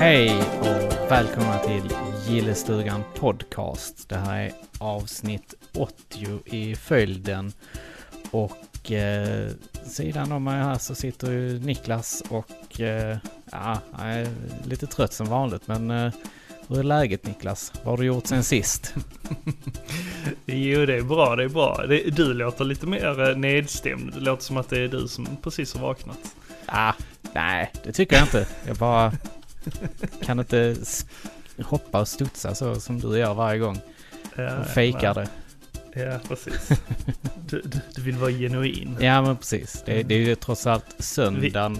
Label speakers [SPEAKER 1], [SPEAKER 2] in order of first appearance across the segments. [SPEAKER 1] Hej och välkomna till Gillestugan Podcast. Det här är avsnitt 80 i följden. Och eh, sidan om mig här så sitter ju Niklas och eh, ja, jag är lite trött som vanligt. Men eh, hur är läget Niklas? Vad har du gjort sen sist?
[SPEAKER 2] Jo, det är bra, det är bra. Det, du låter lite mer eh, nedstämd. Det låter som att det är du som precis har vaknat.
[SPEAKER 1] Ah, nej, det tycker jag inte. Jag bara kan inte s- hoppa och studsa så som du gör varje gång.
[SPEAKER 2] Eh, Ja,
[SPEAKER 1] Och fejkar det.
[SPEAKER 2] nej. Ja, precis. Du, du, du vill vara genuin.
[SPEAKER 1] Ja men precis. Det, det är ju trots allt söndagen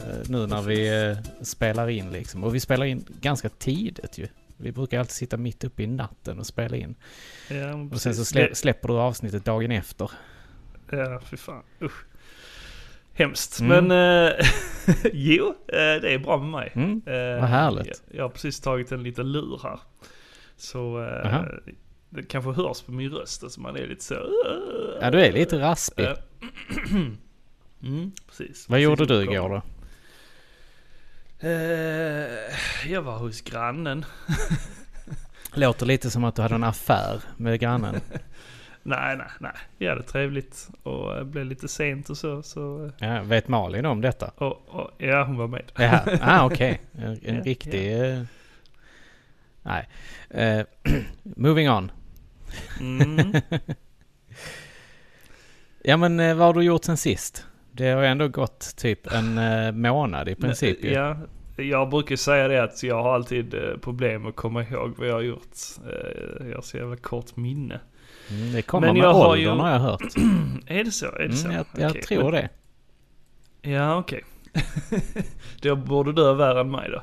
[SPEAKER 1] eh, nu när vi eh, spelar in liksom. Och vi spelar in ganska tidigt ju. Vi brukar alltid sitta mitt uppe i natten och spela in.
[SPEAKER 2] Ja, men
[SPEAKER 1] Och sen så
[SPEAKER 2] precis.
[SPEAKER 1] slä, släpper du avsnittet dagen efter.
[SPEAKER 2] Det- Ja, fy fan. Usch. Hemskt.
[SPEAKER 1] Mm.
[SPEAKER 2] Men eh, jo, eh, det är bra med mig.
[SPEAKER 1] Mm?
[SPEAKER 2] Eh,
[SPEAKER 1] Vad härligt.
[SPEAKER 2] Jag, jag har precis tagit en liten lur här. Så eh,
[SPEAKER 1] Aha.
[SPEAKER 2] det kanske hörs på min röst. Alltså man är lite så...
[SPEAKER 1] Ja du är lite raspig.
[SPEAKER 2] Eh, mm, precis.
[SPEAKER 1] Vad
[SPEAKER 2] Precis
[SPEAKER 1] gjorde du
[SPEAKER 2] uppkommen.
[SPEAKER 1] igår då?
[SPEAKER 2] Eh, jag var hos grannen.
[SPEAKER 1] Låter lite som att du hade en affär med grannen.
[SPEAKER 2] Nej, nej, nej. Vi hade trevligt och eh, blev lite sent och så. så eh,
[SPEAKER 1] Ja, vet Malin om detta?
[SPEAKER 2] och, och, ja, hon var med.
[SPEAKER 1] Ja, ah, okej. En, en
[SPEAKER 2] Ja,
[SPEAKER 1] riktig... eh, Nej. Eh, moving on.
[SPEAKER 2] Mm.
[SPEAKER 1] Ja men eh, vad har du gjort sen sist? Det har ju ändå gått typ en eh, månad i princip ju.
[SPEAKER 2] ja, Jag brukar ju säga det att jag har alltid eh, problem att komma ihåg vad jag har gjort. Eh, jag har så jävla kort minne.
[SPEAKER 1] Mm, Det kommer
[SPEAKER 2] Men
[SPEAKER 1] med
[SPEAKER 2] jag har
[SPEAKER 1] åldern
[SPEAKER 2] ju-
[SPEAKER 1] har jag hört.
[SPEAKER 2] Är det så? Är det så?
[SPEAKER 1] Mm, jag jag
[SPEAKER 2] Okej,
[SPEAKER 1] tror
[SPEAKER 2] men-
[SPEAKER 1] det.
[SPEAKER 2] Ja, okej. då borde du ha värre än mig då.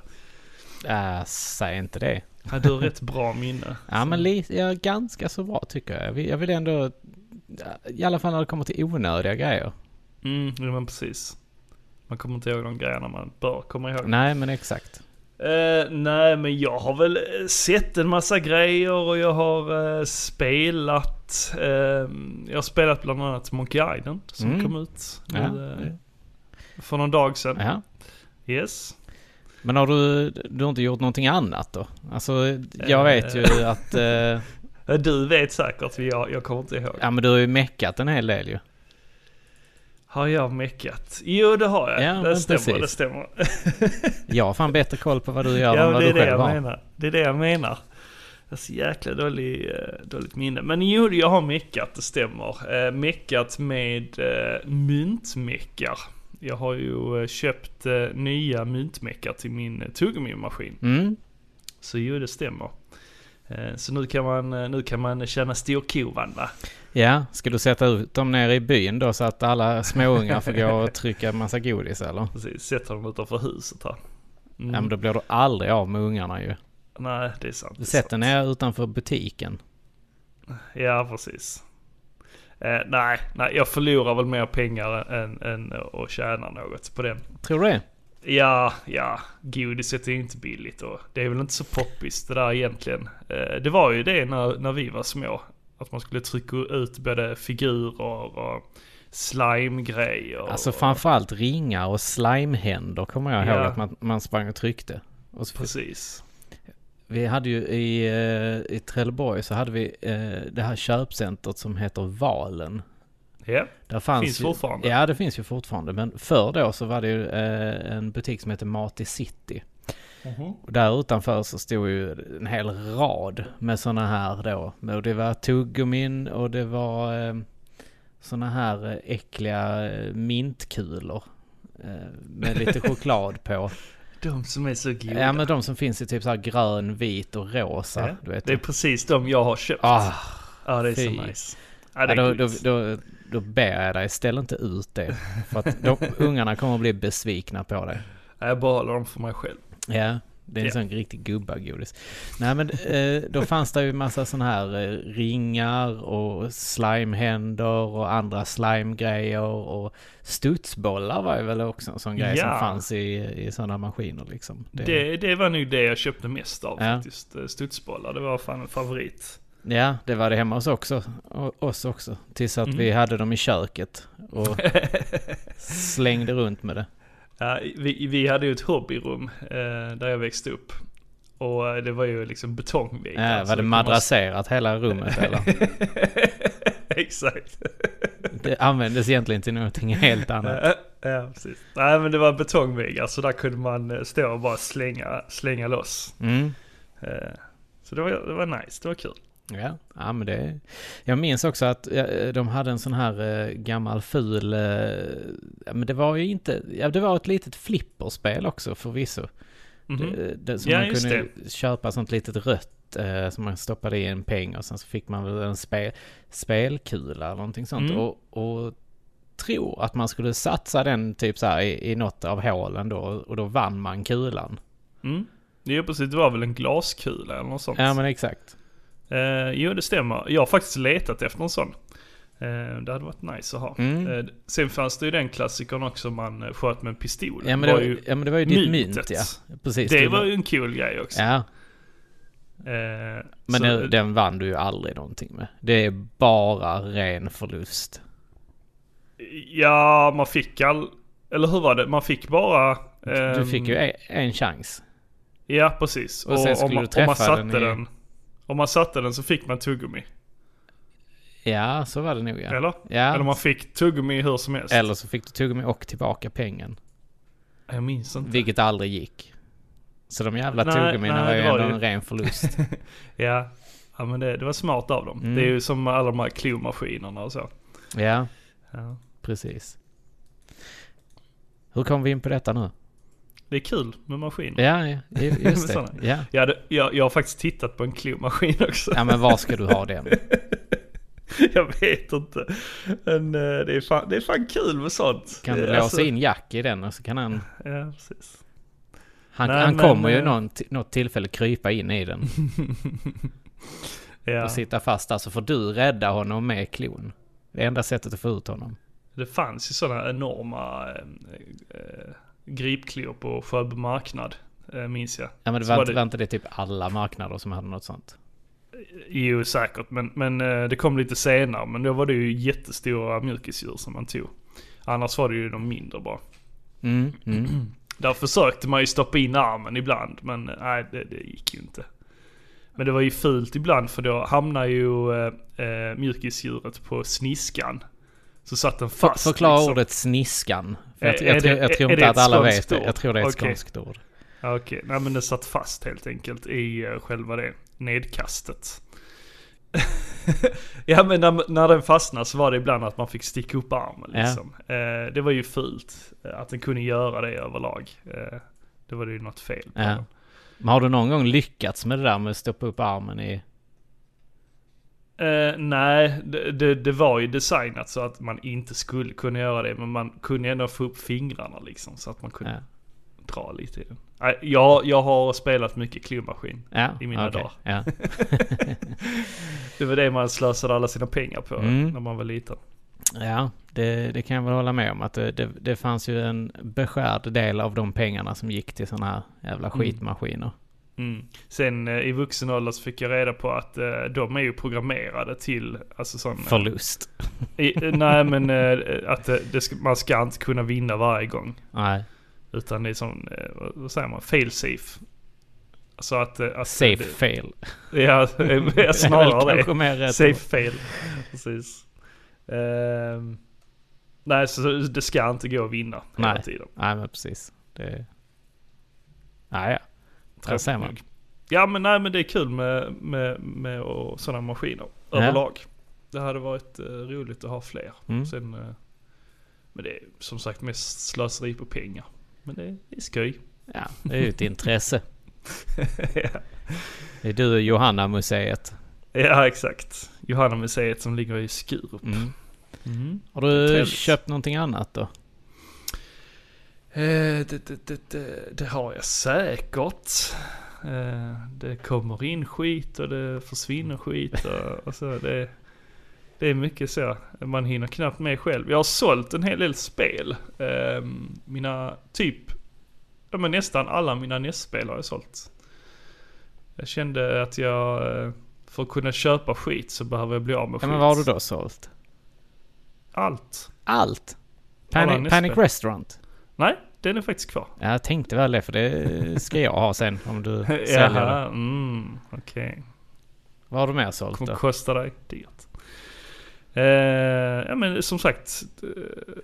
[SPEAKER 1] Äh, säg inte det.
[SPEAKER 2] Ja, du har rätt bra minne.
[SPEAKER 1] Ja men li- ja, ganska så bra tycker jag. Jag vill, jag vill ändå... I alla fall när det kommer till onödiga grejer.
[SPEAKER 2] Mm, ja, men precis. Man kommer inte ihåg de grejerna man bör komma ihåg.
[SPEAKER 1] Nej men exakt.
[SPEAKER 2] Eh, nej, men jag har väl eh, sett en massa grejer och jag har eh, spelat. Eh, jag har spelat bland annat Monkey Island som
[SPEAKER 1] Mm.
[SPEAKER 2] kom ut nu,
[SPEAKER 1] Ja.
[SPEAKER 2] eh, för någon dag sedan.
[SPEAKER 1] Ja.
[SPEAKER 2] Yes.
[SPEAKER 1] Men har du, du har inte gjort någonting annat då? Alltså jag vet ju att... eh,
[SPEAKER 2] Eh, Du vet säkert, för jag, jag kommer inte ihåg.
[SPEAKER 1] Ja men du har ju meckat en hel del ju.
[SPEAKER 2] Har jag meckat? Jo, det har jag.
[SPEAKER 1] Ja, men
[SPEAKER 2] det, stämmer, det
[SPEAKER 1] precis.
[SPEAKER 2] stämmer.
[SPEAKER 1] Jag har fan bättre koll på vad du gör
[SPEAKER 2] Ja,
[SPEAKER 1] än
[SPEAKER 2] men
[SPEAKER 1] vad
[SPEAKER 2] det
[SPEAKER 1] du
[SPEAKER 2] är det
[SPEAKER 1] själv
[SPEAKER 2] jag
[SPEAKER 1] har.
[SPEAKER 2] menar. Det är det jag menar. Jag har så jäkla dålig, eh, dåligt minne. Men jo, jag har meckat, det stämmer. Eh, Meckat med eh, myntmeckar. Jag har ju eh, köpt eh, nya myntmeckar till min eh, tuggummi-maskin.
[SPEAKER 1] Mm.
[SPEAKER 2] Så jo, det stämmer. Eh, Så nu kan man, eh, nu kan man känna storkovan va?
[SPEAKER 1] Ja, ska du sätta ut dem nere i byn då så att alla småungar får gå och trycka en massa godis eller?
[SPEAKER 2] Precis, sätter dem utanför huset här. Mm.
[SPEAKER 1] Ja men då blir du aldrig av med ungarna ju.
[SPEAKER 2] Nej, det är sant. det är
[SPEAKER 1] Sätt den
[SPEAKER 2] sant.
[SPEAKER 1] ner utanför butiken.
[SPEAKER 2] Ja, precis. Eh, nej, nej, jag förlorar väl mer pengar än, än att tjäna något på den.
[SPEAKER 1] Tror du det?
[SPEAKER 2] Ja, ja, godiset är ju inte billigt och det är väl inte så poppis det där egentligen. Eh, det var ju det när, när vi var små. Att man skulle trycka ut både figurer och slimegrejer.
[SPEAKER 1] Alltså
[SPEAKER 2] och-
[SPEAKER 1] framförallt ringar och slimehänder kommer jag ihåg
[SPEAKER 2] Ja.
[SPEAKER 1] att man, man sprang och tryckte. Och så,
[SPEAKER 2] Precis.
[SPEAKER 1] vi hade ju i, eh, i Trelleborg så hade vi eh, det här köpcentret som heter Valen.
[SPEAKER 2] Ja,
[SPEAKER 1] Där fanns
[SPEAKER 2] Finns
[SPEAKER 1] ju,
[SPEAKER 2] fortfarande.
[SPEAKER 1] Ja, det finns ju fortfarande. Men förr då så var det ju eh, en butik som hette Mat i City. Och där utanför så stod ju en hel rad med sådana här då. Och det var tuggummin och det var eh, sådana här eh, äckliga eh, mintkulor. eh, Med lite choklad på.
[SPEAKER 2] de som är så goda.
[SPEAKER 1] Ja men de som finns i typ så här grön, vit och rosa.
[SPEAKER 2] Ja,
[SPEAKER 1] Du vet.
[SPEAKER 2] Det är precis de jag har köpt.
[SPEAKER 1] ah,
[SPEAKER 2] ja, det är
[SPEAKER 1] fy.
[SPEAKER 2] så nice. Ja, det
[SPEAKER 1] ja,
[SPEAKER 2] är
[SPEAKER 1] då,
[SPEAKER 2] gulligt.
[SPEAKER 1] då, då, då ber jag dig, ställ inte ut det. För att de, ungarna kommer att bli besvikna på dig.
[SPEAKER 2] Ja, Jag behåller dem för mig själv.
[SPEAKER 1] Ja, det är en
[SPEAKER 2] Ja.
[SPEAKER 1] sån riktig gubbagodis. Nej men eh, då fanns det ju massa sån här eh, ringar och slimehänder och andra slimegrejer och studsbollar var ju väl också en sån grej som
[SPEAKER 2] Ja.
[SPEAKER 1] fanns i, i sådana maskiner liksom. Det-
[SPEAKER 2] Det, det var nog det jag köpte mest av
[SPEAKER 1] Ja.
[SPEAKER 2] faktiskt. Eh, Studsbollar, det var fan en favorit.
[SPEAKER 1] Ja, det var det hemma hos också, o- oss också.
[SPEAKER 2] Mm.
[SPEAKER 1] Tills att vi hade dem i köket och slängde runt med det.
[SPEAKER 2] Ja, vi, vi hade ju ett hobbyrum eh, där jag växte upp. Och eh, det var ju liksom betongväggar.
[SPEAKER 1] Äh,
[SPEAKER 2] så
[SPEAKER 1] var det
[SPEAKER 2] kan man-
[SPEAKER 1] madrasserat hela rummet eller?
[SPEAKER 2] Exakt.
[SPEAKER 1] Det användes egentligen till någonting helt annat.
[SPEAKER 2] Ja, ja, precis. Nej men det var betongväggar så där kunde man eh, stå och bara slänga, slänga loss.
[SPEAKER 1] Mm.
[SPEAKER 2] Eh, Så det var, det var nice, det var kul.
[SPEAKER 1] Ja, ja men det... Jag minns också att eh, de hade en sån här eh, gammal ful... eh, ja, Men det var ju inte... Ja, det var ett litet flipperspel också förvisso.
[SPEAKER 2] Mhm.
[SPEAKER 1] Det, eh, det, som
[SPEAKER 2] Ja,
[SPEAKER 1] man
[SPEAKER 2] just
[SPEAKER 1] kunde köpa sånt litet rött eh, som man stoppade i en peng och sen så fick man väl en spe, spelkula eller någonting sånt.
[SPEAKER 2] Mm.
[SPEAKER 1] Och, och tror att man skulle satsa den typ så här i, i något av hålen då och då vann man kulan.
[SPEAKER 2] Mm. Jo precis, det var väl en glaskula eller något sånt.
[SPEAKER 1] Ja men exakt.
[SPEAKER 2] Eh, jo det stämmer. Jag har faktiskt letat efter en sån. Eh, det hade varit nice att ha.
[SPEAKER 1] Mm.
[SPEAKER 2] Eh, sen fanns det ju den klassikern också man eh, sköt med en pistol.
[SPEAKER 1] Ja men
[SPEAKER 2] Det
[SPEAKER 1] det var ju, ja, men det var ju ditt mynt
[SPEAKER 2] myntet.
[SPEAKER 1] ja. Precis.
[SPEAKER 2] Det
[SPEAKER 1] du-
[SPEAKER 2] var ju en cool grej också.
[SPEAKER 1] Ja,
[SPEAKER 2] Eh,
[SPEAKER 1] men
[SPEAKER 2] så-
[SPEAKER 1] det, den vann du ju aldrig någonting med. Det är bara ren förlust.
[SPEAKER 2] Ja, man fick all... Eller hur var det? Man fick bara...
[SPEAKER 1] Du
[SPEAKER 2] ehm,
[SPEAKER 1] fick ju en, en chans.
[SPEAKER 2] Ja, precis.
[SPEAKER 1] Och sen skulle
[SPEAKER 2] om, man-
[SPEAKER 1] du träffa
[SPEAKER 2] om man satte
[SPEAKER 1] den i-
[SPEAKER 2] den, Om man satte den så fick man tuggummi.
[SPEAKER 1] Ja, så var det nog ja.
[SPEAKER 2] Eller?
[SPEAKER 1] Ja,
[SPEAKER 2] Eller man fick tuggummi hur som helst.
[SPEAKER 1] Eller så fick du tuggummi och tillbaka pengen.
[SPEAKER 2] Jag minns inte.
[SPEAKER 1] Vilket aldrig gick. Så de jävla
[SPEAKER 2] Nej,
[SPEAKER 1] tuggummina
[SPEAKER 2] nej,
[SPEAKER 1] var ju
[SPEAKER 2] det var
[SPEAKER 1] ändå
[SPEAKER 2] ju-
[SPEAKER 1] en ren förlust.
[SPEAKER 2] Ja. Ja men det, det var smart av dem.
[SPEAKER 1] Mm.
[SPEAKER 2] Det är ju som alla de här klomaskinerna och så.
[SPEAKER 1] ja,
[SPEAKER 2] Ja.
[SPEAKER 1] precis. Hur kom vi in på detta nu?
[SPEAKER 2] Det är kul med maskiner.
[SPEAKER 1] Ja, ja ju- just det.
[SPEAKER 2] Sådana.
[SPEAKER 1] Ja.
[SPEAKER 2] Jag, hade, jag, jag har faktiskt tittat på en klomaskin också.
[SPEAKER 1] ja, men var ska du ha den?
[SPEAKER 2] Jag vet inte. Men eh, det är fan, det är fan kul med sånt.
[SPEAKER 1] Kan du
[SPEAKER 2] Eh,
[SPEAKER 1] låsa
[SPEAKER 2] alltså,
[SPEAKER 1] in Jack i den och så kan han...
[SPEAKER 2] Ja, precis.
[SPEAKER 1] Han,
[SPEAKER 2] Nej,
[SPEAKER 1] han
[SPEAKER 2] men,
[SPEAKER 1] kommer ju
[SPEAKER 2] eh,
[SPEAKER 1] någon, t- något tillfälle krypa in i den
[SPEAKER 2] Ja.
[SPEAKER 1] och sitta fast där så får du rädda honom med klon. Det är enda sättet att få ut honom.
[SPEAKER 2] Det fanns ju sådana enorma eh, eh, gripklor på Sjöbo marknad, eh, minns jag.
[SPEAKER 1] Ja, men det
[SPEAKER 2] Så
[SPEAKER 1] var,
[SPEAKER 2] var
[SPEAKER 1] inte,
[SPEAKER 2] det-
[SPEAKER 1] var inte det typ alla marknader som hade något sånt?
[SPEAKER 2] Jo, säkert, men, men eh, det kom lite senare. Men då var det ju jättestora mjukisdjur som man tog. Annars var det ju de mindre bara.
[SPEAKER 1] Mm, mm.
[SPEAKER 2] Där försökte man ju stoppa in armen ibland, men eh, nej, det, det gick ju inte. Men det var ju fult ibland, för då hamnar ju eh, eh, mjukisdjuret på sniskan. Så satt den fast.
[SPEAKER 1] Förklara
[SPEAKER 2] liksom.
[SPEAKER 1] ordet sniskan. För jag,
[SPEAKER 2] Är-
[SPEAKER 1] jag,
[SPEAKER 2] är
[SPEAKER 1] tror-
[SPEAKER 2] det-
[SPEAKER 1] jag
[SPEAKER 2] är-
[SPEAKER 1] tror
[SPEAKER 2] är
[SPEAKER 1] inte
[SPEAKER 2] det
[SPEAKER 1] att
[SPEAKER 2] ett
[SPEAKER 1] alla vet
[SPEAKER 2] skånskt
[SPEAKER 1] det. Jag
[SPEAKER 2] ord?
[SPEAKER 1] tror det är ett
[SPEAKER 2] Okej.
[SPEAKER 1] skånskt ord.
[SPEAKER 2] Ja, Okej, nej men den satt fast helt enkelt i eh, själva det nedkastet. ja men när, när den fastnade så var det ibland att man fick sticka upp armen
[SPEAKER 1] Ja.
[SPEAKER 2] liksom. Eh, det var ju fult eh, att den kunde göra det överlag. Eh, det var det ju något fel på
[SPEAKER 1] Ja.
[SPEAKER 2] den.
[SPEAKER 1] Men har du någon gång lyckats med det där med att stoppa upp armen i...
[SPEAKER 2] Eh, nej, det, det, det var ju designat så att man inte skulle kunna göra det. Men man kunde ändå få upp fingrarna liksom så att man kunde
[SPEAKER 1] Ja,
[SPEAKER 2] dra lite i den. Nej, jag, jag har spelat mycket klubmaskin.
[SPEAKER 1] ja
[SPEAKER 2] I mina
[SPEAKER 1] okej.
[SPEAKER 2] dagar.
[SPEAKER 1] Ja.
[SPEAKER 2] Det var det man slösade alla sina pengar på
[SPEAKER 1] Mm.
[SPEAKER 2] när man var liten.
[SPEAKER 1] ja det, det kan jag väl hålla med om. Att det, det, det fanns ju en beskärd del av de pengarna som gick till sådana här jävla
[SPEAKER 2] Mm.
[SPEAKER 1] skitmaskiner.
[SPEAKER 2] Mm. Sen eh, i vuxen ålder så fick jag reda på att eh, de är ju programmerade till, alltså sån...
[SPEAKER 1] Förlust.
[SPEAKER 2] I, eh, nej men eh, att eh, det ska, man ska inte kunna vinna varje gång.
[SPEAKER 1] Nej.
[SPEAKER 2] Utan det är sån, eh, vad- vad säger man, fail safe. Alltså att... eh, att
[SPEAKER 1] Safe fail.
[SPEAKER 2] Det, ja, eh, snarare det.
[SPEAKER 1] kanske mer rätt
[SPEAKER 2] Safe
[SPEAKER 1] ord.
[SPEAKER 2] fail. Precis. Ehm, nej, så det ska inte gå att vinna hela
[SPEAKER 1] Nej.
[SPEAKER 2] tiden.
[SPEAKER 1] Nej, men precis. Det... Nej, ja. Där
[SPEAKER 2] Tråkigt
[SPEAKER 1] ser man.
[SPEAKER 2] nog. Ja men nej men det är kul med, med, med och sådana maskiner
[SPEAKER 1] Ja.
[SPEAKER 2] överlag. Det hade varit eh, roligt att ha fler.
[SPEAKER 1] Mm.
[SPEAKER 2] Sen, eh, men det är som sagt mest slöseri på pengar. Men det, det är skoj.
[SPEAKER 1] ja, det är ju ett intresse.
[SPEAKER 2] ja.
[SPEAKER 1] Det är du och Johanna-museet.
[SPEAKER 2] ja exakt. Johanna museet som ligger i Skurup.
[SPEAKER 1] Mm.
[SPEAKER 2] Mm.
[SPEAKER 1] Har du
[SPEAKER 2] Trevligt.
[SPEAKER 1] köpt någonting annat då?
[SPEAKER 2] Eh, det, det, det, det, det har jag säkert. Eh, det kommer in skit och det försvinner skit. Och, och så det, det är mycket så. Man hinner knappt med själv. Jag har sålt en hel del spel. Eh, mina typ, ja, men nästan alla mina NES-spel har jag sålt. Jag kände att jag, eh, för att kunna köpa skit så behöver jag bli av med
[SPEAKER 1] Ja,
[SPEAKER 2] skit.
[SPEAKER 1] men vad har du då sålt?
[SPEAKER 2] Allt.
[SPEAKER 1] Allt?
[SPEAKER 2] Alla
[SPEAKER 1] Panic,
[SPEAKER 2] nästa.
[SPEAKER 1] Panic Restaurant?
[SPEAKER 2] Nej, den är faktiskt kvar.
[SPEAKER 1] Jag tänkte väl det, för det ska jag ha sen om du säljer det.
[SPEAKER 2] Jaha, mm, okej.
[SPEAKER 1] Vad har du mer sålt
[SPEAKER 2] kommer
[SPEAKER 1] då?
[SPEAKER 2] kosta dig dyrt. Eh, ja men som sagt, eh,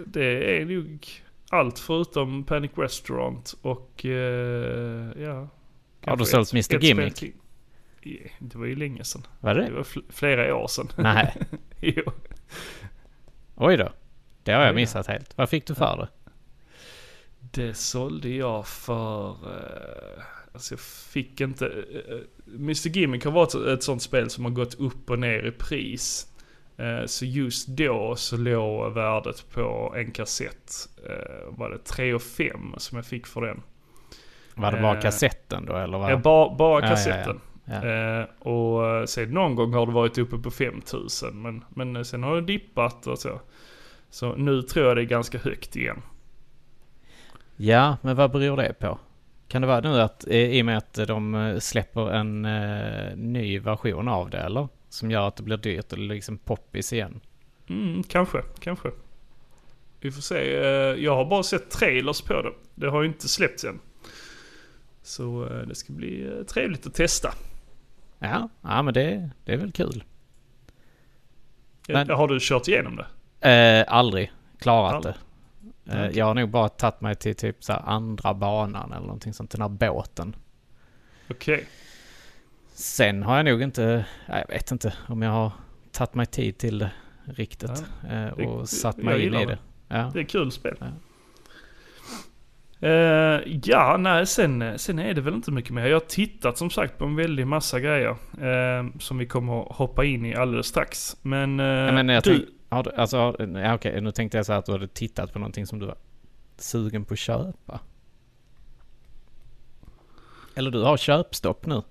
[SPEAKER 2] det är nog allt förutom Panic Restaurant och eh, ja.
[SPEAKER 1] Har du
[SPEAKER 2] kanske
[SPEAKER 1] sålt
[SPEAKER 2] ett-
[SPEAKER 1] Mr.
[SPEAKER 2] ett spel
[SPEAKER 1] Gimmick?
[SPEAKER 2] till. Ja, Det var ju länge sedan.
[SPEAKER 1] Var
[SPEAKER 2] Det
[SPEAKER 1] det?
[SPEAKER 2] var fl- flera år sedan.
[SPEAKER 1] Nej,
[SPEAKER 2] jo.
[SPEAKER 1] oj då. Det har
[SPEAKER 2] Oj
[SPEAKER 1] jag
[SPEAKER 2] då.
[SPEAKER 1] missat helt. Vad fick du för det?
[SPEAKER 2] Det sålde jag för... Eh, alltså jag fick inte... Eh, eh, Mr Gimmick har varit ett sånt spel som har gått upp och ner i pris. Eh, så just då så låg värdet på en kassett. Eh, var det 3 och 5 som jag fick för den.
[SPEAKER 1] Var det bara
[SPEAKER 2] Eh,
[SPEAKER 1] kassetten då eller? Vad?
[SPEAKER 2] Ja, bara, bara
[SPEAKER 1] Ja, ja, ja.
[SPEAKER 2] kassetten.
[SPEAKER 1] Ja.
[SPEAKER 2] Eh, och eh, sen någon gång har det varit uppe på 5000 men, men eh, sen har det dippat och så. Så nu tror jag det är ganska högt igen.
[SPEAKER 1] ja, men vad beror det på? Kan det vara nu att eh, i och med att de eh, släpper en eh, ny version av det eller? Som gör att det blir dyrt och liksom poppis igen.
[SPEAKER 2] Mm, kanske, kanske. Vi får se. Eh, Jag har bara sett trailers på det. Det har ju inte släppts än. Så eh, det ska bli eh, trevligt att testa.
[SPEAKER 1] Ja, ja men det, det är väl kul. Men-
[SPEAKER 2] Men... Eh, Har du kört igenom det?
[SPEAKER 1] Eh, aldrig klarat
[SPEAKER 2] Aldrig.
[SPEAKER 1] det. Eh,
[SPEAKER 2] Okej.
[SPEAKER 1] Jag har nog bara tagit mig till typ så här andra banan eller någonting sånt, den här båten.
[SPEAKER 2] Okej.
[SPEAKER 1] Sen har jag nog inte, nej, jag vet inte om jag har tagit mig tid till det riktigt eh, och
[SPEAKER 2] Det-
[SPEAKER 1] satt
[SPEAKER 2] jag
[SPEAKER 1] mig in
[SPEAKER 2] gillar
[SPEAKER 1] i
[SPEAKER 2] det.
[SPEAKER 1] det. Ja.
[SPEAKER 2] Det är kul spel.
[SPEAKER 1] Ja.
[SPEAKER 2] Ja. ja, nej, sen, eh, sen är det väl inte mycket mer. Jag har tittat som sagt på en väldig massa grejer. eh, som vi kommer att hoppa in i alldeles strax. Men, eh,
[SPEAKER 1] Ja, men jag
[SPEAKER 2] du,
[SPEAKER 1] tänk, har du, alltså, har- ja, okej, nu tänkte jag så här att du hade tittat på någonting som du var sugen på att köpa. Eller du har köpstopp nu.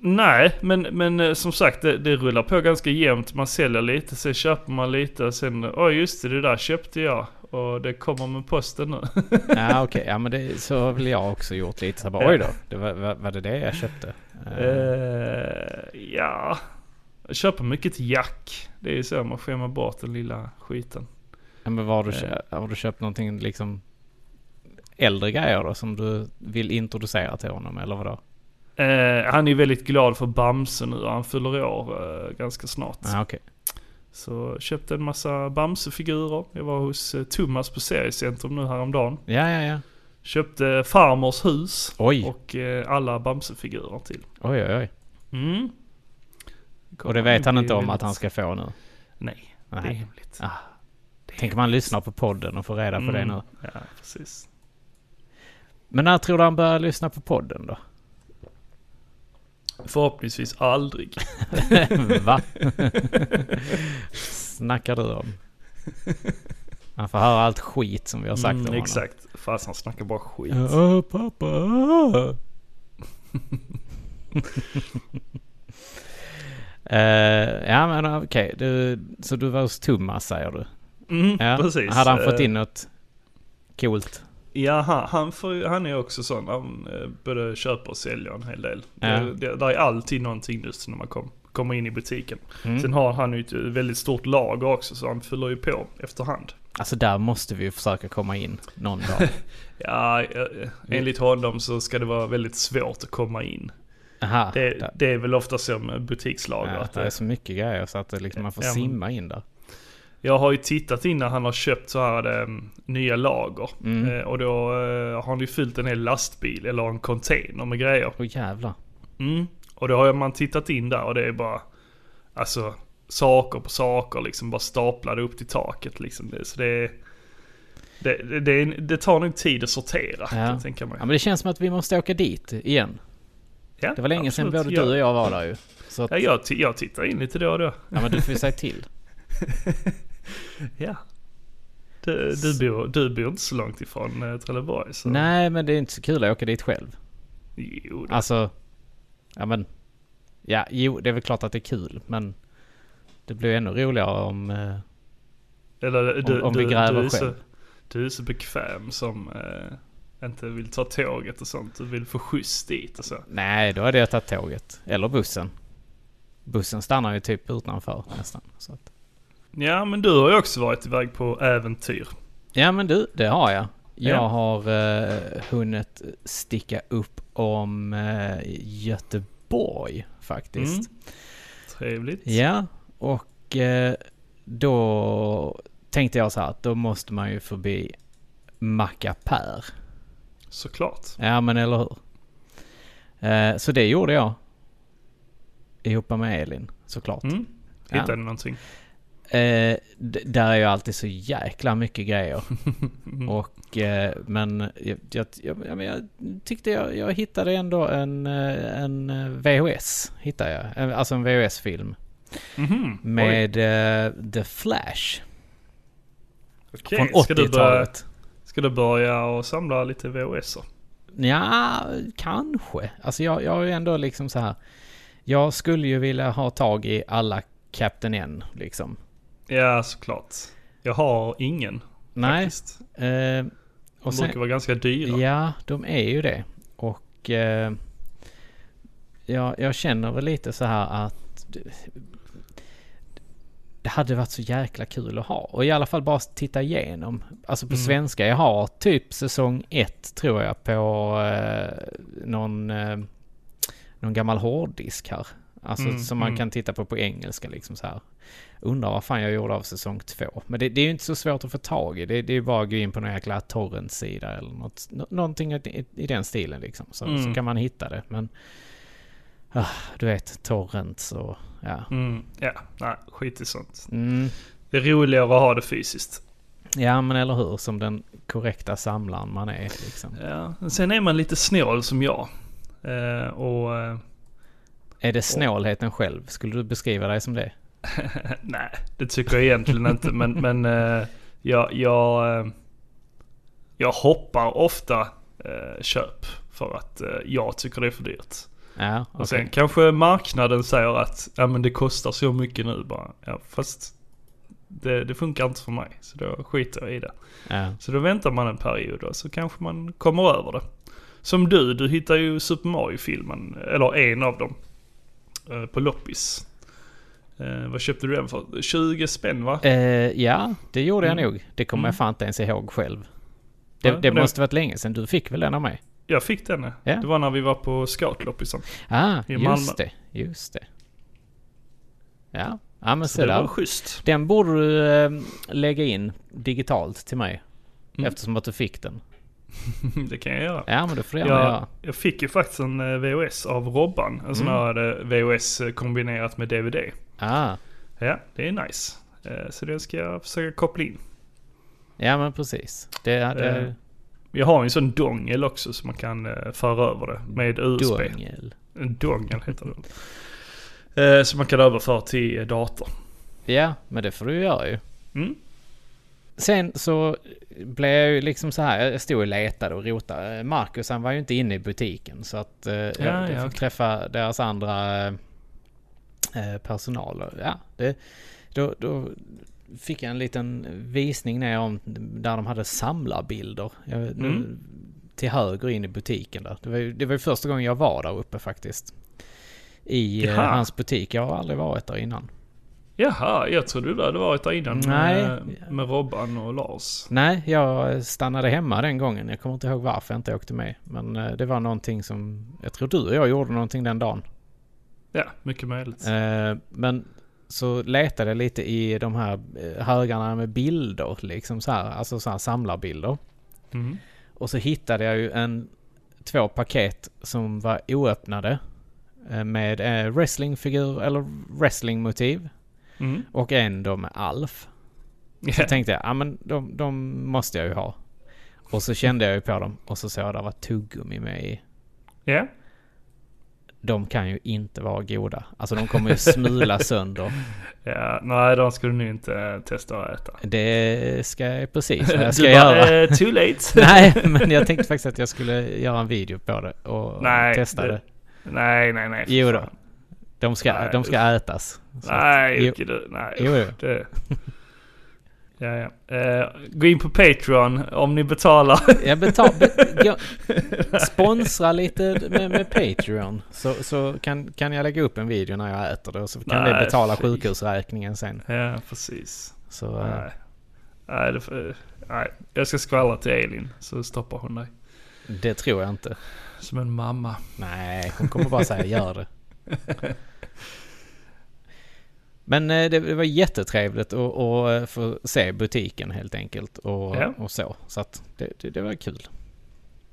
[SPEAKER 2] Nej, men, men eh, som sagt det, det rullar på ganska jämnt. Man säljer lite, sen köper man lite, sen åh just det, det där köpte jag. Och det kommer med posten nu.
[SPEAKER 1] Ja okej, ja men det, så har väl jag också gjort lite så här bara,
[SPEAKER 2] Ja.
[SPEAKER 1] oj då, det var, var, var det det jag köpte? Eh,
[SPEAKER 2] Eh, ja, jag köper mycket till Jack. Det är ju så man skämmer bort den lilla skiten.
[SPEAKER 1] ja, men vad har, du,
[SPEAKER 2] eh.
[SPEAKER 1] kö- har du köpt någonting liksom äldre grejer då som du vill introducera till honom eller vadå?
[SPEAKER 2] Eh, han är ju väldigt glad för Bamse nu han fyller år eh, ganska snart.
[SPEAKER 1] Ja okej.
[SPEAKER 2] Så köpte en massa Bamse-figurer. Jag var hos eh, Thomas på Seriecentrum nu häromdagen.
[SPEAKER 1] Ja ja ja.
[SPEAKER 2] Köpte farmors hus.
[SPEAKER 1] Oj,
[SPEAKER 2] Och eh, alla Bamse-figurer till.
[SPEAKER 1] oj oj oj.
[SPEAKER 2] Mm.
[SPEAKER 1] Och det vet han
[SPEAKER 2] blir
[SPEAKER 1] inte om
[SPEAKER 2] väldigt-
[SPEAKER 1] att han ska få nu?
[SPEAKER 2] Nej, det är
[SPEAKER 1] Nej.
[SPEAKER 2] hemligt.
[SPEAKER 1] Ja, Tänk om han lyssnar på podden och får reda på det
[SPEAKER 2] Mm.
[SPEAKER 1] nu.
[SPEAKER 2] Ja, precis.
[SPEAKER 1] Men när tror du han börjar lyssna på podden då?
[SPEAKER 2] Förhoppningsvis aldrig.
[SPEAKER 1] Va? Snackar du om? Han får höra allt skit som vi har sagt om honom.
[SPEAKER 2] Mm, Exakt. Fast han snackar bara skit.
[SPEAKER 1] Ja, pappa. Eh, ja men okej, Du- så du var hos Thomas säger du?
[SPEAKER 2] Mm,
[SPEAKER 1] Ja,
[SPEAKER 2] precis.
[SPEAKER 1] Hade han fått
[SPEAKER 2] Eh,
[SPEAKER 1] in något coolt?
[SPEAKER 2] Ja, han, han, får, ju- han är också sån. Han eh, både köper och säljer en hel del.
[SPEAKER 1] Ja.
[SPEAKER 2] Det, det, där är alltid någonting just när man kom, kommer in i butiken.
[SPEAKER 1] Mm.
[SPEAKER 2] Sen har han ju ett eh, väldigt stort lager också så han fyller ju på efterhand.
[SPEAKER 1] Alltså där måste vi ju försöka komma in någon dag.
[SPEAKER 2] Ja, eh,
[SPEAKER 1] Mm.
[SPEAKER 2] enligt honom så ska det vara väldigt svårt att komma in.
[SPEAKER 1] Aha,
[SPEAKER 2] Det,
[SPEAKER 1] där.
[SPEAKER 2] det är väl ofta som butikslager.
[SPEAKER 1] Ja,
[SPEAKER 2] att eh,
[SPEAKER 1] det är
[SPEAKER 2] det,
[SPEAKER 1] så mycket grejer så att det liksom, man får
[SPEAKER 2] Ja, men-
[SPEAKER 1] simma in där.
[SPEAKER 2] jag har ju tittat in när han har köpt så här eh, nya lager.
[SPEAKER 1] Mm.
[SPEAKER 2] Eh, och då eh, har han ju fyllt en hel lastbil eller en container med grejer.
[SPEAKER 1] Åh jävlar.
[SPEAKER 2] Mm. Och då har man tittat in där och det är bara alltså saker på saker liksom bara staplade upp till taket liksom. Det, så det är det, det, det, är en- det tar nog tid att sortera kan jag tänka mig.
[SPEAKER 1] Ja men det känns som att vi måste åka dit igen.
[SPEAKER 2] Ja,
[SPEAKER 1] Det var länge sedan
[SPEAKER 2] absolut.
[SPEAKER 1] både
[SPEAKER 2] Ja.
[SPEAKER 1] du och jag var där ju. Så att,
[SPEAKER 2] Ja,
[SPEAKER 1] ja
[SPEAKER 2] jag, ti- jag tittar in lite då och då.
[SPEAKER 1] men du får ju säga till.
[SPEAKER 2] Ja. Du, du, bor, du bor inte så långt ifrån eh, Trelleborg så...
[SPEAKER 1] Nej men det är inte så kul att åka dit själv.
[SPEAKER 2] Jo, det,
[SPEAKER 1] Alltså, ja men. Ja jo det är väl klart att det är kul men. Det blir ju ännu roligare om... eh,
[SPEAKER 2] eller eh, du,
[SPEAKER 1] om
[SPEAKER 2] du,
[SPEAKER 1] vi gräver
[SPEAKER 2] du är
[SPEAKER 1] själv.
[SPEAKER 2] Så, du är så bekväm som eh, inte vill ta tåget och sånt. Du vill få skjuts dit och så.
[SPEAKER 1] Nej då hade jag tagit tåget. Eller bussen. Bussen stannar ju typ utanför nästan. Så att.
[SPEAKER 2] Ja, men du har ju också varit iväg på äventyr. Mm.
[SPEAKER 1] Ja men du, det har jag. Jag
[SPEAKER 2] Ja.
[SPEAKER 1] har eh, hunnit sticka upp om eh, Göteborg faktiskt.
[SPEAKER 2] Mm. Trevligt.
[SPEAKER 1] Ja, och eh, då tänkte jag så här att då måste man ju förbi Macapär.
[SPEAKER 2] Såklart.
[SPEAKER 1] Ja men eller hur. Eh, så det gjorde jag. Ihop med Elin såklart.
[SPEAKER 2] Mm.
[SPEAKER 1] Ja.
[SPEAKER 2] Hittade du någonting?
[SPEAKER 1] Eh, d- där är ju alltid så jäkla mycket grejer. Och, eh, men jag, jag, jag, ja, men jag tyckte jag, jag hittade ändå en, eh, en eh, VHS. Hittade jag. En- Alltså en VHS-film.
[SPEAKER 2] Mhm. Oj,
[SPEAKER 1] Med eh, The Flash.
[SPEAKER 2] okej.
[SPEAKER 1] Från
[SPEAKER 2] Ska du börja,
[SPEAKER 1] 80-talet.
[SPEAKER 2] ska du börja och samla lite VHSer?
[SPEAKER 1] Ja, kanske. Alltså jag, jag är ju ändå liksom så här. Jag skulle ju vilja ha tag i alla Captain N liksom.
[SPEAKER 2] Ja, såklart. Jag har ingen
[SPEAKER 1] Nej.
[SPEAKER 2] faktiskt.
[SPEAKER 1] Eh,
[SPEAKER 2] De
[SPEAKER 1] och sen,
[SPEAKER 2] brukar vara ganska dyra.
[SPEAKER 1] ja, de är ju det. Och eh, jag, jag känner väl lite så här att det- det hade varit så jäkla kul att ha. Och i alla fall bara titta igenom. Alltså på
[SPEAKER 2] Mm.
[SPEAKER 1] svenska. Jag har typ säsong ett tror jag på eh, någon, eh, någon gammal hårddisk här. Alltså
[SPEAKER 2] Mm,
[SPEAKER 1] som man
[SPEAKER 2] mm.
[SPEAKER 1] kan titta på på engelska liksom så här. Undrar vad fan jag gjorde av säsong två. Men det, det är ju inte så svårt att få tag i. Det, det är ju bara att gå in på någon jäkla torrentsida eller något. nå- Någonting i, i den stilen liksom. Så, så
[SPEAKER 2] Mm.
[SPEAKER 1] kan man hitta det. Men ah, du vet, torrents och ja.
[SPEAKER 2] Mm, ja, nej, skit i sånt.
[SPEAKER 1] Mm.
[SPEAKER 2] Det är roligare att ha det fysiskt.
[SPEAKER 1] Ja men eller hur, som den korrekta samlaren man är liksom.
[SPEAKER 2] Ja. Sen är man lite snål som jag. Eh, och eh,
[SPEAKER 1] Är det snålheten själv? Skulle du beskriva dig som det?
[SPEAKER 2] nej, det tycker jag egentligen inte. Men, men eh, jag, jag, eh, jag hoppar ofta eh, köp för att eh, jag tycker det är för dyrt.
[SPEAKER 1] Ja, okej.
[SPEAKER 2] Och sen kanske marknaden säger att ja, men det kostar så mycket nu bara. Ja, fast det, det funkar inte för mig. Så då skiter jag i det.
[SPEAKER 1] Ja.
[SPEAKER 2] Så då väntar man en period och så kanske man kommer över det. Som du, du hittar ju Super Mario-filmen, eller en av dem, eh, på loppis. Eh, vad köpte du den för? 20 spänn va?
[SPEAKER 1] Eh, ja, det gjorde jag
[SPEAKER 2] Mm.
[SPEAKER 1] nog. Det kommer
[SPEAKER 2] Mm.
[SPEAKER 1] jag fan inte ens ihåg själv.
[SPEAKER 2] Ja,
[SPEAKER 1] Det, det
[SPEAKER 2] men det-
[SPEAKER 1] måste varit länge sedan. Du fick väl den av mig?
[SPEAKER 2] Jag fick den. eh.
[SPEAKER 1] Ja.
[SPEAKER 2] Det var när vi var på scoutloppisen.
[SPEAKER 1] Ah,
[SPEAKER 2] I Malmö.
[SPEAKER 1] just det. Just det. Ja, ja men
[SPEAKER 2] Så
[SPEAKER 1] se
[SPEAKER 2] det var
[SPEAKER 1] där.
[SPEAKER 2] schysst.
[SPEAKER 1] Den borde du eh, lägga in digitalt till mig.
[SPEAKER 2] Mm.
[SPEAKER 1] Eftersom att du fick den.
[SPEAKER 2] det kan jag göra.
[SPEAKER 1] Ja, men det får du gärna
[SPEAKER 2] Jag,
[SPEAKER 1] göra.
[SPEAKER 2] jag fick ju faktiskt en eh, VHS av Robban. En sån
[SPEAKER 1] Mm.
[SPEAKER 2] här eh, VHS kombinerat med DVD.
[SPEAKER 1] Ah,
[SPEAKER 2] Ja, det är nice. Eh, Så den ska jag försöka koppla in.
[SPEAKER 1] ja, men precis. Det hade...
[SPEAKER 2] Eh, Jag har ju en sån dongel också som man kan eh, föra över det med USB.
[SPEAKER 1] Dungel.
[SPEAKER 2] En dongel heter det. Eh, Som man kan överföra till eh, dator.
[SPEAKER 1] Ja, men det får du göra ju.
[SPEAKER 2] Mm.
[SPEAKER 1] Sen så blev jag ju liksom så här, jag stod och letade och rotade. Eh, Marcus han var ju inte inne i butiken så att eh, jag,
[SPEAKER 2] ja,
[SPEAKER 1] jag fick
[SPEAKER 2] okej.
[SPEAKER 1] träffa deras andra eh, eh, personal. Och, ja, det, då, då fick jag en liten visning ner om där de hade samlarbilder. Jag, nu,
[SPEAKER 2] Mm.
[SPEAKER 1] till höger in i butiken där. Det var, ju, det var ju första gången jag var där uppe faktiskt. I eh,
[SPEAKER 2] Jaha.
[SPEAKER 1] hans butik. Jag har aldrig varit där innan.
[SPEAKER 2] Jaha, jag trodde du hade varit där innan
[SPEAKER 1] Nej.
[SPEAKER 2] Med, eh, med Robban och Lars.
[SPEAKER 1] Nej, jag stannade hemma den gången. Jag kommer inte ihåg varför jag inte åkte med. Men eh, det var någonting som... Jag tror du och jag gjorde någonting den dagen.
[SPEAKER 2] Ja, mycket möjligt.
[SPEAKER 1] Eh, Men så letade jag lite i de här eh, högarna med bilder. Liksom så här, alltså så här samlarbilder.
[SPEAKER 2] Mm.
[SPEAKER 1] Och så hittade jag ju en, två paket som var oöppnade. eh, Med eh, wrestlingfigur eller wrestlingmotiv.
[SPEAKER 2] Mm.
[SPEAKER 1] Och en då med Alf. Så
[SPEAKER 2] Ja.
[SPEAKER 1] tänkte jag, ja men de, de måste jag ju ha. Och så kände jag ju på dem och så såg jag att det var tuggummi med i.
[SPEAKER 2] ja,
[SPEAKER 1] De kan ju inte vara goda. Alltså de kommer ju smula sönder.
[SPEAKER 2] ja, nej de skulle nu inte eh, testa att äta.
[SPEAKER 1] Det ska jag precis vad jag ska
[SPEAKER 2] du
[SPEAKER 1] göra.
[SPEAKER 2] bara, eh, too late.
[SPEAKER 1] Nej, men jag tänkte faktiskt att jag skulle göra en video på det och
[SPEAKER 2] Nej,
[SPEAKER 1] testa det.
[SPEAKER 2] det- nej, nej, nej. för
[SPEAKER 1] Jo då.
[SPEAKER 2] fan.
[SPEAKER 1] De, ska,
[SPEAKER 2] Nej,
[SPEAKER 1] de ska ätas. Så att-
[SPEAKER 2] Nej,
[SPEAKER 1] jo.
[SPEAKER 2] Jocke du. Nej.
[SPEAKER 1] Jo, jo.
[SPEAKER 2] Det. Ja, ja. Eh, gå in på Patreon om ni betalar.
[SPEAKER 1] Jag betal, be, jag, sponsra lite med, med Patreon. Så, så kan, kan jag lägga upp en video när jag äter det och så kan det
[SPEAKER 2] Nej,
[SPEAKER 1] betala
[SPEAKER 2] fy.
[SPEAKER 1] sjukhusräkningen sen.
[SPEAKER 2] ja, precis.
[SPEAKER 1] Så, eh,
[SPEAKER 2] Nej. Nej, det, får- nej. Jag ska skvallra till Elin så stoppar hon dig.
[SPEAKER 1] Det tror jag inte.
[SPEAKER 2] Som en mamma.
[SPEAKER 1] Nej, hon kommer bara säga gör det. Men eh, det det var jättetrevligt att att eh, få se butiken helt enkelt och,
[SPEAKER 2] Ja.
[SPEAKER 1] och så. Så att det, det, det var kul,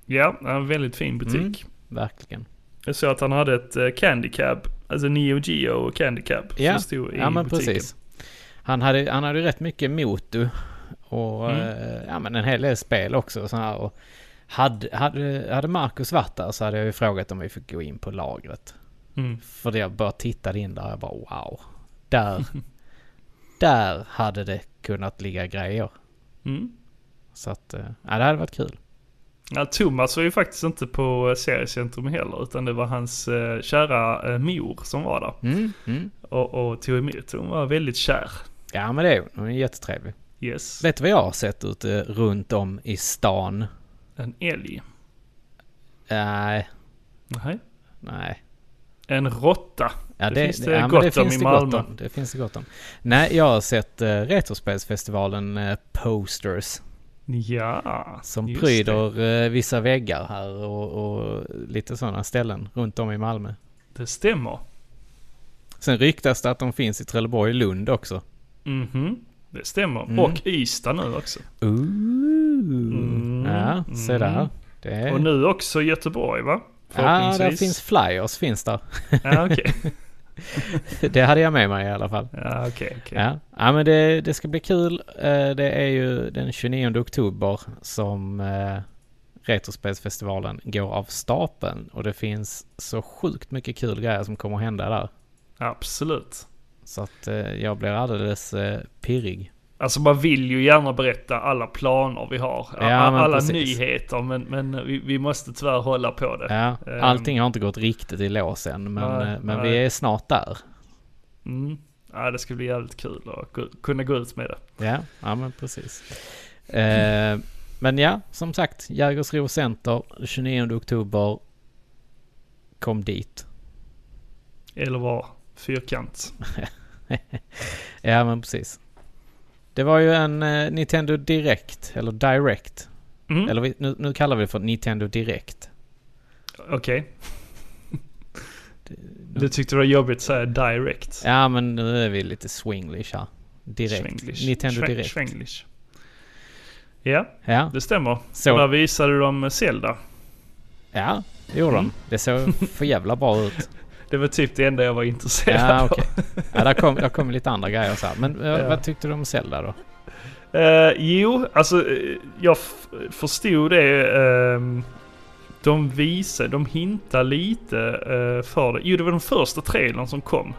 [SPEAKER 2] Ja, en väldigt fin butik.
[SPEAKER 1] Mm. verkligen.
[SPEAKER 2] Jag såg att han hade ett eh, Candy Cab. Alltså Neo Geo Candy Cab.
[SPEAKER 1] Ja.
[SPEAKER 2] Som stod i
[SPEAKER 1] Ja men
[SPEAKER 2] butiken.
[SPEAKER 1] precis. Han hade, han hade rätt mycket motu och
[SPEAKER 2] Mm.
[SPEAKER 1] eh, ja, men en hel del spel också. Och sån här. Och hade, hade, hade Marcus varit där så hade jag ju frågat om vi fick gå in på lagret.
[SPEAKER 2] Mm.
[SPEAKER 1] För det jag bara tittade in där och jag bara wow. Där, där hade det kunnat ligga grejer.
[SPEAKER 2] Mm.
[SPEAKER 1] Så att, eh, ja det hade varit kul.
[SPEAKER 2] Ja, Thomas var ju faktiskt inte på eh, Seriecentrum heller utan det var hans eh, kära eh, mor som var där
[SPEAKER 1] Mm, mm.
[SPEAKER 2] och, och tog emot. Hon var väldigt kär.
[SPEAKER 1] Ja men det är hon. hon, är jättetrevlig.
[SPEAKER 2] Yes.
[SPEAKER 1] Vet du vad jag har sett ute runt om i stan?
[SPEAKER 2] En älg.
[SPEAKER 1] Nej,
[SPEAKER 2] Nej.
[SPEAKER 1] nej.
[SPEAKER 2] En råtta.
[SPEAKER 1] Ja,
[SPEAKER 2] Det
[SPEAKER 1] det,
[SPEAKER 2] finns det
[SPEAKER 1] ja, men
[SPEAKER 2] gott
[SPEAKER 1] det
[SPEAKER 2] om
[SPEAKER 1] finns
[SPEAKER 2] i
[SPEAKER 1] det gott
[SPEAKER 2] Malmö.
[SPEAKER 1] om. Det finns det gott om. Nej, jag har sett eh, Retrospelsfestivalen eh, Posters
[SPEAKER 2] Ja.
[SPEAKER 1] som
[SPEAKER 2] just Det.
[SPEAKER 1] pryder eh, vissa väggar här och, och lite sådana ställen runt om i Malmö.
[SPEAKER 2] det stämmer.
[SPEAKER 1] Sen ryktas det att de finns i Trelleborg och Lund också.
[SPEAKER 2] Mhm. Det stämmer.
[SPEAKER 1] Mm.
[SPEAKER 2] Och Ystad nu också.
[SPEAKER 1] Ooh.
[SPEAKER 2] Mm,
[SPEAKER 1] Ja, se där.
[SPEAKER 2] mm.
[SPEAKER 1] Det är...
[SPEAKER 2] Och nu också Göteborg va?
[SPEAKER 1] ja, där finns flyers finns där.
[SPEAKER 2] Ja, okej.
[SPEAKER 1] det hade jag med mig i alla fall.
[SPEAKER 2] Ja, okej, okej.
[SPEAKER 1] Ja, ja men det, det ska bli kul. Eh, Det är ju den 29 oktober som eh, Retrospelsfestivalen går av stapeln. Och det finns så sjukt mycket kul grejer som kommer hända där.
[SPEAKER 2] Absolut.
[SPEAKER 1] Så att eh, jag blir alldeles eh, pirrig.
[SPEAKER 2] Alltså man vill ju gärna berätta alla planer vi har.
[SPEAKER 1] Ja,
[SPEAKER 2] A-
[SPEAKER 1] men
[SPEAKER 2] alla
[SPEAKER 1] precis.
[SPEAKER 2] nyheter men, men vi, vi måste tyvärr hålla på det.
[SPEAKER 1] Ja,
[SPEAKER 2] Ehm.
[SPEAKER 1] allting har inte gått riktigt i lås än, men,
[SPEAKER 2] Nej,
[SPEAKER 1] eh, men
[SPEAKER 2] nej.
[SPEAKER 1] vi är snart där.
[SPEAKER 2] Mm. Ja, det ska bli jävligt kul att gå- kunna gå ut med det.
[SPEAKER 1] Ja, ja men precis. Eh, men ja, som sagt, Jägersro Center 29 oktober. Kom dit.
[SPEAKER 2] Eller vara fyrkant.
[SPEAKER 1] Ja men precis. Det var ju en eh, Nintendo Direct, eller Direct.
[SPEAKER 2] Mm.
[SPEAKER 1] Eller vi, nu, nu kallar vi det för Nintendo Direct.
[SPEAKER 2] Okej. Du tyckte det var jobbigt att säga direkt.
[SPEAKER 1] Ja men nu är vi lite swinglish här. Direkt.
[SPEAKER 2] Schwenglish.
[SPEAKER 1] Nintendo
[SPEAKER 2] Schwen-
[SPEAKER 1] Direct.
[SPEAKER 2] Schwenglish. Ja,
[SPEAKER 1] Ja,
[SPEAKER 2] det stämmer. Så. Där
[SPEAKER 1] så,
[SPEAKER 2] visade de Zelda.
[SPEAKER 1] ja, det gjorde
[SPEAKER 2] Mm.
[SPEAKER 1] de. Det såg för jävla bra ut.
[SPEAKER 2] Det var typ det enda jag var intresserad
[SPEAKER 1] Ja
[SPEAKER 2] av.
[SPEAKER 1] okej. Ja, där kom, där kom lite andra grejer så här. Men eh,
[SPEAKER 2] Ja.
[SPEAKER 1] vad tyckte du om Zelda då?
[SPEAKER 2] Eh, jo, alltså eh, jag f- förstod det. ehm, de visar, de hintar lite eh, för det. Jo, det var den första trailern som kom.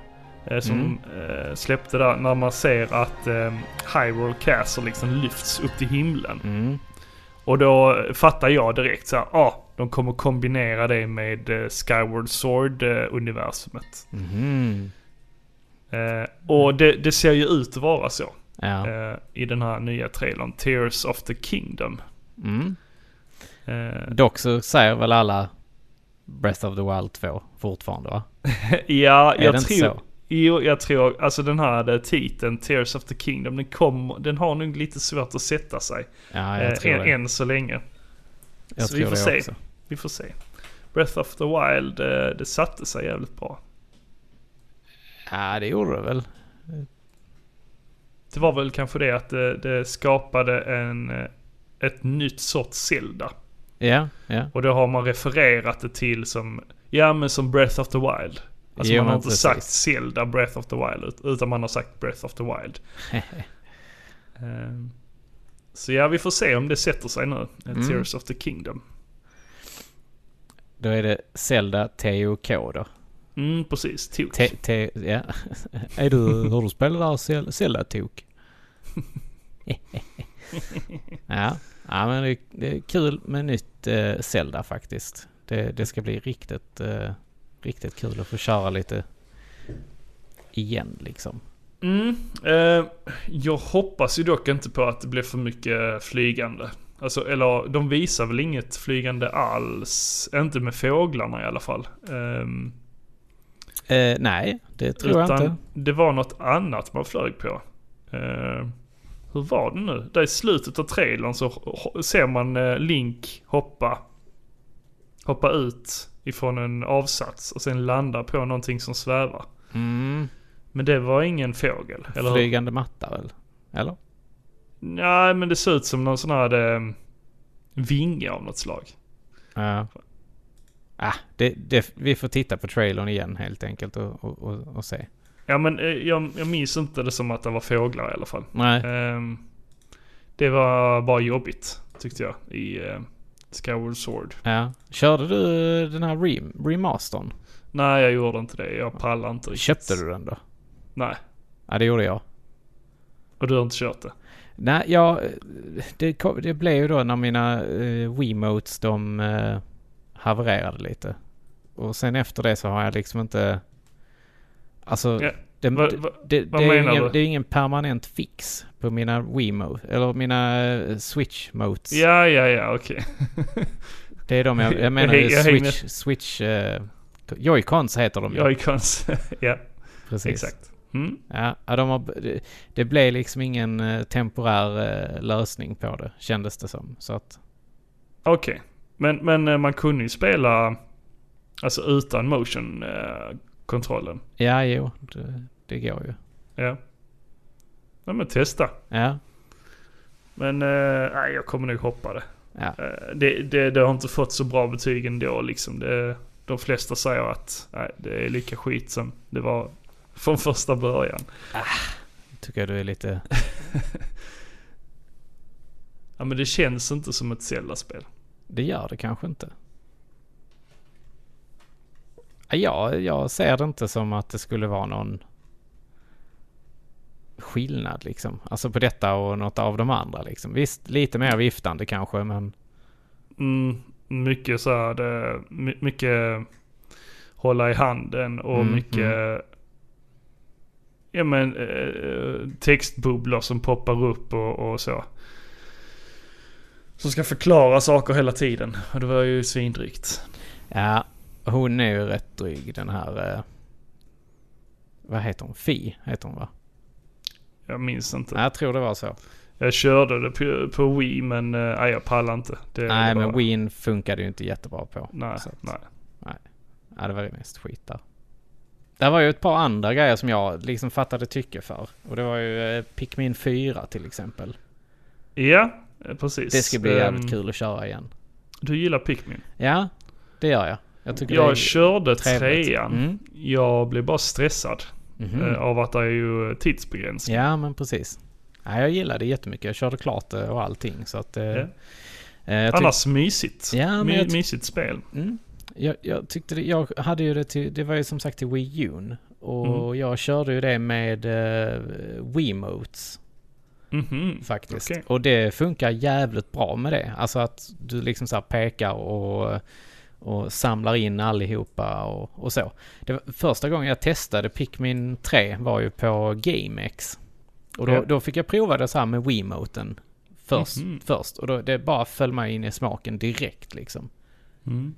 [SPEAKER 2] eh, som
[SPEAKER 1] Mm.
[SPEAKER 2] eh, släppte där när man ser att eh, Hyrule Castle liksom lyfts upp till himlen.
[SPEAKER 1] Mm.
[SPEAKER 2] Och då fattar jag direkt så här, ah, de kommer kombinera det med eh, Skyward eh, Sword-universumet.
[SPEAKER 1] Mhm.
[SPEAKER 2] Eh,
[SPEAKER 1] Mm.
[SPEAKER 2] och det, det ser ju ut att vara så
[SPEAKER 1] Ja.
[SPEAKER 2] eh, i den här nya trailern, Tears of the Kingdom.
[SPEAKER 1] Mm.
[SPEAKER 2] Eh,
[SPEAKER 1] Dock så säger väl alla Breath of the Wild 2 fortfarande va?
[SPEAKER 2] ja,
[SPEAKER 1] Är
[SPEAKER 2] jag
[SPEAKER 1] det inte
[SPEAKER 2] tror...
[SPEAKER 1] så?
[SPEAKER 2] Jo, jag tror, alltså den här eh, titeln, Tears of the Kingdom, den, kom, den har nog lite svårt att sätta sig.
[SPEAKER 1] Ja,
[SPEAKER 2] eh,
[SPEAKER 1] jag tror
[SPEAKER 2] än,
[SPEAKER 1] det.
[SPEAKER 2] än så länge.
[SPEAKER 1] Jag
[SPEAKER 2] så vi
[SPEAKER 1] tror
[SPEAKER 2] får
[SPEAKER 1] det
[SPEAKER 2] se.
[SPEAKER 1] också.
[SPEAKER 2] Vi får se. Breath of the Wild, eh, det satte sig jävligt bra.
[SPEAKER 1] Ja, det gjorde det väl.
[SPEAKER 2] Det var väl kanske det att det, det skapade en, eh, ett nytt sorts Zelda.
[SPEAKER 1] Ja, ja.
[SPEAKER 2] Och då har man refererat det till som, ja men som Breath of the Wild. Alltså
[SPEAKER 1] Jo,
[SPEAKER 2] man har
[SPEAKER 1] men
[SPEAKER 2] inte
[SPEAKER 1] precis.
[SPEAKER 2] sagt Zelda Breath of the Wild, ut- utan man har sagt Breath of the Wild. Ehm, Så ja, vi får se om det sätter sig nu. eh,
[SPEAKER 1] Mm.
[SPEAKER 2] Tears of the Kingdom.
[SPEAKER 1] Då är det Zelda TOK då.
[SPEAKER 2] Mm, precis. Tok.
[SPEAKER 1] T, T, ja. är du, har du spelat där Zel- Zelda TOK? ja. ja, men det, det är kul med nytt eh, Zelda faktiskt. Det, det ska bli riktigt, eh, riktigt kul att få köra lite igen liksom.
[SPEAKER 2] Mm, eh, jag hoppas ju dock inte på att det blir för mycket flygande. Alltså, eller de visar väl inget flygande alls. Inte med fåglarna i alla fall. Ehm,
[SPEAKER 1] Eh, nej, det tror jag inte.
[SPEAKER 2] det var något annat man flög på. Eh, Hur var det nu? Där i slutet av trailern så ho- ser man eh, Link hoppa. Hoppa ut ifrån en avsats och sen landa på någonting som svävar.
[SPEAKER 1] Mm.
[SPEAKER 2] Men det var ingen fågel, eller hur?
[SPEAKER 1] Flygande matta väl? Eller?
[SPEAKER 2] Nej, men det ser ut som någon sån här eh, vinge av något slag.
[SPEAKER 1] Ja. Ah, det, det, vi får titta på trailern igen helt enkelt och, och, och, och se.
[SPEAKER 2] Ja, men eh, jag, jag minns inte det som att det var fåglar i alla fall.
[SPEAKER 1] Nej.
[SPEAKER 2] Ehm, det var bara jobbigt, tyckte jag, i eh, Skyward Sword.
[SPEAKER 1] Ja. Körde du eh, den här rem, remastern?
[SPEAKER 2] Nej, jag gjorde inte det. Jag pallar inte riktigt.
[SPEAKER 1] Köpte du den då?
[SPEAKER 2] Nej,
[SPEAKER 1] Ja, det gjorde jag.
[SPEAKER 2] och du har inte kört det.
[SPEAKER 1] Nej, ja, eh, det, kom, det blev ju då när mina eh, Wiimotes de eh, havererade lite. Och sen efter det så har jag liksom inte... Alltså,
[SPEAKER 2] Ja,
[SPEAKER 1] det,
[SPEAKER 2] vad-
[SPEAKER 1] det,
[SPEAKER 2] vad-
[SPEAKER 1] det,
[SPEAKER 2] vad
[SPEAKER 1] det är ju
[SPEAKER 2] menar du?
[SPEAKER 1] ingen, det är ingen permanent fix på mina Wiimote, eller mina eh, Switch-motes.
[SPEAKER 2] Ja, ja, ja, okej.
[SPEAKER 1] Det är de jag, jag
[SPEAKER 2] Jag
[SPEAKER 1] menar,
[SPEAKER 2] häng- jag hängde-
[SPEAKER 1] Switch... Switch eh, Joy-Cons heter de ju.
[SPEAKER 2] Jag är konst. ja,
[SPEAKER 1] Precis.
[SPEAKER 2] exakt. Mm.
[SPEAKER 1] Ja, ja, de har, det, det blev liksom ingen eh, temporär eh, lösning på det, kändes det som. Så att...
[SPEAKER 2] Okej. Men, men eh, man kunde ju spela alltså utan eh, motion-kontrollen.
[SPEAKER 1] Ja, jo, det, det går ju.
[SPEAKER 2] Ja. Ja, men testa.
[SPEAKER 1] Ja,
[SPEAKER 2] Men eh, nej, jag kommer nog hoppa det.
[SPEAKER 1] ja,
[SPEAKER 2] Eh, det, det. Det har inte fått så bra betyg ändå liksom. Det, de flesta säger att nej, det är lika skit som det var från första början.
[SPEAKER 1] tycker jag du är lite...
[SPEAKER 2] Ja, men det känns inte som ett Zelda-spel.
[SPEAKER 1] Det gör det kanske inte. Ja, jag ser det inte som att det skulle vara någon skillnad liksom. Alltså på detta och något av de andra liksom. Visst, lite mer viftande kanske, men
[SPEAKER 2] Mm, mycket så här, det, my, mycket hålla i handen och
[SPEAKER 1] Mm,
[SPEAKER 2] mycket Ja, men, eh, textbubblor som poppar upp och, och så. Som ska förklara saker hela tiden. Och det var ju svindrygt.
[SPEAKER 1] ja, hon är ju rätt dryg den här... Eh, vad heter hon? Fi heter hon va?
[SPEAKER 2] Jag minns inte.
[SPEAKER 1] Ja, jag tror det var så.
[SPEAKER 2] Jag körde det på, på Wii men eh, nej, jag pallar inte. Det,
[SPEAKER 1] Nej,
[SPEAKER 2] det
[SPEAKER 1] men
[SPEAKER 2] bara-
[SPEAKER 1] Wien funkade ju inte jättebra på.
[SPEAKER 2] Nej,
[SPEAKER 1] så att-
[SPEAKER 2] nej.
[SPEAKER 1] Ja, det var ju mest skit där. Det var ju ett par andra grejer som jag liksom fattade tycke för. Och det var ju eh, Pikmin 4 till exempel.
[SPEAKER 2] Ja, eh, precis.
[SPEAKER 1] Det ska bli
[SPEAKER 2] Ehm,
[SPEAKER 1] jävligt kul att köra igen.
[SPEAKER 2] Du gillar Pikmin?
[SPEAKER 1] Ja, det gör jag. Jag tycker det är
[SPEAKER 2] Jag körde
[SPEAKER 1] trevligt.
[SPEAKER 2] trean.
[SPEAKER 1] Mm.
[SPEAKER 2] Jag blev bara stressad
[SPEAKER 1] Mhm.
[SPEAKER 2] eh, av att det är ju tidsbegränsning.
[SPEAKER 1] Ja, men precis. Ja, jag gillade det jättemycket. Jag körde klart det och allting. Så att, eh,
[SPEAKER 2] Ja.
[SPEAKER 1] eh, jag, tyck-
[SPEAKER 2] Annars mysigt.
[SPEAKER 1] Ja, men
[SPEAKER 2] My,
[SPEAKER 1] jag ty-
[SPEAKER 2] mysigt spel.
[SPEAKER 1] mm, jag, jag tyckte det, jag hade ju det till, det var ju som sagt till Wii U. Och
[SPEAKER 2] Mm.
[SPEAKER 1] jag körde ju det med eh, Wiimotes.
[SPEAKER 2] Mhm.
[SPEAKER 1] faktiskt.
[SPEAKER 2] Okej.
[SPEAKER 1] Och det funkar jävligt bra med det. Alltså att du liksom så här pekar och, och samlar in allihopa och, och så. Det var, första gången jag testade Pikmin 3 var ju på GameX. Och då,
[SPEAKER 2] Ja.
[SPEAKER 1] då fick jag prova det så här med Wiimoten först.
[SPEAKER 2] Mhm.
[SPEAKER 1] först. Och då, det bara föll mig in i smaken direkt liksom.
[SPEAKER 2] Mm.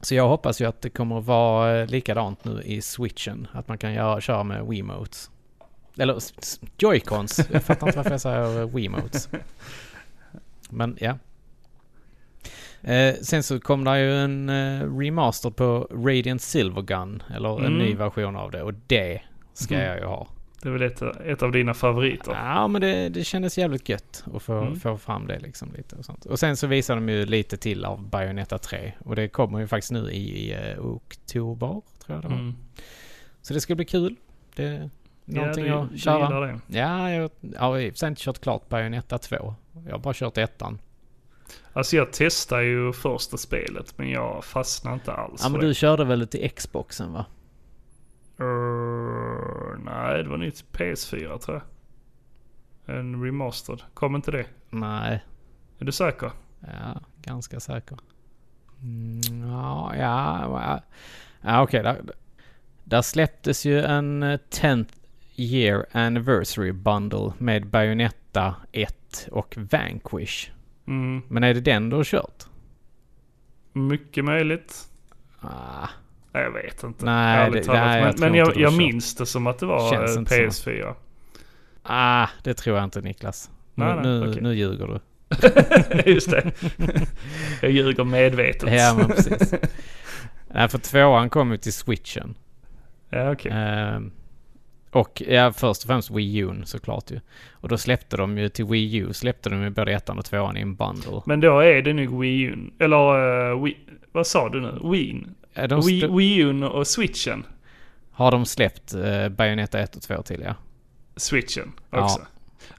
[SPEAKER 1] Så jag hoppas ju att det kommer att vara eh, likadant nu i switchen. Att man kan göra, köra med Wiimotes. Eller s- s- Joy-Cons. Jag fattar inte varför jag säger eh, Wiimotes. Men ja. Eh, sen så kom det ju en eh, remaster på Radiant Silvergun. Eller en
[SPEAKER 2] Mm.
[SPEAKER 1] ny version av det. Och det ska
[SPEAKER 2] Mm.
[SPEAKER 1] jag ju ha.
[SPEAKER 2] Det är väl ett, ett av dina favoriter.
[SPEAKER 1] Ja, men det, det kändes jävligt gött att få,
[SPEAKER 2] Mm.
[SPEAKER 1] få fram det liksom lite och sånt. Och sen så visar de ju lite till av Bayonetta 3. Och det kommer ju faktiskt nu i, eh, oktober, tror jag det var.
[SPEAKER 2] Mm.
[SPEAKER 1] Så det ska bli kul. Det, någonting
[SPEAKER 2] ja, du,
[SPEAKER 1] att köra.
[SPEAKER 2] Du gillar det.
[SPEAKER 1] ja, jag jag har i och för sig inte kört klart Bayonetta 2. Jag har bara kört ettan.
[SPEAKER 2] Alltså jag testade ju första spelet men jag fastnade inte alls
[SPEAKER 1] Ja, men
[SPEAKER 2] för
[SPEAKER 1] du körde väl till Xboxen va?
[SPEAKER 2] det. Err, nej, det var nytt PS4 tror jag. En remastered. Kom inte det?
[SPEAKER 1] Nej,
[SPEAKER 2] Är du säker?
[SPEAKER 1] ja, ganska säker. Mm, ja, ja, ja. ja okej. Där, där släpptes ju en eh, 10th year anniversary bundle med Bayonetta 1 och Vanquish.
[SPEAKER 2] Mm,
[SPEAKER 1] Men är det den du har kört?
[SPEAKER 2] mycket möjligt.
[SPEAKER 1] Ah,
[SPEAKER 2] Nej, jag vet inte.
[SPEAKER 1] Nej,
[SPEAKER 2] Ärligt
[SPEAKER 1] det-
[SPEAKER 2] talat.
[SPEAKER 1] nej, jag
[SPEAKER 2] men
[SPEAKER 1] tror
[SPEAKER 2] men jag,
[SPEAKER 1] inte du
[SPEAKER 2] jag
[SPEAKER 1] kör.
[SPEAKER 2] minns det som att det var
[SPEAKER 1] Känns
[SPEAKER 2] eh,
[SPEAKER 1] inte som
[SPEAKER 2] PS4.
[SPEAKER 1] Ah, det tror jag inte Niklas. Nu,
[SPEAKER 2] Nej, nej,
[SPEAKER 1] nu,
[SPEAKER 2] okej.
[SPEAKER 1] nu ljuger du.
[SPEAKER 2] Just det. Jag ljuger medvetet.
[SPEAKER 1] Ja, men precis. Nej, för tvåan kom ju till switchen.
[SPEAKER 2] Ja, okej.
[SPEAKER 1] Ehm, och ja, först och främst Wii U såklart ju. Och då släppte de ju till Wii U, släppte de ju både ettan och tvåan i en bundle.
[SPEAKER 2] Men då är det nog Wii Un. Eller eh, Wii, vad sa du nu? Wien?
[SPEAKER 1] Ja, de
[SPEAKER 2] Wii,
[SPEAKER 1] st-
[SPEAKER 2] Wii Un och switchen.
[SPEAKER 1] har de släppt uh, Bayonetta 1 och 2 till ja.
[SPEAKER 2] Switchen
[SPEAKER 1] Ja.
[SPEAKER 2] också.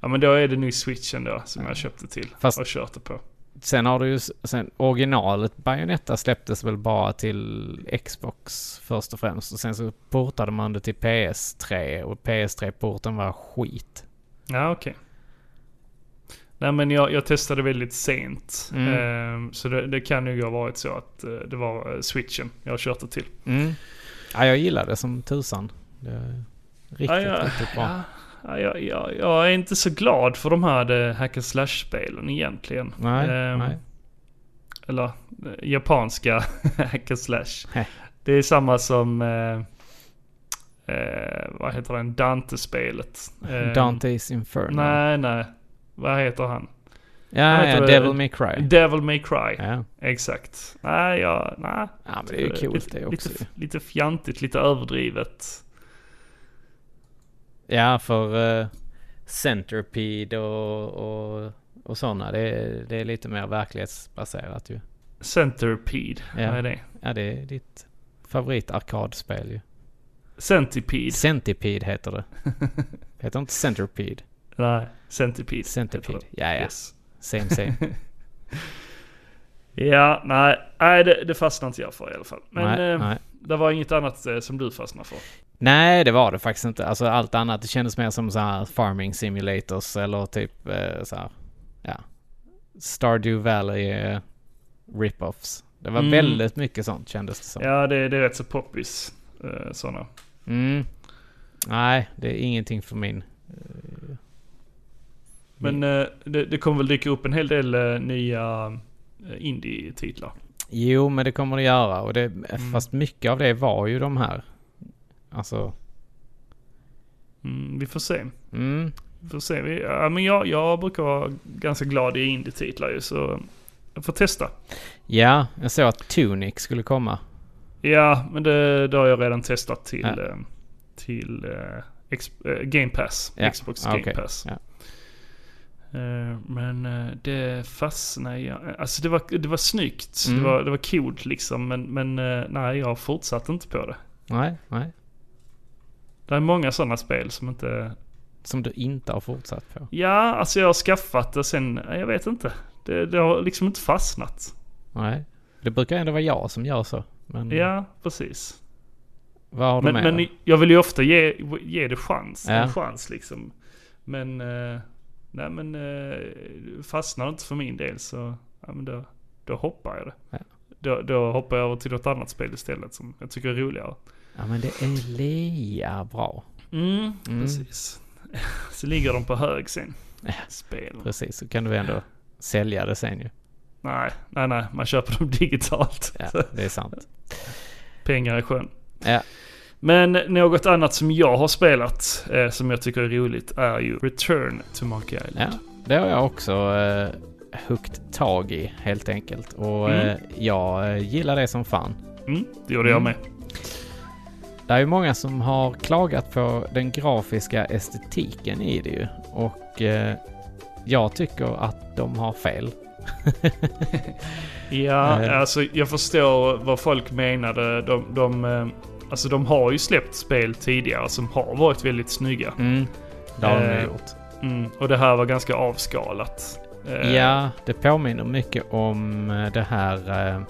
[SPEAKER 2] Ja. men då är det nog switchen då som jag köpte till
[SPEAKER 1] Fast-
[SPEAKER 2] och körde på.
[SPEAKER 1] Sen har du ju, s- sen originalet Bayonetta släpptes väl bara till Xbox först och främst. Och sen så portade man det till PS3 och PS3-porten var skit.
[SPEAKER 2] Ja, okej. Nej, men jag, jag testade väldigt sent.
[SPEAKER 1] Mm.
[SPEAKER 2] Ehm, så det, det kan ju ha varit så att eh, det var eh, switchen jag körde till.
[SPEAKER 1] Mm. Ja, jag gillar det som tusan. Det är riktigt,
[SPEAKER 2] Ja, ja.
[SPEAKER 1] riktigt bra.
[SPEAKER 2] Ja, ja, jag, jag, jag är inte så glad för de här eh, hack and slash-spelen egentligen.
[SPEAKER 1] Nej,
[SPEAKER 2] Ehm,
[SPEAKER 1] nej.
[SPEAKER 2] Eller eh, japanska hack and slash. Det är samma som... Eh, eh, vad heter den? Dante-spelet. Ehm,
[SPEAKER 1] Dante's Inferno.
[SPEAKER 2] Nej, nej. Vad heter han?
[SPEAKER 1] Ja,
[SPEAKER 2] vad
[SPEAKER 1] ja
[SPEAKER 2] heter det?
[SPEAKER 1] Devil May Cry.
[SPEAKER 2] Devil May Cry.
[SPEAKER 1] Ja.
[SPEAKER 2] Exakt. Nej, jag... Nej.
[SPEAKER 1] ja, men det är ju coolt det också.
[SPEAKER 2] Lite, lite fjantigt, lite överdrivet.
[SPEAKER 1] Ja, för eh, Centipede och, och, och sådana. Det, är- det är lite mer verklighetsbaserat ju.
[SPEAKER 2] Centipede,
[SPEAKER 1] Ja.
[SPEAKER 2] vad är det?
[SPEAKER 1] Ja, det är ditt favoritarkadspel ju.
[SPEAKER 2] Centipede.
[SPEAKER 1] Centipede heter det. Heter inte Centipede?
[SPEAKER 2] Nej, centipede.
[SPEAKER 1] Centipede.
[SPEAKER 2] heter
[SPEAKER 1] Ja,
[SPEAKER 2] det.
[SPEAKER 1] ja.
[SPEAKER 2] Yes.
[SPEAKER 1] Same, same.
[SPEAKER 2] Ja, nej, nej det, det fastnar inte jag för i alla fall. Men
[SPEAKER 1] nej,
[SPEAKER 2] eh,
[SPEAKER 1] nej.
[SPEAKER 2] det var inget annat eh, som du fastnade för.
[SPEAKER 1] nej, det var det faktiskt inte. Alltså allt annat. Det kändes mer som så här farming simulators eller typ eh, så här. Ja. Stardew Valley eh, rip-offs. Det var
[SPEAKER 2] Mm.
[SPEAKER 1] väldigt mycket sånt kändes det som.
[SPEAKER 2] Ja, det, det är rätt så poppis. Eh, sådana.
[SPEAKER 1] Mm. Nej, det är ingenting för min. eh,
[SPEAKER 2] Men eh, det, det kommer väl dyka upp en hel del eh, nya eh, indie-titlar.
[SPEAKER 1] Jo, men det kommer det göra. Och det,
[SPEAKER 2] Mm.
[SPEAKER 1] Fast mycket av det var ju de här. Alltså,
[SPEAKER 2] Mm, vi får se.
[SPEAKER 1] mm,
[SPEAKER 2] Vi får se. Vi, ja, men jag, jag brukar vara ganska glad i indie-titlar ju, så jag får testa.
[SPEAKER 1] Ja, jag såg att Tunic skulle komma.
[SPEAKER 2] Ja, men det, det har jag redan testat till,
[SPEAKER 1] Ja.
[SPEAKER 2] eh, till eh, ex, eh, Game Pass.
[SPEAKER 1] Ja, Ah,
[SPEAKER 2] Xbox Game
[SPEAKER 1] okej,
[SPEAKER 2] Pass.
[SPEAKER 1] ja.
[SPEAKER 2] Eh, men eh, det fastnade jag... Alltså det var, det var snyggt.
[SPEAKER 1] Mm.
[SPEAKER 2] Det, var, det var coolt liksom. Men, men eh, nej, jag fortsatte inte på det.
[SPEAKER 1] Nej, nej.
[SPEAKER 2] Det är många sådana spel som inte...
[SPEAKER 1] Som du inte har fortsatt på.
[SPEAKER 2] Ja, alltså jag har skaffat det sen... nej, Jag vet inte. Det, det har liksom inte fastnat.
[SPEAKER 1] Nej. Det brukar ändå vara jag som gör så. Men
[SPEAKER 2] Ja, precis.
[SPEAKER 1] vad har du
[SPEAKER 2] Men,
[SPEAKER 1] med
[SPEAKER 2] men
[SPEAKER 1] dig?
[SPEAKER 2] jag vill ju ofta ge, ge det chans.
[SPEAKER 1] Ja.
[SPEAKER 2] En chans liksom. Men, eh, nej men eh, fastnar det inte för min del så, ja, men då, då hoppar jag det.
[SPEAKER 1] Ja.
[SPEAKER 2] Då, då hoppar jag över till något annat spel istället som jag tycker är roligare.
[SPEAKER 1] Ja, men det är lika bra.
[SPEAKER 2] Mm, precis. så ligger de på hög sen. Spel.
[SPEAKER 1] Precis, så kan du ändå sälja det sen ju.
[SPEAKER 2] Nej, nej, nej. Man köper dem digitalt.
[SPEAKER 1] Ja, det är sant.
[SPEAKER 2] Pengar i sjön.
[SPEAKER 1] Ja.
[SPEAKER 2] Men något annat som jag har spelat eh, som jag tycker är roligt är ju Return to Monkey Island.
[SPEAKER 1] ja. Det har jag också eh, huggit tag i helt enkelt. Och
[SPEAKER 2] Mm.
[SPEAKER 1] eh, jag eh, gillar det som fan.
[SPEAKER 2] Mm, det gjorde jag
[SPEAKER 1] Mm.
[SPEAKER 2] med.
[SPEAKER 1] Det är ju många som har klagat på den grafiska estetiken i det ju. Och eh, jag tycker att de har fel.
[SPEAKER 2] Ja,
[SPEAKER 1] Eh.
[SPEAKER 2] alltså jag förstår vad folk menade. De, de, eh, alltså de har ju släppt spel tidigare som har varit väldigt snygga.
[SPEAKER 1] Mm. Det har de
[SPEAKER 2] Eh,
[SPEAKER 1] ju gjort.
[SPEAKER 2] Mm, och det här var ganska avskalat. Eh,
[SPEAKER 1] Ja, det påminner mycket om eh, det här eh,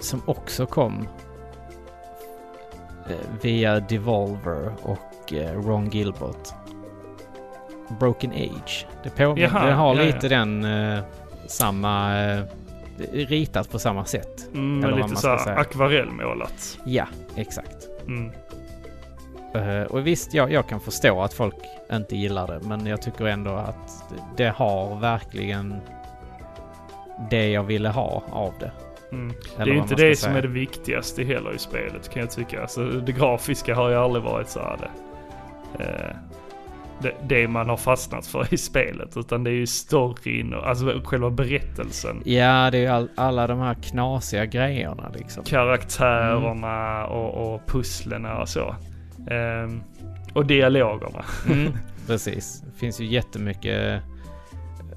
[SPEAKER 1] som också kom eh, via Devolver och eh, Ron Gilbert. Broken Age. Det, påminner,
[SPEAKER 2] Jaha,
[SPEAKER 1] det har
[SPEAKER 2] ja, ja.
[SPEAKER 1] lite den eh, samma... Eh, ritat på samma sätt.
[SPEAKER 2] Mm,
[SPEAKER 1] eller vad
[SPEAKER 2] men lite
[SPEAKER 1] man
[SPEAKER 2] så
[SPEAKER 1] ska
[SPEAKER 2] här
[SPEAKER 1] säga.
[SPEAKER 2] akvarellmålat.
[SPEAKER 1] Ja, exakt.
[SPEAKER 2] Mm.
[SPEAKER 1] Eh, och visst, jag, jag kan förstå att folk inte gillar det, men jag tycker ändå att det, det har verkligen det jag ville ha av det.
[SPEAKER 2] Mm. Det är
[SPEAKER 1] Eller
[SPEAKER 2] ju
[SPEAKER 1] vad
[SPEAKER 2] inte
[SPEAKER 1] man ska
[SPEAKER 2] det som
[SPEAKER 1] säga.
[SPEAKER 2] är det viktigaste heller i spelet kan jag tycka. Alltså, det grafiska har ju aldrig varit så här det. Eh, det, det man har fastnat för i spelet. Utan det är ju storyn och alltså själva berättelsen.
[SPEAKER 1] Ja, det är ju all, alla de här knasiga grejerna liksom.
[SPEAKER 2] Karaktärerna och, och pusslerna och så. Ehm, och dialogerna.
[SPEAKER 1] Precis. Det finns ju jättemycket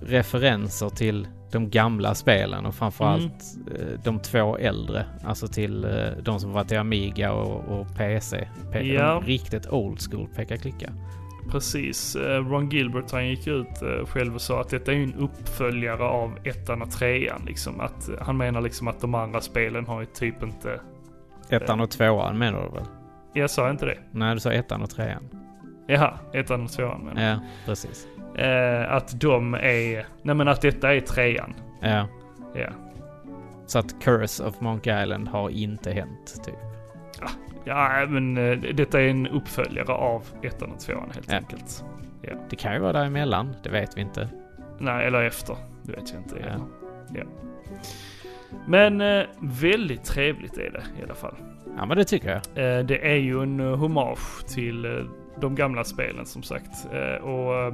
[SPEAKER 1] referenser till de gamla spelen och framförallt
[SPEAKER 2] Mm.
[SPEAKER 1] eh, de två äldre. Alltså till eh, de som var till Amiga och, och PC. Pe-
[SPEAKER 2] Ja.
[SPEAKER 1] de Riktigt old school peka-klicka.
[SPEAKER 2] Precis. Eh, Ron Gilbert han gick ut eh, själv och sa att detta är ju en uppföljare av ettan och trean. Liksom. Att, eh, han menar liksom att de andra spelen har ju typ inte...
[SPEAKER 1] Ettan
[SPEAKER 2] Eh.
[SPEAKER 1] och tvåan menar du väl?
[SPEAKER 2] Jag sa inte det.
[SPEAKER 1] Nej, du sa ettan och trean.
[SPEAKER 2] Jaha, ettan och tvåan menar jag.
[SPEAKER 1] Ja, precis.
[SPEAKER 2] eh, Att de är... Nej men att detta är trean.
[SPEAKER 1] Ja.
[SPEAKER 2] Ja.
[SPEAKER 1] Så att Curse of Monkey Island har inte hänt, typ.
[SPEAKER 2] Ja, men eh, detta är en uppföljare av ettan och tvåan helt
[SPEAKER 1] Ja.
[SPEAKER 2] enkelt.
[SPEAKER 1] Det kan ju vara däremellan, det vet vi inte.
[SPEAKER 2] Nej, eller efter. Det vet jag inte.
[SPEAKER 1] Ja.
[SPEAKER 2] heller. Ja. Men eh, väldigt trevligt är det i alla fall.
[SPEAKER 1] Ja, men det tycker jag.
[SPEAKER 2] Eh, Det är ju en eh, hommage till eh, de gamla spelen som sagt. Eh, Och eh,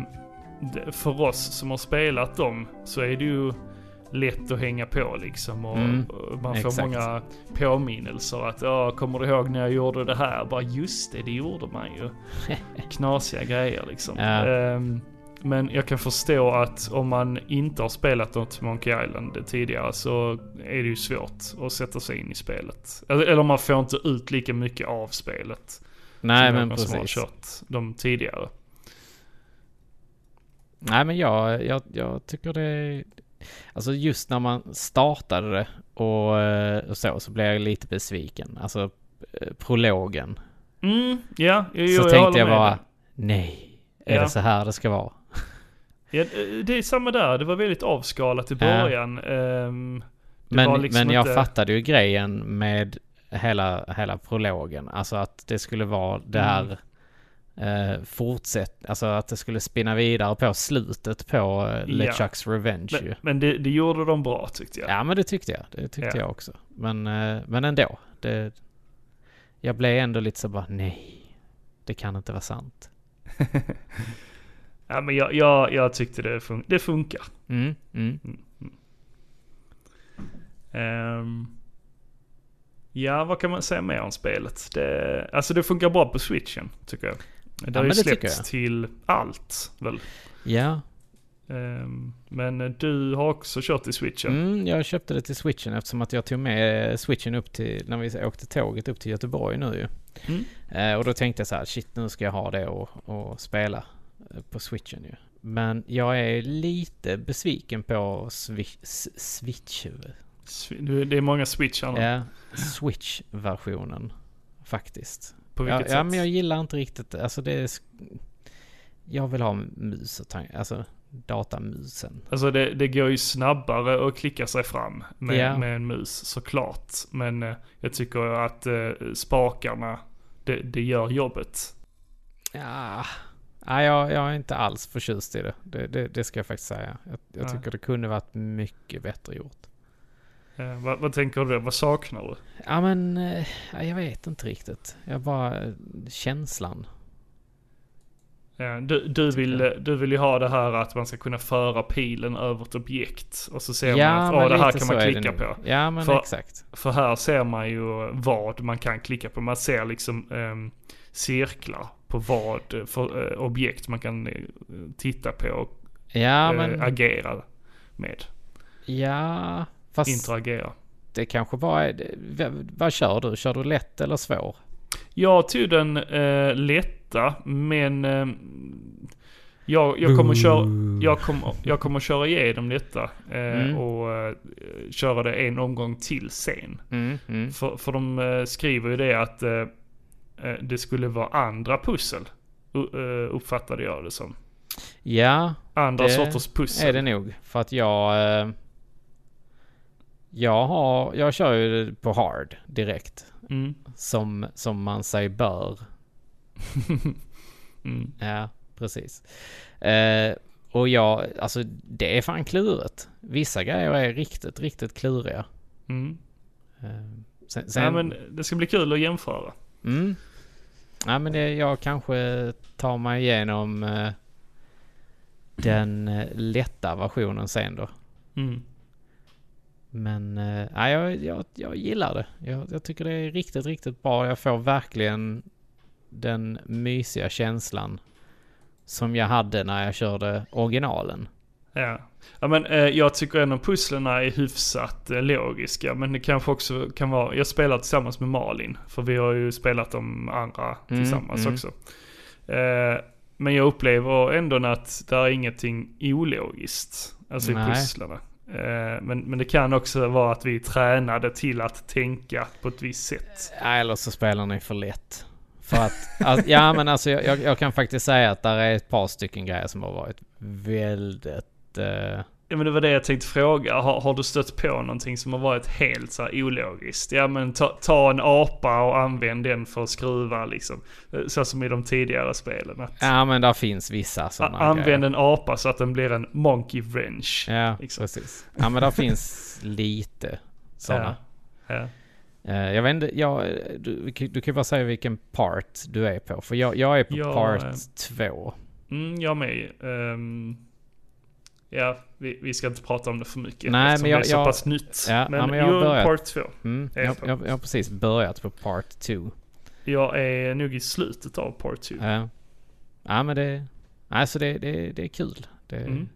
[SPEAKER 2] det- för oss som har spelat dem så är det ju lätt att hänga på liksom. Och
[SPEAKER 1] Mm,
[SPEAKER 2] och man får
[SPEAKER 1] exakt.
[SPEAKER 2] många påminnelser att ja, kommer du ihåg när jag gjorde det här? Bara just det, det gjorde man ju. Knasiga grejer liksom.
[SPEAKER 1] Ja.
[SPEAKER 2] Ehm, Men jag kan förstå att om man inte har spelat något Monkey Island tidigare så är det ju svårt att sätta sig in i spelet. Eller, eller man får inte ut lika mycket av spelet.
[SPEAKER 1] Nej,
[SPEAKER 2] som
[SPEAKER 1] men
[SPEAKER 2] någon Som har
[SPEAKER 1] precis.
[SPEAKER 2] kört de tidigare.
[SPEAKER 1] Nej, men jag, jag, jag tycker det... Alltså just när man startade det och, eh, och så, så blev jag lite besviken. Alltså eh, prologen.
[SPEAKER 2] Mm, ja, jo,
[SPEAKER 1] så
[SPEAKER 2] jag
[SPEAKER 1] tänkte
[SPEAKER 2] håller
[SPEAKER 1] jag
[SPEAKER 2] med
[SPEAKER 1] bara,
[SPEAKER 2] dig.
[SPEAKER 1] nej, är
[SPEAKER 2] Ja.
[SPEAKER 1] det så här det ska vara?
[SPEAKER 2] Ja, det är samma där, det var väldigt avskalat i
[SPEAKER 1] Ja.
[SPEAKER 2] början. Ehm, Det var
[SPEAKER 1] Men,
[SPEAKER 2] liksom
[SPEAKER 1] men jag
[SPEAKER 2] inte-
[SPEAKER 1] fattade ju grejen med hela, hela prologen. Alltså att det skulle vara det
[SPEAKER 2] Mm.
[SPEAKER 1] här eh, fortsätt, alltså att det skulle spinna vidare på slutet på eh, LeChucks Revenge ju.
[SPEAKER 2] men men det, det gjorde de bra tyckte jag.
[SPEAKER 1] Ja men det tyckte jag, det tyckte
[SPEAKER 2] Ja.
[SPEAKER 1] jag också. Men, eh, men ändå, det, jag blev ändå lite så bara nej, det kan inte vara sant.
[SPEAKER 2] Ja, men jag, jag, jag tyckte det, fun- det funkar.
[SPEAKER 1] Mm, mm.
[SPEAKER 2] Ehm, ja, vad kan man säga mer om spelet? Det, alltså det funkar bra på switchen, tycker jag. Det har
[SPEAKER 1] men
[SPEAKER 2] ju
[SPEAKER 1] det tycker
[SPEAKER 2] släppts till allt, väl?
[SPEAKER 1] Ja,
[SPEAKER 2] Ehm, men du har också kört i switchen.
[SPEAKER 1] Mm, jag köpte det till switchen eftersom att jag tog med eh, switchen upp till, när vi åkte tåget upp till Göteborg nu ju.
[SPEAKER 2] Mm.
[SPEAKER 1] Eh, och då tänkte jag så här, shit nu ska jag ha det och, och spela eh, på switchen ju. Men jag är lite besviken på swi- s- switch,
[SPEAKER 2] Swi- du- Det är många switchar nu.
[SPEAKER 1] ja, switch-versionen faktiskt.
[SPEAKER 2] På
[SPEAKER 1] Ja,
[SPEAKER 2] vilket
[SPEAKER 1] ja,
[SPEAKER 2] sätt?
[SPEAKER 1] men jag gillar inte riktigt, alltså det är, sk- jag vill ha mus och tang- alltså datamusen.
[SPEAKER 2] Alltså det, det går ju snabbare att klicka sig fram med,
[SPEAKER 1] Ja.
[SPEAKER 2] med en mus såklart. Men eh, jag tycker att eh, spakarna, det, det gör jobbet.
[SPEAKER 1] Ja. Nej, jag, jag är inte alls förtjust i det. Det, det, det ska jag faktiskt säga. Jag, jag
[SPEAKER 2] Nej.
[SPEAKER 1] tycker det kunde varit mycket bättre gjort.
[SPEAKER 2] Eh, vad, vad tänker du? Vad saknar du?
[SPEAKER 1] Ja, men eh, ja, jag vet inte riktigt. Jag bara... eh, Känslan.
[SPEAKER 2] Ja, Eh, Du, du, vill, du vill ju ha det här att man ska kunna föra pilen över ett objekt och så ser man att
[SPEAKER 1] men
[SPEAKER 2] "Åh, det här
[SPEAKER 1] lite
[SPEAKER 2] kan
[SPEAKER 1] så
[SPEAKER 2] man
[SPEAKER 1] är det
[SPEAKER 2] klicka
[SPEAKER 1] nog.
[SPEAKER 2] på.
[SPEAKER 1] Ja, men
[SPEAKER 2] För-
[SPEAKER 1] exakt.
[SPEAKER 2] För här ser man ju vad man kan klicka på. Man ser liksom ehm, cirklar på vad eh, för eh, objekt man kan eh, titta på och
[SPEAKER 1] Ja,
[SPEAKER 2] eh,
[SPEAKER 1] men...
[SPEAKER 2] agera med.
[SPEAKER 1] ja, fast
[SPEAKER 2] Interagera.
[SPEAKER 1] det kanske bara är... det- v- Vad kör du? Kör du lätt eller svår?
[SPEAKER 2] Jag tog den eh, lätta, men eh, jag, jag, kommer köra, jag, kommer, jag kommer köra igenom detta eh,
[SPEAKER 1] Mm.
[SPEAKER 2] och eh, köra det en omgång till sen.
[SPEAKER 1] Mm, mm.
[SPEAKER 2] För, för de eh, skriver ju det att eh, eh, det skulle vara andra pussel, u- eh, uppfattade jag det som.
[SPEAKER 1] Ja,
[SPEAKER 2] Andra
[SPEAKER 1] Det
[SPEAKER 2] sorters pussel.
[SPEAKER 1] är det nog. För att jag... eh, Jag har... Jag kör ju på hard direkt.
[SPEAKER 2] Mm.
[SPEAKER 1] som, som man sig bör.
[SPEAKER 2] Mm.
[SPEAKER 1] Ja, precis. Eh, och jag, alltså det är fan klurigt. Vissa grejer är riktigt, riktigt kluriga.
[SPEAKER 2] Mm.
[SPEAKER 1] Eh, sen, sen,
[SPEAKER 2] Ja, men det ska bli kul att jämföra.
[SPEAKER 1] mm, Nej men det, jag kanske tar mig igenom eh, den eh, lätta versionen sen då.
[SPEAKER 2] Mm.
[SPEAKER 1] Men eh, nej, jag, jag, jag gillar det. Jag, jag tycker det är riktigt, riktigt bra. Jag får verkligen den mysiga känslan som jag hade när jag körde originalen.
[SPEAKER 2] Ja. ja men eh, jag tycker ändå pusslerna är hyfsat eh, logiska. Men det kanske också kan vara, jag spelar tillsammans med Malin. För vi har ju spelat de andra
[SPEAKER 1] Mm,
[SPEAKER 2] tillsammans
[SPEAKER 1] mm.
[SPEAKER 2] också. Eh, men jag upplever ändå att det är ingenting ologiskt. Alltså i
[SPEAKER 1] Nej.
[SPEAKER 2] pusslerna. Eh, men, men det kan också vara att vi är tränade till att tänka på ett visst sätt.
[SPEAKER 1] Nej, Eller så spelar ni för lätt. För att, alltså, ja men alltså jag, jag, jag kan faktiskt säga att där är ett par stycken grejer som har varit väldigt... Eh,
[SPEAKER 2] Ja men det var det jag tänkte fråga. Har, har du stött på någonting som har varit helt så här ologiskt? Ja men ta, ta en apa och använd den för att skruva liksom. Eh, Så som i de tidigare spelen. Att
[SPEAKER 1] ja men där finns vissa
[SPEAKER 2] a-
[SPEAKER 1] sådana
[SPEAKER 2] använd en apa så att den blir en monkey wrench.
[SPEAKER 1] Ja,
[SPEAKER 2] liksom.
[SPEAKER 1] precis. Ja men där finns lite sådana.
[SPEAKER 2] Ja. Ja.
[SPEAKER 1] Eh, Jag vet inte, jag, du, du kan ju bara säga vilken part du är på. För jag, jag är på
[SPEAKER 2] Ja, eh.
[SPEAKER 1] part två.
[SPEAKER 2] Mm, jag med. Ehm, ja, vi, vi ska inte prata om det för mycket.
[SPEAKER 1] Nej,
[SPEAKER 2] eftersom
[SPEAKER 1] men jag-
[SPEAKER 2] det är så
[SPEAKER 1] jag-
[SPEAKER 2] pass nytt.
[SPEAKER 1] Ja,
[SPEAKER 2] men,
[SPEAKER 1] ja, men jag har
[SPEAKER 2] jo,
[SPEAKER 1] börjat.
[SPEAKER 2] part två.
[SPEAKER 1] Mm,
[SPEAKER 2] Det är
[SPEAKER 1] jag,
[SPEAKER 2] sant.
[SPEAKER 1] jag, jag har precis börjat på part two.
[SPEAKER 2] Jag är nog i slutet av part two.
[SPEAKER 1] Eh, Ja men det, alltså det, det, det är kul. Det,
[SPEAKER 2] Mm.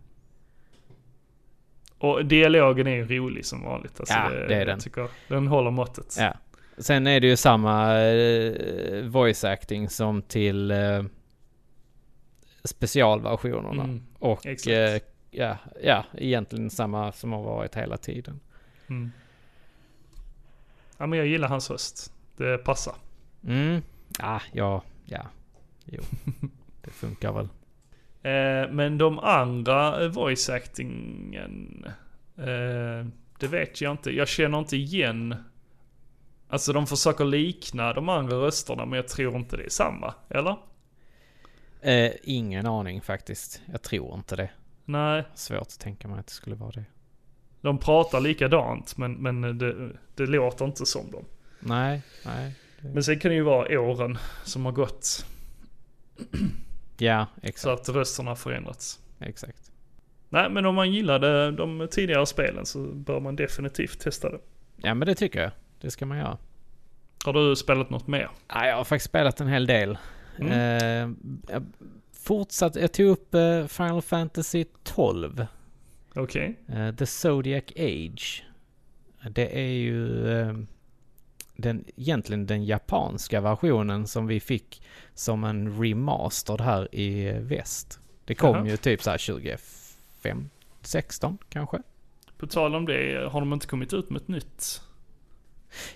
[SPEAKER 2] Och dialogen är ju rolig som vanligt. Alltså
[SPEAKER 1] Ja, det är
[SPEAKER 2] jag
[SPEAKER 1] den.
[SPEAKER 2] Tycker, den håller måttet.
[SPEAKER 1] Ja. Sen är det ju samma eh, voice acting som till eh, specialversionerna.
[SPEAKER 2] Mm.
[SPEAKER 1] Och
[SPEAKER 2] exakt.
[SPEAKER 1] eh, ja, ja, egentligen samma som har varit hela tiden.
[SPEAKER 2] Mm. Ja, men jag gillar hans röst. Det passar.
[SPEAKER 1] Mm. Ah, ja, ja, jo. Det funkar väl.
[SPEAKER 2] Eh, men de andra eh, voice actingen, eh, det vet jag inte. Jag känner inte igen. Alltså de försöker likna de andra rösterna men jag tror inte det är samma. Eller?
[SPEAKER 1] Eh, ingen aning faktiskt. Jag tror inte det.
[SPEAKER 2] Nej,
[SPEAKER 1] Svårt att tänka mig att det skulle vara det.
[SPEAKER 2] de pratar likadant men, men det, det låter inte som dem.
[SPEAKER 1] Nej, nej.
[SPEAKER 2] Men sen kan det ju vara åren som har gått.
[SPEAKER 1] Ja,
[SPEAKER 2] Så
[SPEAKER 1] exakt.
[SPEAKER 2] att rösterna har förändrats.
[SPEAKER 1] exakt.
[SPEAKER 2] Nej, men om man gillade de tidigare spelen så bör man definitivt testa det.
[SPEAKER 1] Ja, men det tycker jag. Det ska man göra.
[SPEAKER 2] Har du spelat något mer?
[SPEAKER 1] Ja, jag har faktiskt spelat en hel del.
[SPEAKER 2] Mm.
[SPEAKER 1] Eh, jag fortsatt, jag tog upp eh, Final Fantasy 12.
[SPEAKER 2] Okej.
[SPEAKER 1] Eh, The Zodiac Age. Det är ju eh, den, egentligen den japanska versionen som vi fick som en remastered här i väst. Det kom
[SPEAKER 2] Jaha.
[SPEAKER 1] ju typ så här 2015, 16 kanske?
[SPEAKER 2] På tal om det, har de inte kommit ut med ett nytt?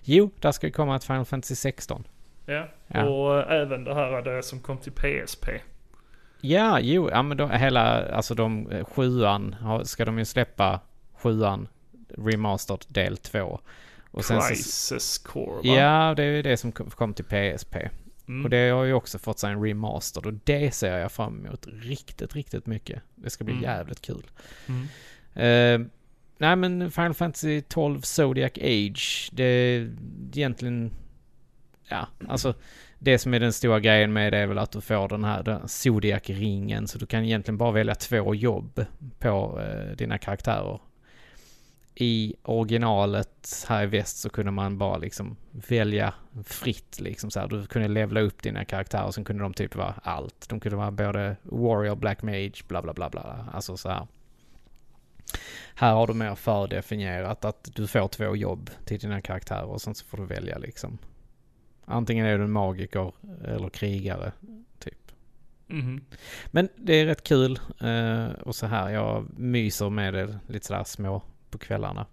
[SPEAKER 1] Jo, där ska det komma ett Final Fantasy 16.
[SPEAKER 2] Ja.
[SPEAKER 1] Ja.
[SPEAKER 2] Och eh, även det här det som kom till PSP.
[SPEAKER 1] Ja, jo, ja men då, hela, alltså de eh, sjuan, har- ska de ju släppa sjuan, remastered del 2. Och sen så,
[SPEAKER 2] Crisis Core, va?
[SPEAKER 1] ja, det är ju det som kom- kom till PSP.
[SPEAKER 2] Mm.
[SPEAKER 1] Och det har ju också fått sig en remaster och det ser jag fram emot riktigt, riktigt mycket. Det ska bli
[SPEAKER 2] Mm.
[SPEAKER 1] jävligt kul.
[SPEAKER 2] Mm.
[SPEAKER 1] Eh, nej men Final Fantasy 12 Zodiac Age, det är egentligen... Ja, alltså det som är den stora grejen med det är väl att du får den här den här Zodiac-ringen så du kan egentligen bara välja två jobb på eh, dina karaktärer. I originalet här i väst så kunde man bara liksom välja fritt liksom så här. Du kunde levla upp dina karaktärer och sen kunde de typ vara allt. De kunde vara både warrior, black mage, bla bla bla bla. Alltså så här. Här har du mer fördefinierat att du får två jobb till dina karaktärer och sen så får du välja liksom. Antingen är du en magiker eller krigare. Typ.
[SPEAKER 2] Mhm.
[SPEAKER 1] Men det är rätt kul eh, och så här. Jag myser med det lite sådär små på kvällarna.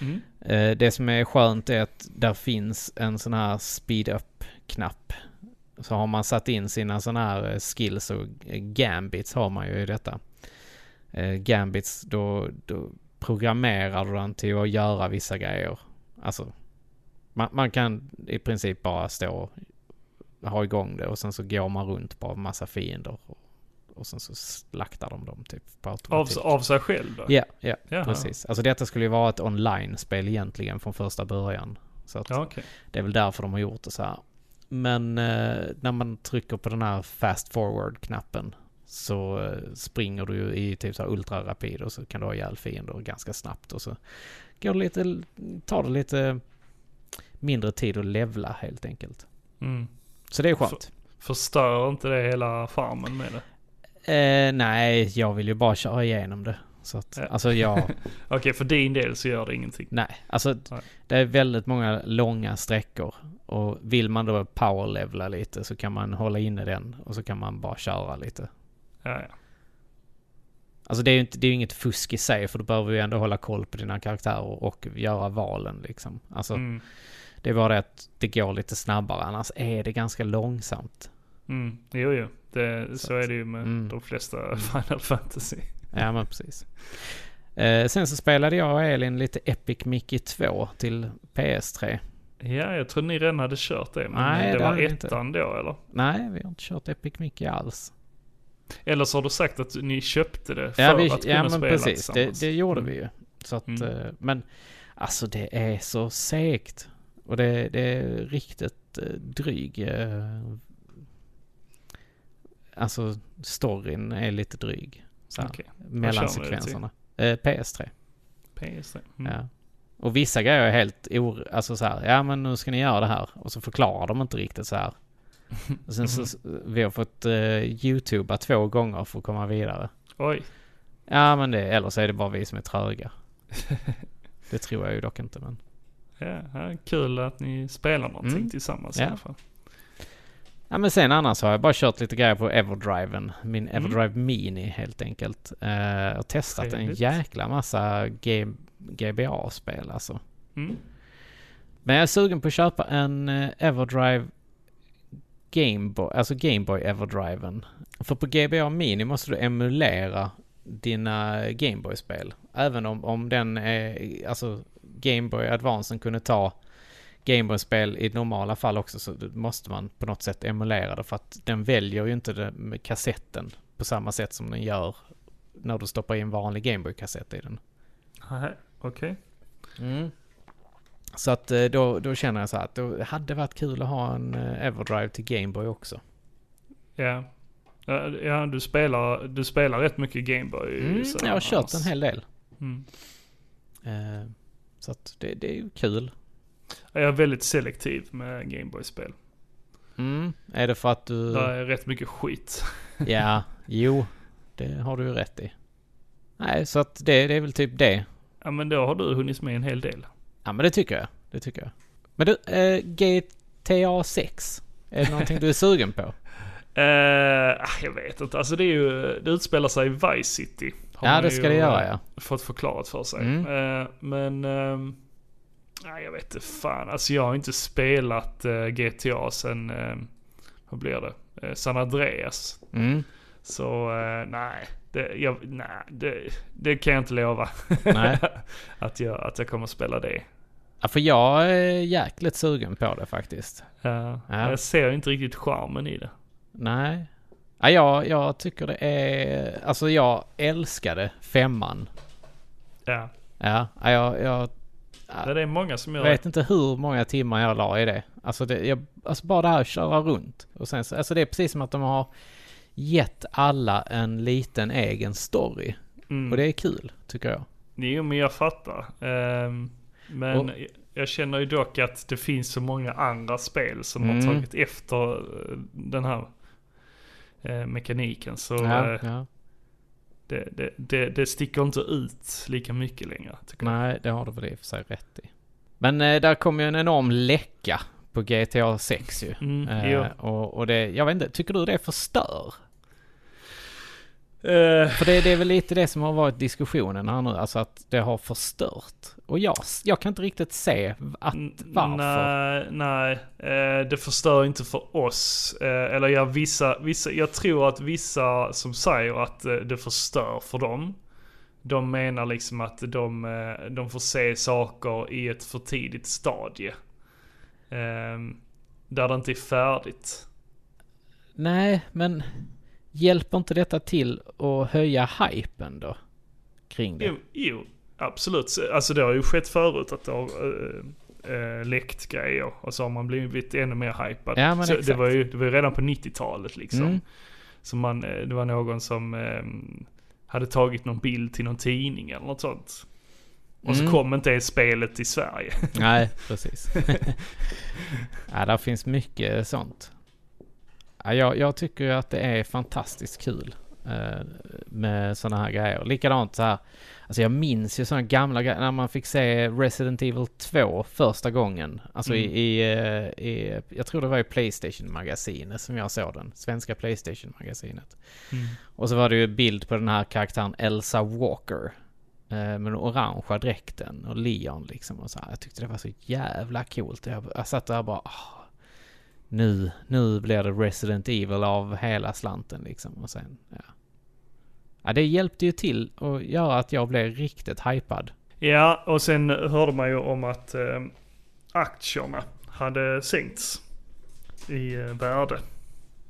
[SPEAKER 2] Mm.
[SPEAKER 1] Eh, Det som är skönt är att där finns en sån här speed up-knapp. Så har man satt in sina sån här eh, skills och eh, gambits har man ju i detta. Eh, Gambits, då, då programmerar du den till att göra vissa grejer. Alltså, man, man kan i princip bara stå och ha igång det och sen så går man runt på en massa fiender. Och, och sen så slaktar de dem typ på
[SPEAKER 2] Av,
[SPEAKER 1] automatik.
[SPEAKER 2] av sig själv då?
[SPEAKER 1] Ja, ja.
[SPEAKER 2] Jaha.
[SPEAKER 1] Precis. Alltså detta skulle ju vara ett online-spel egentligen från första början. Så att
[SPEAKER 2] Ja, okej.
[SPEAKER 1] det är väl därför de har gjort det så här. Men eh, när man trycker på den här fast forward-knappen så eh, springer du ju i typ så här ultrarapid och så kan du ha ihjäl fiender ganska snabbt och så går det lite, tar det lite mindre tid att levla helt enkelt.
[SPEAKER 2] Mm.
[SPEAKER 1] Så det är skönt.
[SPEAKER 2] Förstör inte det hela farmen med det?
[SPEAKER 1] Eh, nej, jag vill ju bara köra igenom det. Så att,
[SPEAKER 2] Ja.
[SPEAKER 1] alltså jag,
[SPEAKER 2] Okej, för din del så gör det ingenting.
[SPEAKER 1] nej, alltså
[SPEAKER 2] Nej.
[SPEAKER 1] det är väldigt många långa sträckor. Och vill man då powerlevla lite så kan man hålla inne den och så kan man bara köra lite.
[SPEAKER 2] Ja, ja.
[SPEAKER 1] Alltså det är ju inte, det är ju inget fusk i sig för du behöver ju ändå hålla koll på dina karaktärer och göra valen liksom. Alltså
[SPEAKER 2] Mm.
[SPEAKER 1] det är bara det att det går lite snabbare annars är det ganska långsamt.
[SPEAKER 2] Mm. Jo, jo. Det, så,
[SPEAKER 1] Så att-
[SPEAKER 2] är det ju med
[SPEAKER 1] Mm.
[SPEAKER 2] de flesta Final Fantasy.
[SPEAKER 1] Ja men precis. Eh, sen så spelade jag och Elin lite Epic Mickey 2 till PS3.
[SPEAKER 2] Ja, jag tror ni redan hade kört det. Men
[SPEAKER 1] Nej,
[SPEAKER 2] det
[SPEAKER 1] det
[SPEAKER 2] var
[SPEAKER 1] hade vi inte.
[SPEAKER 2] ettan då eller?
[SPEAKER 1] Nej, vi har inte kört Epic Mickey alls.
[SPEAKER 2] Eller så har du sagt att ni köpte det för
[SPEAKER 1] Ja, vi,
[SPEAKER 2] att kunna
[SPEAKER 1] ja men
[SPEAKER 2] spela
[SPEAKER 1] precis, det,
[SPEAKER 2] tillsammans.
[SPEAKER 1] det gjorde vi ju. Så att,
[SPEAKER 2] Mm.
[SPEAKER 1] eh, men alltså det är så segt. Och det, det är riktigt eh, dryg. eh, Alltså storyn är lite dryg. Så här,
[SPEAKER 2] Okej.
[SPEAKER 1] mellan
[SPEAKER 2] kör ni det till?
[SPEAKER 1] sekvenserna. Eh, PS3.
[SPEAKER 2] PS3. Mm.
[SPEAKER 1] Ja. Och vissa grejer är helt or... Alltså så här, ja men nu ska ni göra det här. Och så förklarar de inte riktigt så här. Och sen så,
[SPEAKER 2] Mm-hmm.
[SPEAKER 1] vi har fått eh, youtuba två gånger för att komma vidare.
[SPEAKER 2] Oj.
[SPEAKER 1] Ja men det, eller så är det bara vi som är tröga. det tror jag ju dock inte men.
[SPEAKER 2] Ja, ja, kul att ni spelar någonting
[SPEAKER 1] Mm.
[SPEAKER 2] tillsammans i
[SPEAKER 1] Ja.
[SPEAKER 2] alla fall.
[SPEAKER 1] Ja men sen annars har jag bara kört lite grejer på Everdriven. Min
[SPEAKER 2] Mm.
[SPEAKER 1] Everdrive Mini helt enkelt. Eh, och testat
[SPEAKER 2] Trevligt.
[SPEAKER 1] en jäkla massa G- GBA-spel alltså.
[SPEAKER 2] Mm.
[SPEAKER 1] Men jag är sugen på att köpa en eh, Everdrive Gameboy, alltså Gameboy Everdriven. För på GBA Mini måste du emulera dina Gameboy-spel. Även om, om den, är, alltså Gameboy Advancen kunde ta Gameboy-spel i normala fall också så måste man på något sätt emulera det för att den väljer ju inte det med kassetten på samma sätt som den gör när du stoppar in vanlig Gameboy-kassett i den.
[SPEAKER 2] Nej, Okej.
[SPEAKER 1] Mm. Så att eh, då, då känner jag så här att det hade varit kul att ha en eh, Everdrive till Gameboy också.
[SPEAKER 2] Ja. Ja, Ja, du spelar, du spelar rätt mycket Gameboy.
[SPEAKER 1] Mm,
[SPEAKER 2] så
[SPEAKER 1] jag har köpt
[SPEAKER 2] annars.
[SPEAKER 1] en hel del.
[SPEAKER 2] Mm.
[SPEAKER 1] Eh, Så att det, det är ju kul.
[SPEAKER 2] Ja, Jag är väldigt selektiv med Gameboy-spel.
[SPEAKER 1] Mm. Är det för att du...
[SPEAKER 2] Det är rätt mycket skit.
[SPEAKER 1] Ja, jo. Det har du ju rätt i. Nej, så att det, det är väl typ det.
[SPEAKER 2] Ja, men då har du hunnit med en hel del.
[SPEAKER 1] Ja, men det tycker jag. Det tycker jag. Men du, eh, GTA 6. Är det någonting du är sugen på?
[SPEAKER 2] Eh, ah, jag vet inte, alltså det, är ju, det utspelar sig i Vice City. Har
[SPEAKER 1] ja,
[SPEAKER 2] man
[SPEAKER 1] det ska
[SPEAKER 2] ju,
[SPEAKER 1] det göra
[SPEAKER 2] eh,
[SPEAKER 1] ja.
[SPEAKER 2] Fått förklarat för sig.
[SPEAKER 1] Mm.
[SPEAKER 2] Eh, men... ehm, nej, jag vet inte fan. Alltså jag har inte spelat eh, GTA sen... eh, vad blir det? Eh, San Andreas.
[SPEAKER 1] Mm.
[SPEAKER 2] Så eh, nej. Det, jag, nej det, det kan jag inte lova.
[SPEAKER 1] Nej.
[SPEAKER 2] att, jag, att jag kommer att spela det.
[SPEAKER 1] Ja, för jag är jäkligt sugen på det faktiskt.
[SPEAKER 2] Eh,
[SPEAKER 1] Ja.
[SPEAKER 2] Jag ser inte riktigt charmen i det.
[SPEAKER 1] Nej. Ja, jag, jag tycker det är... Alltså jag älskade femman.
[SPEAKER 2] Ja.
[SPEAKER 1] Ja, ja, jag, jag
[SPEAKER 2] Det är många som gör
[SPEAKER 1] vet inte hur många timmar jag la i det. Alltså, det, jag, alltså bara det här att köra runt. Och sen, så- alltså det är precis som att de har gett alla en liten egen story.
[SPEAKER 2] det. Mm.
[SPEAKER 1] Och det är kul, tycker jag.
[SPEAKER 2] Jo, men jag fattar. Ehm, men
[SPEAKER 1] Och-
[SPEAKER 2] jag- jag känner ju dock att det finns så många andra spel som
[SPEAKER 1] Mm.
[SPEAKER 2] har tagit efter eh, den här eh, mekaniken. Så
[SPEAKER 1] Ja,
[SPEAKER 2] eh,
[SPEAKER 1] ja.
[SPEAKER 2] det, det, det, det sticker inte ut lika mycket längre. Tycker jag.
[SPEAKER 1] Nej, det har du väl i och för sig rätt i. Men eh, där kom ju en enorm läcka på GTA 6 ju.
[SPEAKER 2] Mm,
[SPEAKER 1] Eh,
[SPEAKER 2] jo.
[SPEAKER 1] och, och det, jag vet inte, tycker du det förstör?
[SPEAKER 2] Eh,
[SPEAKER 1] För det, det är väl lite det som har varit diskussionen här nu, alltså att det har förstört. Och jag, jag kan inte riktigt se att,
[SPEAKER 2] n-
[SPEAKER 1] varför.
[SPEAKER 2] Nej, nej. Eh, det förstör inte för oss. Eh, eller jag, vissa, vissa, jag tror att vissa som säger att eh, det förstör för dem. De menar liksom att de, eh, de får se saker i ett för tidigt stadie. Ehm, där det inte är färdigt.
[SPEAKER 1] Nej, men hjälper inte detta till att höja hypen då? Kring det?
[SPEAKER 2] Jo, jo absolut. Alltså det har ju skett förut att det har eh, eh, läckt grejer och så har man blivit ännu mer hypad.
[SPEAKER 1] Ja, men
[SPEAKER 2] så det,
[SPEAKER 1] exakt.
[SPEAKER 2] var ju, det var ju redan på 90-talet liksom.
[SPEAKER 1] Mm.
[SPEAKER 2] Så man, eh, det var någon som eh, hade tagit någon bild till någon tidning eller något sånt. Och så
[SPEAKER 1] Mm.
[SPEAKER 2] kom inte ens spelet till Sverige.
[SPEAKER 1] Nej, precis. ja, där finns mycket sånt. Ja, jag, jag tycker ju att det är fantastiskt kul eh, med sådana här grejer. Likadant så här. Alltså jag minns ju sådana gamla grejer. När man fick se Resident Evil 2 första gången. Alltså i,
[SPEAKER 2] Mm.
[SPEAKER 1] i, eh, i, jag tror det var i Playstation-magasinet som jag såg den. Svenska Playstation-magasinet. Och så var det ju bild på den här karaktären Elsa Walker. eh, Med den orangea dräkten och Leon liksom och så här. Jag tyckte det var så jävla coolt. Jag, jag satt där och bara "Ah, nu, nu blir det Resident Evil av hela slanten liksom. Och sen, ja. ja. Det hjälpte ju till att göra att jag blev riktigt hypad.
[SPEAKER 2] Ja, och sen hörde man ju om att eh, aktierna hade sänkts i eh, värde.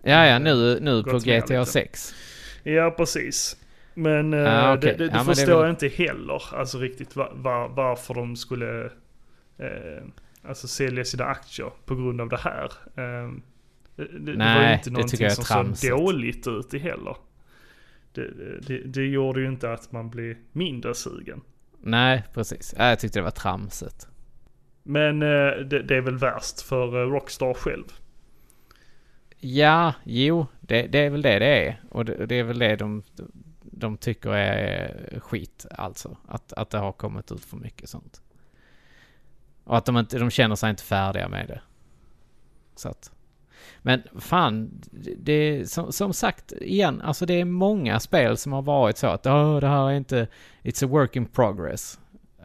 [SPEAKER 1] Ja, ja, nu, nu
[SPEAKER 2] Gått
[SPEAKER 1] på
[SPEAKER 2] ner
[SPEAKER 1] GTA
[SPEAKER 2] lite.
[SPEAKER 1] 6.
[SPEAKER 2] Ja, precis. Men eh,
[SPEAKER 1] Ja, Ah, okej.
[SPEAKER 2] det, det,
[SPEAKER 1] Ja,
[SPEAKER 2] det
[SPEAKER 1] men det är
[SPEAKER 2] förstår
[SPEAKER 1] väl-
[SPEAKER 2] jag inte heller, alltså riktigt va- va- varför de skulle eh, alltså sälja sina aktier på grund av det här. Eh, det, det var ju
[SPEAKER 1] Nej,
[SPEAKER 2] inte
[SPEAKER 1] det
[SPEAKER 2] någonting
[SPEAKER 1] tycker jag är
[SPEAKER 2] som
[SPEAKER 1] tramsigt.
[SPEAKER 2] såg dåligt ut i heller. Det, det, det gjorde ju inte att man blev mindre sugen.
[SPEAKER 1] Nej, precis. Ja, jag tyckte det var tramsigt.
[SPEAKER 2] Men eh, det, det är väl värst för eh, Rockstar själv.
[SPEAKER 1] Ja, jo, det, det är väl det det är. Och det, det är väl det de, de tycker är eh, skit, alltså. Att, att det har kommit ut för mycket sånt. Och att de, inte, de känner sig inte färdiga med det. Så att. Men fan, det- det, som, som sagt igen, alltså det är många spel som har varit så att Åh, det här är inte, it's a work in progress.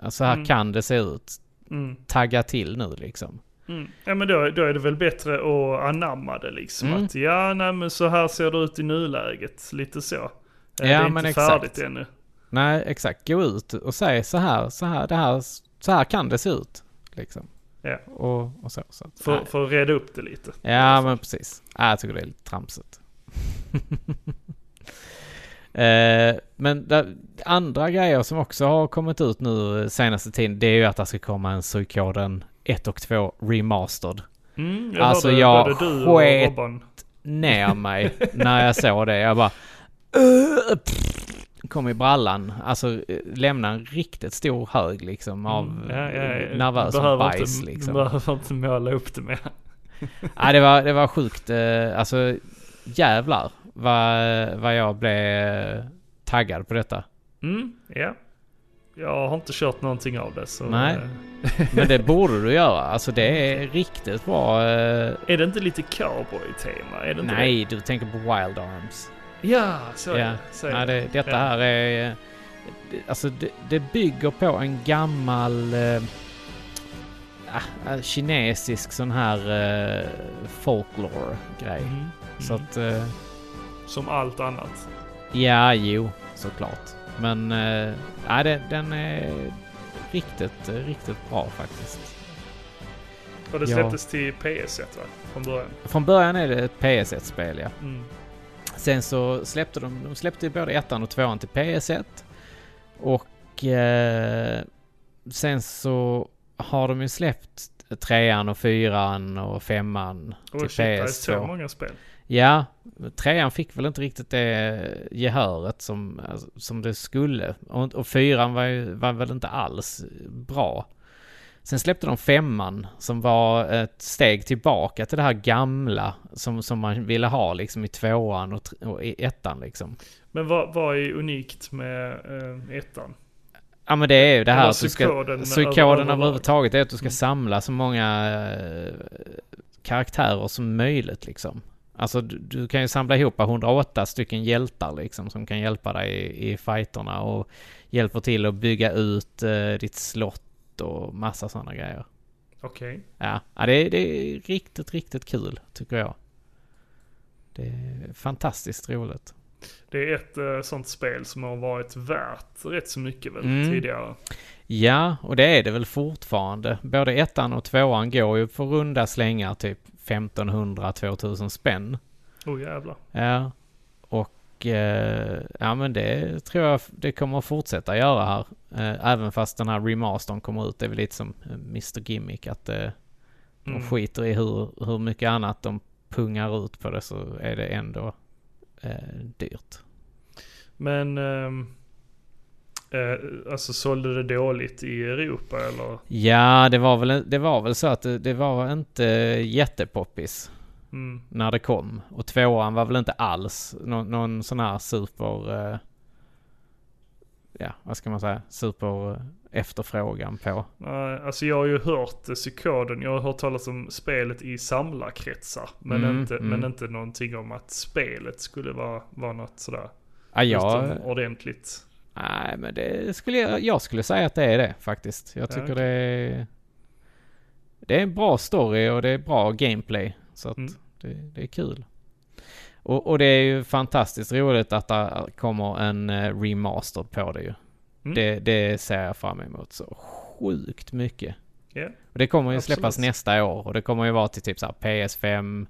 [SPEAKER 1] Så här
[SPEAKER 2] Mm.
[SPEAKER 1] kan det se ut.
[SPEAKER 2] Mm.
[SPEAKER 1] Tagga till nu liksom.
[SPEAKER 2] Mm. Ja men då, då är det väl bättre att anamma det liksom.
[SPEAKER 1] Mm.
[SPEAKER 2] Att ja, nej men så här ser det ut i nuläget. Lite så. Eh, det är
[SPEAKER 1] men
[SPEAKER 2] inte
[SPEAKER 1] exakt.
[SPEAKER 2] färdigt ännu.
[SPEAKER 1] Nej, exakt. Gå ut och säg så här, så här, det här, så här kan det se ut. Liksom.
[SPEAKER 2] Ja.
[SPEAKER 1] Och, och så. så att,
[SPEAKER 2] För,
[SPEAKER 1] nej.
[SPEAKER 2] för att reda upp det lite.
[SPEAKER 1] ja, men precis. Ja, jag tycker det är lite tramsigt. eh, men där, andra grejer som också har kommit ut nu eh, senaste tiden, det är ju att det ska komma en Suikoden 1 och 2 Remastered.
[SPEAKER 2] Mm, jag
[SPEAKER 1] Alltså,
[SPEAKER 2] hörde
[SPEAKER 1] jag
[SPEAKER 2] både du och
[SPEAKER 1] sket-
[SPEAKER 2] Robban.
[SPEAKER 1] ner mig när jag såg det. Jag bara... "Ugh", pff, kom i brallan. Alltså eh, lämna en riktigt stor hög liksom av
[SPEAKER 2] Mm, Ja, ja, ja.
[SPEAKER 1] eh, nervös
[SPEAKER 2] Du behöver
[SPEAKER 1] bajs
[SPEAKER 2] inte,
[SPEAKER 1] liksom.
[SPEAKER 2] du Behöver inte måla upp det mer.
[SPEAKER 1] Nej, det var, det var sjukt. eh, Alltså jävlar vad, vad jag blev eh, taggad på detta.
[SPEAKER 2] Mm, ja. Jag har inte kört någonting av det så.
[SPEAKER 1] Nej.
[SPEAKER 2] eh,
[SPEAKER 1] Men det borde du göra. Alltså det är riktigt bra. eh,
[SPEAKER 2] Är det inte lite cowboy-tema? Är det inte
[SPEAKER 1] Nej, du tänker på Wild Arms.
[SPEAKER 2] Det? Ja, så är
[SPEAKER 1] Ja.
[SPEAKER 2] det. Så är
[SPEAKER 1] Nej,
[SPEAKER 2] det.
[SPEAKER 1] det, detta
[SPEAKER 2] Ja.
[SPEAKER 1] här är... eh, det- Alltså det, det bygger på en gammal eh, ah, eh, kinesisk sån här eh, folklore-grej.
[SPEAKER 2] Mm, mm.
[SPEAKER 1] Så att, eh,
[SPEAKER 2] Som allt annat.
[SPEAKER 1] ja, jo, såklart. Men, eh, nej, det, den är riktigt, eh, riktigt bra faktiskt.
[SPEAKER 2] Och det
[SPEAKER 1] Ja.
[SPEAKER 2] släpptes till PS1 va? Från början.
[SPEAKER 1] Från början är det ett PS1-spel, ja.
[SPEAKER 2] Mm.
[SPEAKER 1] Sen så släppte de, de släppte ju både ettan och tvåan till PS1. Och eh, sen så har de ju släppt trean och fyran och femman
[SPEAKER 2] Och
[SPEAKER 1] till
[SPEAKER 2] shit, det är så
[SPEAKER 1] PS2.
[SPEAKER 2] många spel.
[SPEAKER 1] Ja, trean fick väl inte riktigt det gehöret som, alltså, som det skulle. Och, och fyran var, ju, var väl inte alls bra. Sen släppte de femman som var ett steg tillbaka till det här gamla som, som man ville ha liksom i tvåan och, tr- och i ettan liksom.
[SPEAKER 2] Men vad, vad är unikt med eh, ettan?
[SPEAKER 1] Ja men det är ju det här
[SPEAKER 2] Eller
[SPEAKER 1] att du ska...
[SPEAKER 2] psykoden
[SPEAKER 1] Psykoden
[SPEAKER 2] över-
[SPEAKER 1] överhuvudtaget är att du ska
[SPEAKER 2] Mm.
[SPEAKER 1] samla så många eh, karaktärer som möjligt liksom. Alltså du, du kan ju samla ihop 108 stycken hjältar liksom som kan hjälpa dig i, i fighterna och hjälper till att bygga ut eh, ditt slott och massa sådana grejer.
[SPEAKER 2] Okej.
[SPEAKER 1] Ja, ja det, är- det är riktigt, riktigt kul tycker jag. Det är fantastiskt roligt.
[SPEAKER 2] Det är ett eh, sånt spel som har varit värt rätt så mycket väl
[SPEAKER 1] Mm.
[SPEAKER 2] tidigare.
[SPEAKER 1] Ja, och det är det väl fortfarande. Både ettan och tvåan går ju för runda slängar typ 1500-2000 spänn.
[SPEAKER 2] Oh jävlar.
[SPEAKER 1] Ja. Och Och eh, ja men det tror jag det kommer att fortsätta göra här. Eh, även fast den här remastern kommer ut. Det är väl lite som eh, Mr Gimmick att eh, de
[SPEAKER 2] Mm.
[SPEAKER 1] skiter i hur, hur mycket annat de pungar ut på det så är det ändå eh, dyrt.
[SPEAKER 2] Men... ehm, eh, alltså sålde det dåligt i Europa eller?
[SPEAKER 1] Ja det var väl, det var väl så att det, det var inte jättepoppis
[SPEAKER 2] Mm.
[SPEAKER 1] när det kom. Och tvåan var väl inte alls någon, någon sån här super... Eh, ja vad ska man säga? Super eh, efterfrågan på.
[SPEAKER 2] Nej, alltså jag har ju hört eh, psykoden, jag har hört talas om spelet i samlarkretsar. Men,
[SPEAKER 1] Mm,
[SPEAKER 2] inte,
[SPEAKER 1] mm.
[SPEAKER 2] men inte någonting om att spelet skulle vara, vara något sådär.
[SPEAKER 1] Ja, jag,
[SPEAKER 2] Utan ordentligt.
[SPEAKER 1] nej, men det skulle jag, jag skulle säga att det är det faktiskt. Jag
[SPEAKER 2] Ja,
[SPEAKER 1] tycker
[SPEAKER 2] okej.
[SPEAKER 1] det är... Det är en bra story och det är bra gameplay. Så att
[SPEAKER 2] Mm.
[SPEAKER 1] det, det är kul. Och, och det är ju fantastiskt roligt att det kommer en eh, remaster på det ju.
[SPEAKER 2] Mm.
[SPEAKER 1] Det, det ser jag fram emot så sjukt mycket.
[SPEAKER 2] Ja.
[SPEAKER 1] Och det kommer ju släppas
[SPEAKER 2] Absolut.
[SPEAKER 1] nästa år och det kommer ju vara till typ så här PS5,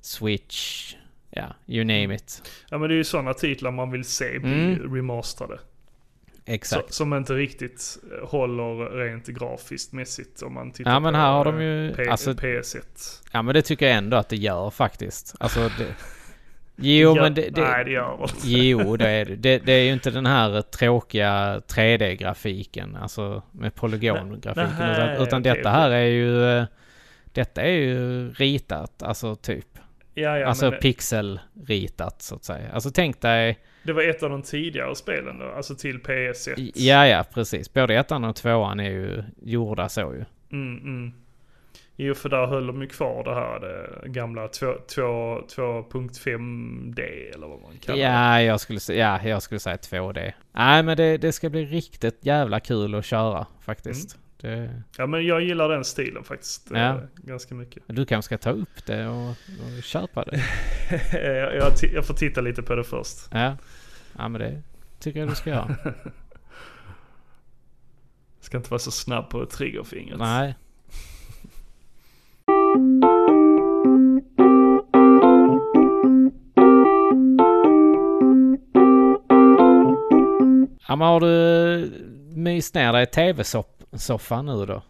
[SPEAKER 1] Switch, ja, you
[SPEAKER 2] Mm.
[SPEAKER 1] name it.
[SPEAKER 2] ja men det är ju sådana titlar man vill se bli
[SPEAKER 1] Mm.
[SPEAKER 2] remasterade. Så,
[SPEAKER 1] Exakt.
[SPEAKER 2] som inte riktigt eh, håller rent grafiskt mässigt om man tittar
[SPEAKER 1] Ja, men här
[SPEAKER 2] på
[SPEAKER 1] har
[SPEAKER 2] eh,
[SPEAKER 1] de ju-
[SPEAKER 2] P-
[SPEAKER 1] alltså-
[SPEAKER 2] PS1.
[SPEAKER 1] Ja men det tycker jag ändå att det gör faktiskt. Alltså det... Jo
[SPEAKER 2] Ja,
[SPEAKER 1] men det... det...
[SPEAKER 2] Nej det gör det inte.
[SPEAKER 1] Jo, det är det. det. Det är ju inte den här tråkiga 3D-grafiken, alltså med polygongrafiken.
[SPEAKER 2] Nej,
[SPEAKER 1] Utan, utan
[SPEAKER 2] okej,
[SPEAKER 1] detta här är ju... eh, Detta är ju ritat, alltså typ.
[SPEAKER 2] Ja, ja,
[SPEAKER 1] alltså
[SPEAKER 2] men det,
[SPEAKER 1] pixelritat så att säga. Alltså tänk dig...
[SPEAKER 2] det var ett av de tidigare spelen då, alltså till PS1.
[SPEAKER 1] Ja, ja, precis. Både ettan och tvåan är ju gjorda så ju.
[SPEAKER 2] Mm, mm. Jo, för där höll de ju kvar det här det gamla två- två- 2.5D eller vad man kallar det.
[SPEAKER 1] Ja, jag skulle, sä- ja, jag skulle säga 2D. Nej, men det, det ska bli riktigt jävla kul att köra faktiskt. Det,
[SPEAKER 2] Ja, men jag gillar den stilen faktiskt eh,
[SPEAKER 1] Ja.
[SPEAKER 2] ganska mycket.
[SPEAKER 1] du kanske ska ta upp det och, och köpa det.
[SPEAKER 2] jag, jag ti- jag får titta lite på det först.
[SPEAKER 1] Ja. ja, men det tycker jag du ska göra.
[SPEAKER 2] Jag ska inte vara så snabb på triggerfingret.
[SPEAKER 1] Nej. Ja, men har du myst ner dig i tv-soffan nu då?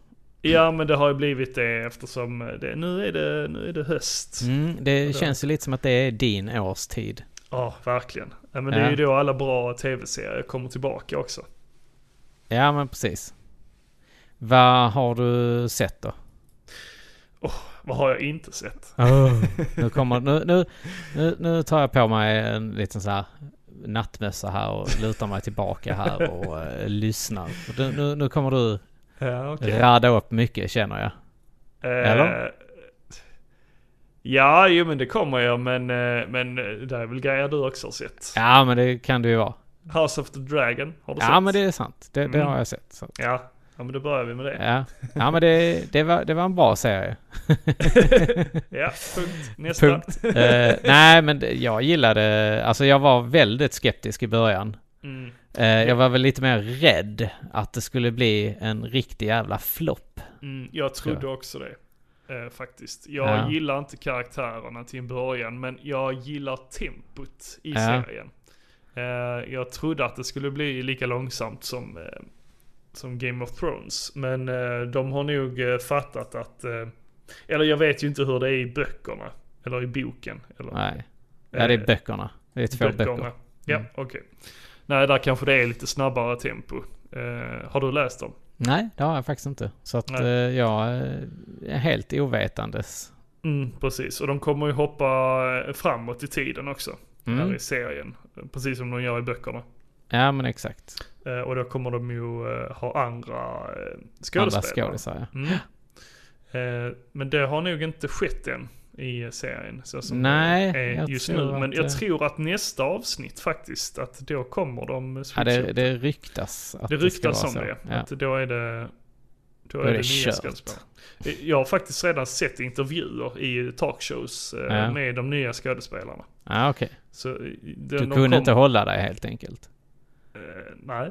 [SPEAKER 2] Ja, men det har ju blivit det eftersom det, nu, är det, nu är det höst. Ja,
[SPEAKER 1] Mm, det
[SPEAKER 2] då?
[SPEAKER 1] känns ju lite som att det är din årstid.
[SPEAKER 2] verkligen. Ja, men det
[SPEAKER 1] Ja.
[SPEAKER 2] är ju då alla bra tv-serier kommer tillbaka också.
[SPEAKER 1] Ja, men precis. Vad har du sett då?
[SPEAKER 2] Vad har jag inte sett?
[SPEAKER 1] Nu, kommer, nu, nu, nu, nu tar jag på mig en liten så här nattmössa här och lutar mig tillbaka här och eh, lyssnar. Nu, nu, nu kommer du
[SPEAKER 2] Ja,
[SPEAKER 1] rada upp mycket känner jag. Eller?
[SPEAKER 2] Eh, ja, jo men det kommer jag. Men, eh, men det är väl grejer du också har sett.
[SPEAKER 1] Ja, men det kan du ju vara.
[SPEAKER 2] House of the Dragon har du
[SPEAKER 1] Ja,
[SPEAKER 2] sett?
[SPEAKER 1] men det är sant. Det, det
[SPEAKER 2] Mm.
[SPEAKER 1] har jag sett. Så.
[SPEAKER 2] Ja. ja, men då börjar vi med det.
[SPEAKER 1] Ja. ja, men det, det, var, det var en bra serie.
[SPEAKER 2] Ja, punkt. Nästa.
[SPEAKER 1] Punkt. Eh, nej, men det- jag gillade... Alltså jag var väldigt skeptisk i början.
[SPEAKER 2] Mm.
[SPEAKER 1] Eh, jag var väl lite mer rädd att det skulle bli en riktig jävla flopp.
[SPEAKER 2] Mm, jag
[SPEAKER 1] Ska jag?
[SPEAKER 2] trodde också det. eh, faktiskt. Jag
[SPEAKER 1] Ja.
[SPEAKER 2] gillar inte karaktärerna till en början, men jag gillar tempot i
[SPEAKER 1] Ja.
[SPEAKER 2] serien. Eh, jag trodde att det skulle bli lika långsamt som, eh, som Game of Thrones, men eh, de har nog eh, fattat att... Eh, eller jag vet ju inte hur det är i böckerna, eller i boken. Eller,
[SPEAKER 1] Nej. Ja, det
[SPEAKER 2] eh,
[SPEAKER 1] är böckerna. Det är två
[SPEAKER 2] böckerna.
[SPEAKER 1] böcker.
[SPEAKER 2] Ja,
[SPEAKER 1] Mm.
[SPEAKER 2] okej. Nej, där kanske det är lite snabbare tempo. Eh, har du läst dem?
[SPEAKER 1] Nej, det har jag faktiskt inte. Så att
[SPEAKER 2] Nej.
[SPEAKER 1] eh, jag eh, är helt ovetandes.
[SPEAKER 2] Mm, precis. Och de kommer ju hoppa eh, framåt i tiden också. Här
[SPEAKER 1] Mm.
[SPEAKER 2] i serien. Precis som de gör i böckerna.
[SPEAKER 1] Ja, men exakt.
[SPEAKER 2] Eh, och då kommer de ju eh, ha andra eh,
[SPEAKER 1] Andra
[SPEAKER 2] skådespelare.
[SPEAKER 1] skådisar, ja.
[SPEAKER 2] mm. eh, men det har nog inte skett än i eh, serien. Så som
[SPEAKER 1] Nej,
[SPEAKER 2] det är
[SPEAKER 1] jag
[SPEAKER 2] just
[SPEAKER 1] tror
[SPEAKER 2] nu. Men
[SPEAKER 1] att
[SPEAKER 2] jag
[SPEAKER 1] det-
[SPEAKER 2] tror att nästa avsnitt faktiskt, att då kommer de eh,
[SPEAKER 1] ja
[SPEAKER 2] switcha
[SPEAKER 1] det,
[SPEAKER 2] upp.
[SPEAKER 1] det ryktas att
[SPEAKER 2] Det
[SPEAKER 1] det,
[SPEAKER 2] ryktas
[SPEAKER 1] ska
[SPEAKER 2] om
[SPEAKER 1] vara så. Ja.
[SPEAKER 2] det. Att då är det... Då är det, nya
[SPEAKER 1] kört.
[SPEAKER 2] skådespelare. Jag har faktiskt redan sett intervjuer i talkshows eh,
[SPEAKER 1] Ja.
[SPEAKER 2] med de nya skådespelarna.
[SPEAKER 1] Ja, okej.
[SPEAKER 2] Så eh, den,
[SPEAKER 1] Du
[SPEAKER 2] de
[SPEAKER 1] kunde
[SPEAKER 2] kom-
[SPEAKER 1] inte hålla dig helt enkelt.
[SPEAKER 2] Eh, nej.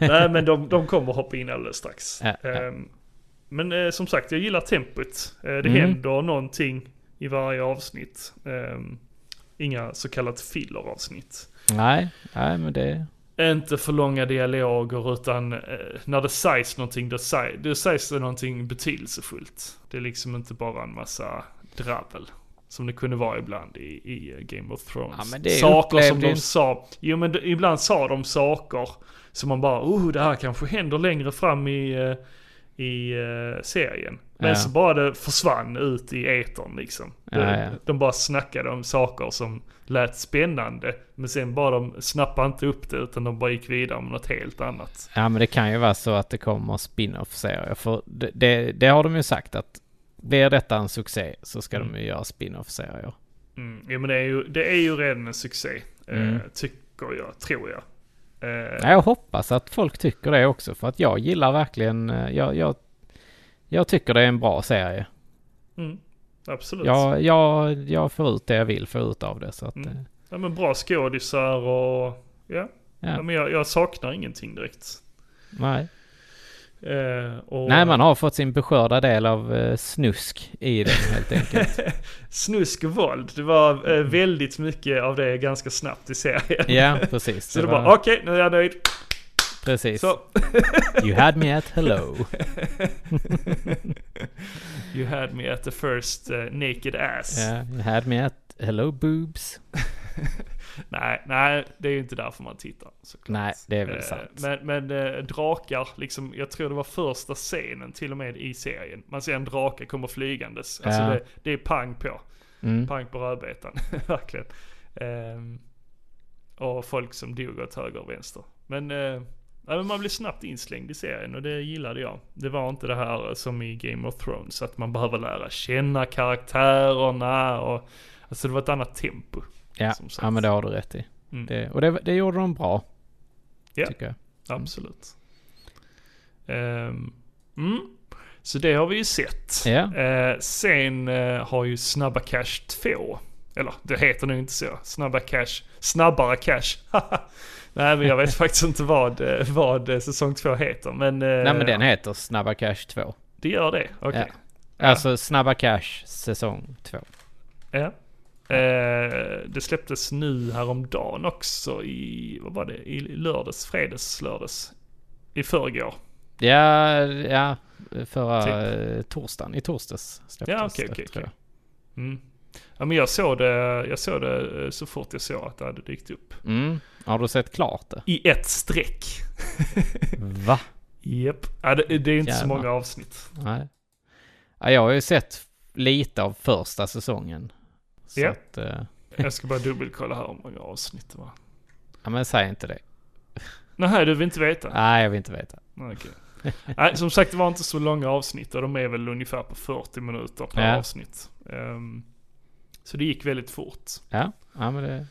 [SPEAKER 2] nej, men de, de kommer hoppa in alldeles strax.
[SPEAKER 1] Ja, ja.
[SPEAKER 2] Ehm, men eh, som sagt, jag gillar tempot. Eh, det
[SPEAKER 1] Mm.
[SPEAKER 2] händer någonting i varje avsnitt. Ehm, inga så kallat filleravsnitt.
[SPEAKER 1] Nej, nej men det...
[SPEAKER 2] Inte för långa dialoger utan eh, när det sägs någonting, det, säg, det sägs det någonting betydelsefullt. Det är liksom inte bara en massa dravel. Som det kunde vara ibland i, i eh, Game of Thrones.
[SPEAKER 1] Ja, men det
[SPEAKER 2] saker som
[SPEAKER 1] upplevde
[SPEAKER 2] de
[SPEAKER 1] inte-
[SPEAKER 2] sa. Jo men d- ibland sa de saker som man bara, oh det här kanske händer längre fram i, eh, i eh, serien. Men
[SPEAKER 1] Ja.
[SPEAKER 2] så bara det försvann ut i etern liksom.
[SPEAKER 1] Ja,
[SPEAKER 2] de,
[SPEAKER 1] ja.
[SPEAKER 2] de bara snackade om saker som lät spännande. Men sen bara de snappade inte upp det utan de bara gick vidare med något helt annat.
[SPEAKER 1] Ja men det kan ju vara så att det kommer spin-off-serier. För det, det, det har de ju sagt att blir detta en succé så ska de ju göra spin-off-serier.
[SPEAKER 2] Mm. Ja, men det är, ju, det är ju redan en succé.
[SPEAKER 1] Mm.
[SPEAKER 2] Eh, tycker jag, tror jag. Eh,
[SPEAKER 1] Ja, Jag hoppas att folk tycker det också för att jag gillar verkligen, eh, jag, jag, jag tycker det är en bra serie.
[SPEAKER 2] mm, absolut.
[SPEAKER 1] Jag, jag, jag får ut det jag vill få ut av det så att...
[SPEAKER 2] Mm.
[SPEAKER 1] eh,
[SPEAKER 2] Ja, men bra skådisar och... Ja.
[SPEAKER 1] Ja.
[SPEAKER 2] ja. men jag, jag saknar ingenting direkt.
[SPEAKER 1] Nej.
[SPEAKER 2] Eh, och
[SPEAKER 1] Nej, man har fått sin beskörda del av eh, snusk i den helt enkelt.
[SPEAKER 2] Snusk och våld. Det var eh, väldigt mycket av det ganska snabbt i serien.
[SPEAKER 1] Mm. ja, precis.
[SPEAKER 2] Så det var bara okej, nu är jag nöjd.
[SPEAKER 1] Precis.
[SPEAKER 2] Så.
[SPEAKER 1] You had me at hello.
[SPEAKER 2] You had me at the first eh, naked ass.
[SPEAKER 1] Ja, you had me at hello boobs.
[SPEAKER 2] Nej, nej, det är ju inte därför man tittar. Såklart.
[SPEAKER 1] Nej, det är väl
[SPEAKER 2] Eh,
[SPEAKER 1] sant.
[SPEAKER 2] Men, men eh, drakar, liksom, jag tror det var första scenen till och med i serien. Man ser en drake komma flygandes. Alltså
[SPEAKER 1] Ja.
[SPEAKER 2] det, det är pang på.
[SPEAKER 1] Mm.
[SPEAKER 2] Pang på rödbetan, verkligen. Ehm, och folk som dog åt höger och vänster. Men, eh, ja, men man blev snabbt inslängd i serien och det gillade jag. Det var inte det här eh, som i Game of Thrones, att man behöver lära känna karaktärerna och... Alltså det var ett annat tempo.
[SPEAKER 1] Ja.
[SPEAKER 2] som sagt.
[SPEAKER 1] ja, men det har du rätt i.
[SPEAKER 2] Mm.
[SPEAKER 1] Det, och det, det gjorde de bra.
[SPEAKER 2] Ja.
[SPEAKER 1] Tycker jag.
[SPEAKER 2] Absolut. Ehm, mm. Så det har vi ju sett.
[SPEAKER 1] Ja.
[SPEAKER 2] Eh, sen eh, har ju Snabba Cash 2. Eller det heter nog inte så. Snabba Cash. Snabbare Cash. Nej men jag vet faktiskt inte vad, eh, vad eh, säsong 2 heter. Men, eh,
[SPEAKER 1] Nej, men den heter Snabba Cash 2.
[SPEAKER 2] det gör det. Okej. Ja.
[SPEAKER 1] Alltså Snabba Cash säsong 2.
[SPEAKER 2] Ja. Eh, det släpptes nu häromdagen också i, vad var det, i lördags, fredags, lördags. I förrgår.
[SPEAKER 1] Ja, ja, förra
[SPEAKER 2] Typ.
[SPEAKER 1] eh, torsdagen. I torsdags släpptes
[SPEAKER 2] Ja, okej,
[SPEAKER 1] det,
[SPEAKER 2] okej,
[SPEAKER 1] tror jag.
[SPEAKER 2] Mm. Ja men jag såg det, jag såg det eh, så fort jag såg att det hade dykt upp.
[SPEAKER 1] Mm. Har du sett klart det?
[SPEAKER 2] I ett streck.
[SPEAKER 1] Va?
[SPEAKER 2] Japp. Ja, Äh, det, det är inte så
[SPEAKER 1] Jävlar.
[SPEAKER 2] många avsnitt.
[SPEAKER 1] Nej. Ja, jag har ju sett lite av första säsongen. Så
[SPEAKER 2] Ja.
[SPEAKER 1] att, eh,
[SPEAKER 2] Jag ska bara dubbelkolla här hur många avsnitt det var.
[SPEAKER 1] ja men säg inte det.
[SPEAKER 2] Nej, du vill inte veta?
[SPEAKER 1] Nej, jag vill inte veta.
[SPEAKER 2] Nej, okej. Nej, som sagt det var inte så långa avsnitt och de är väl ungefär på 40 minuter per
[SPEAKER 1] Ja.
[SPEAKER 2] avsnitt. Ehm, så det gick väldigt fort.
[SPEAKER 1] Ja, ja men det,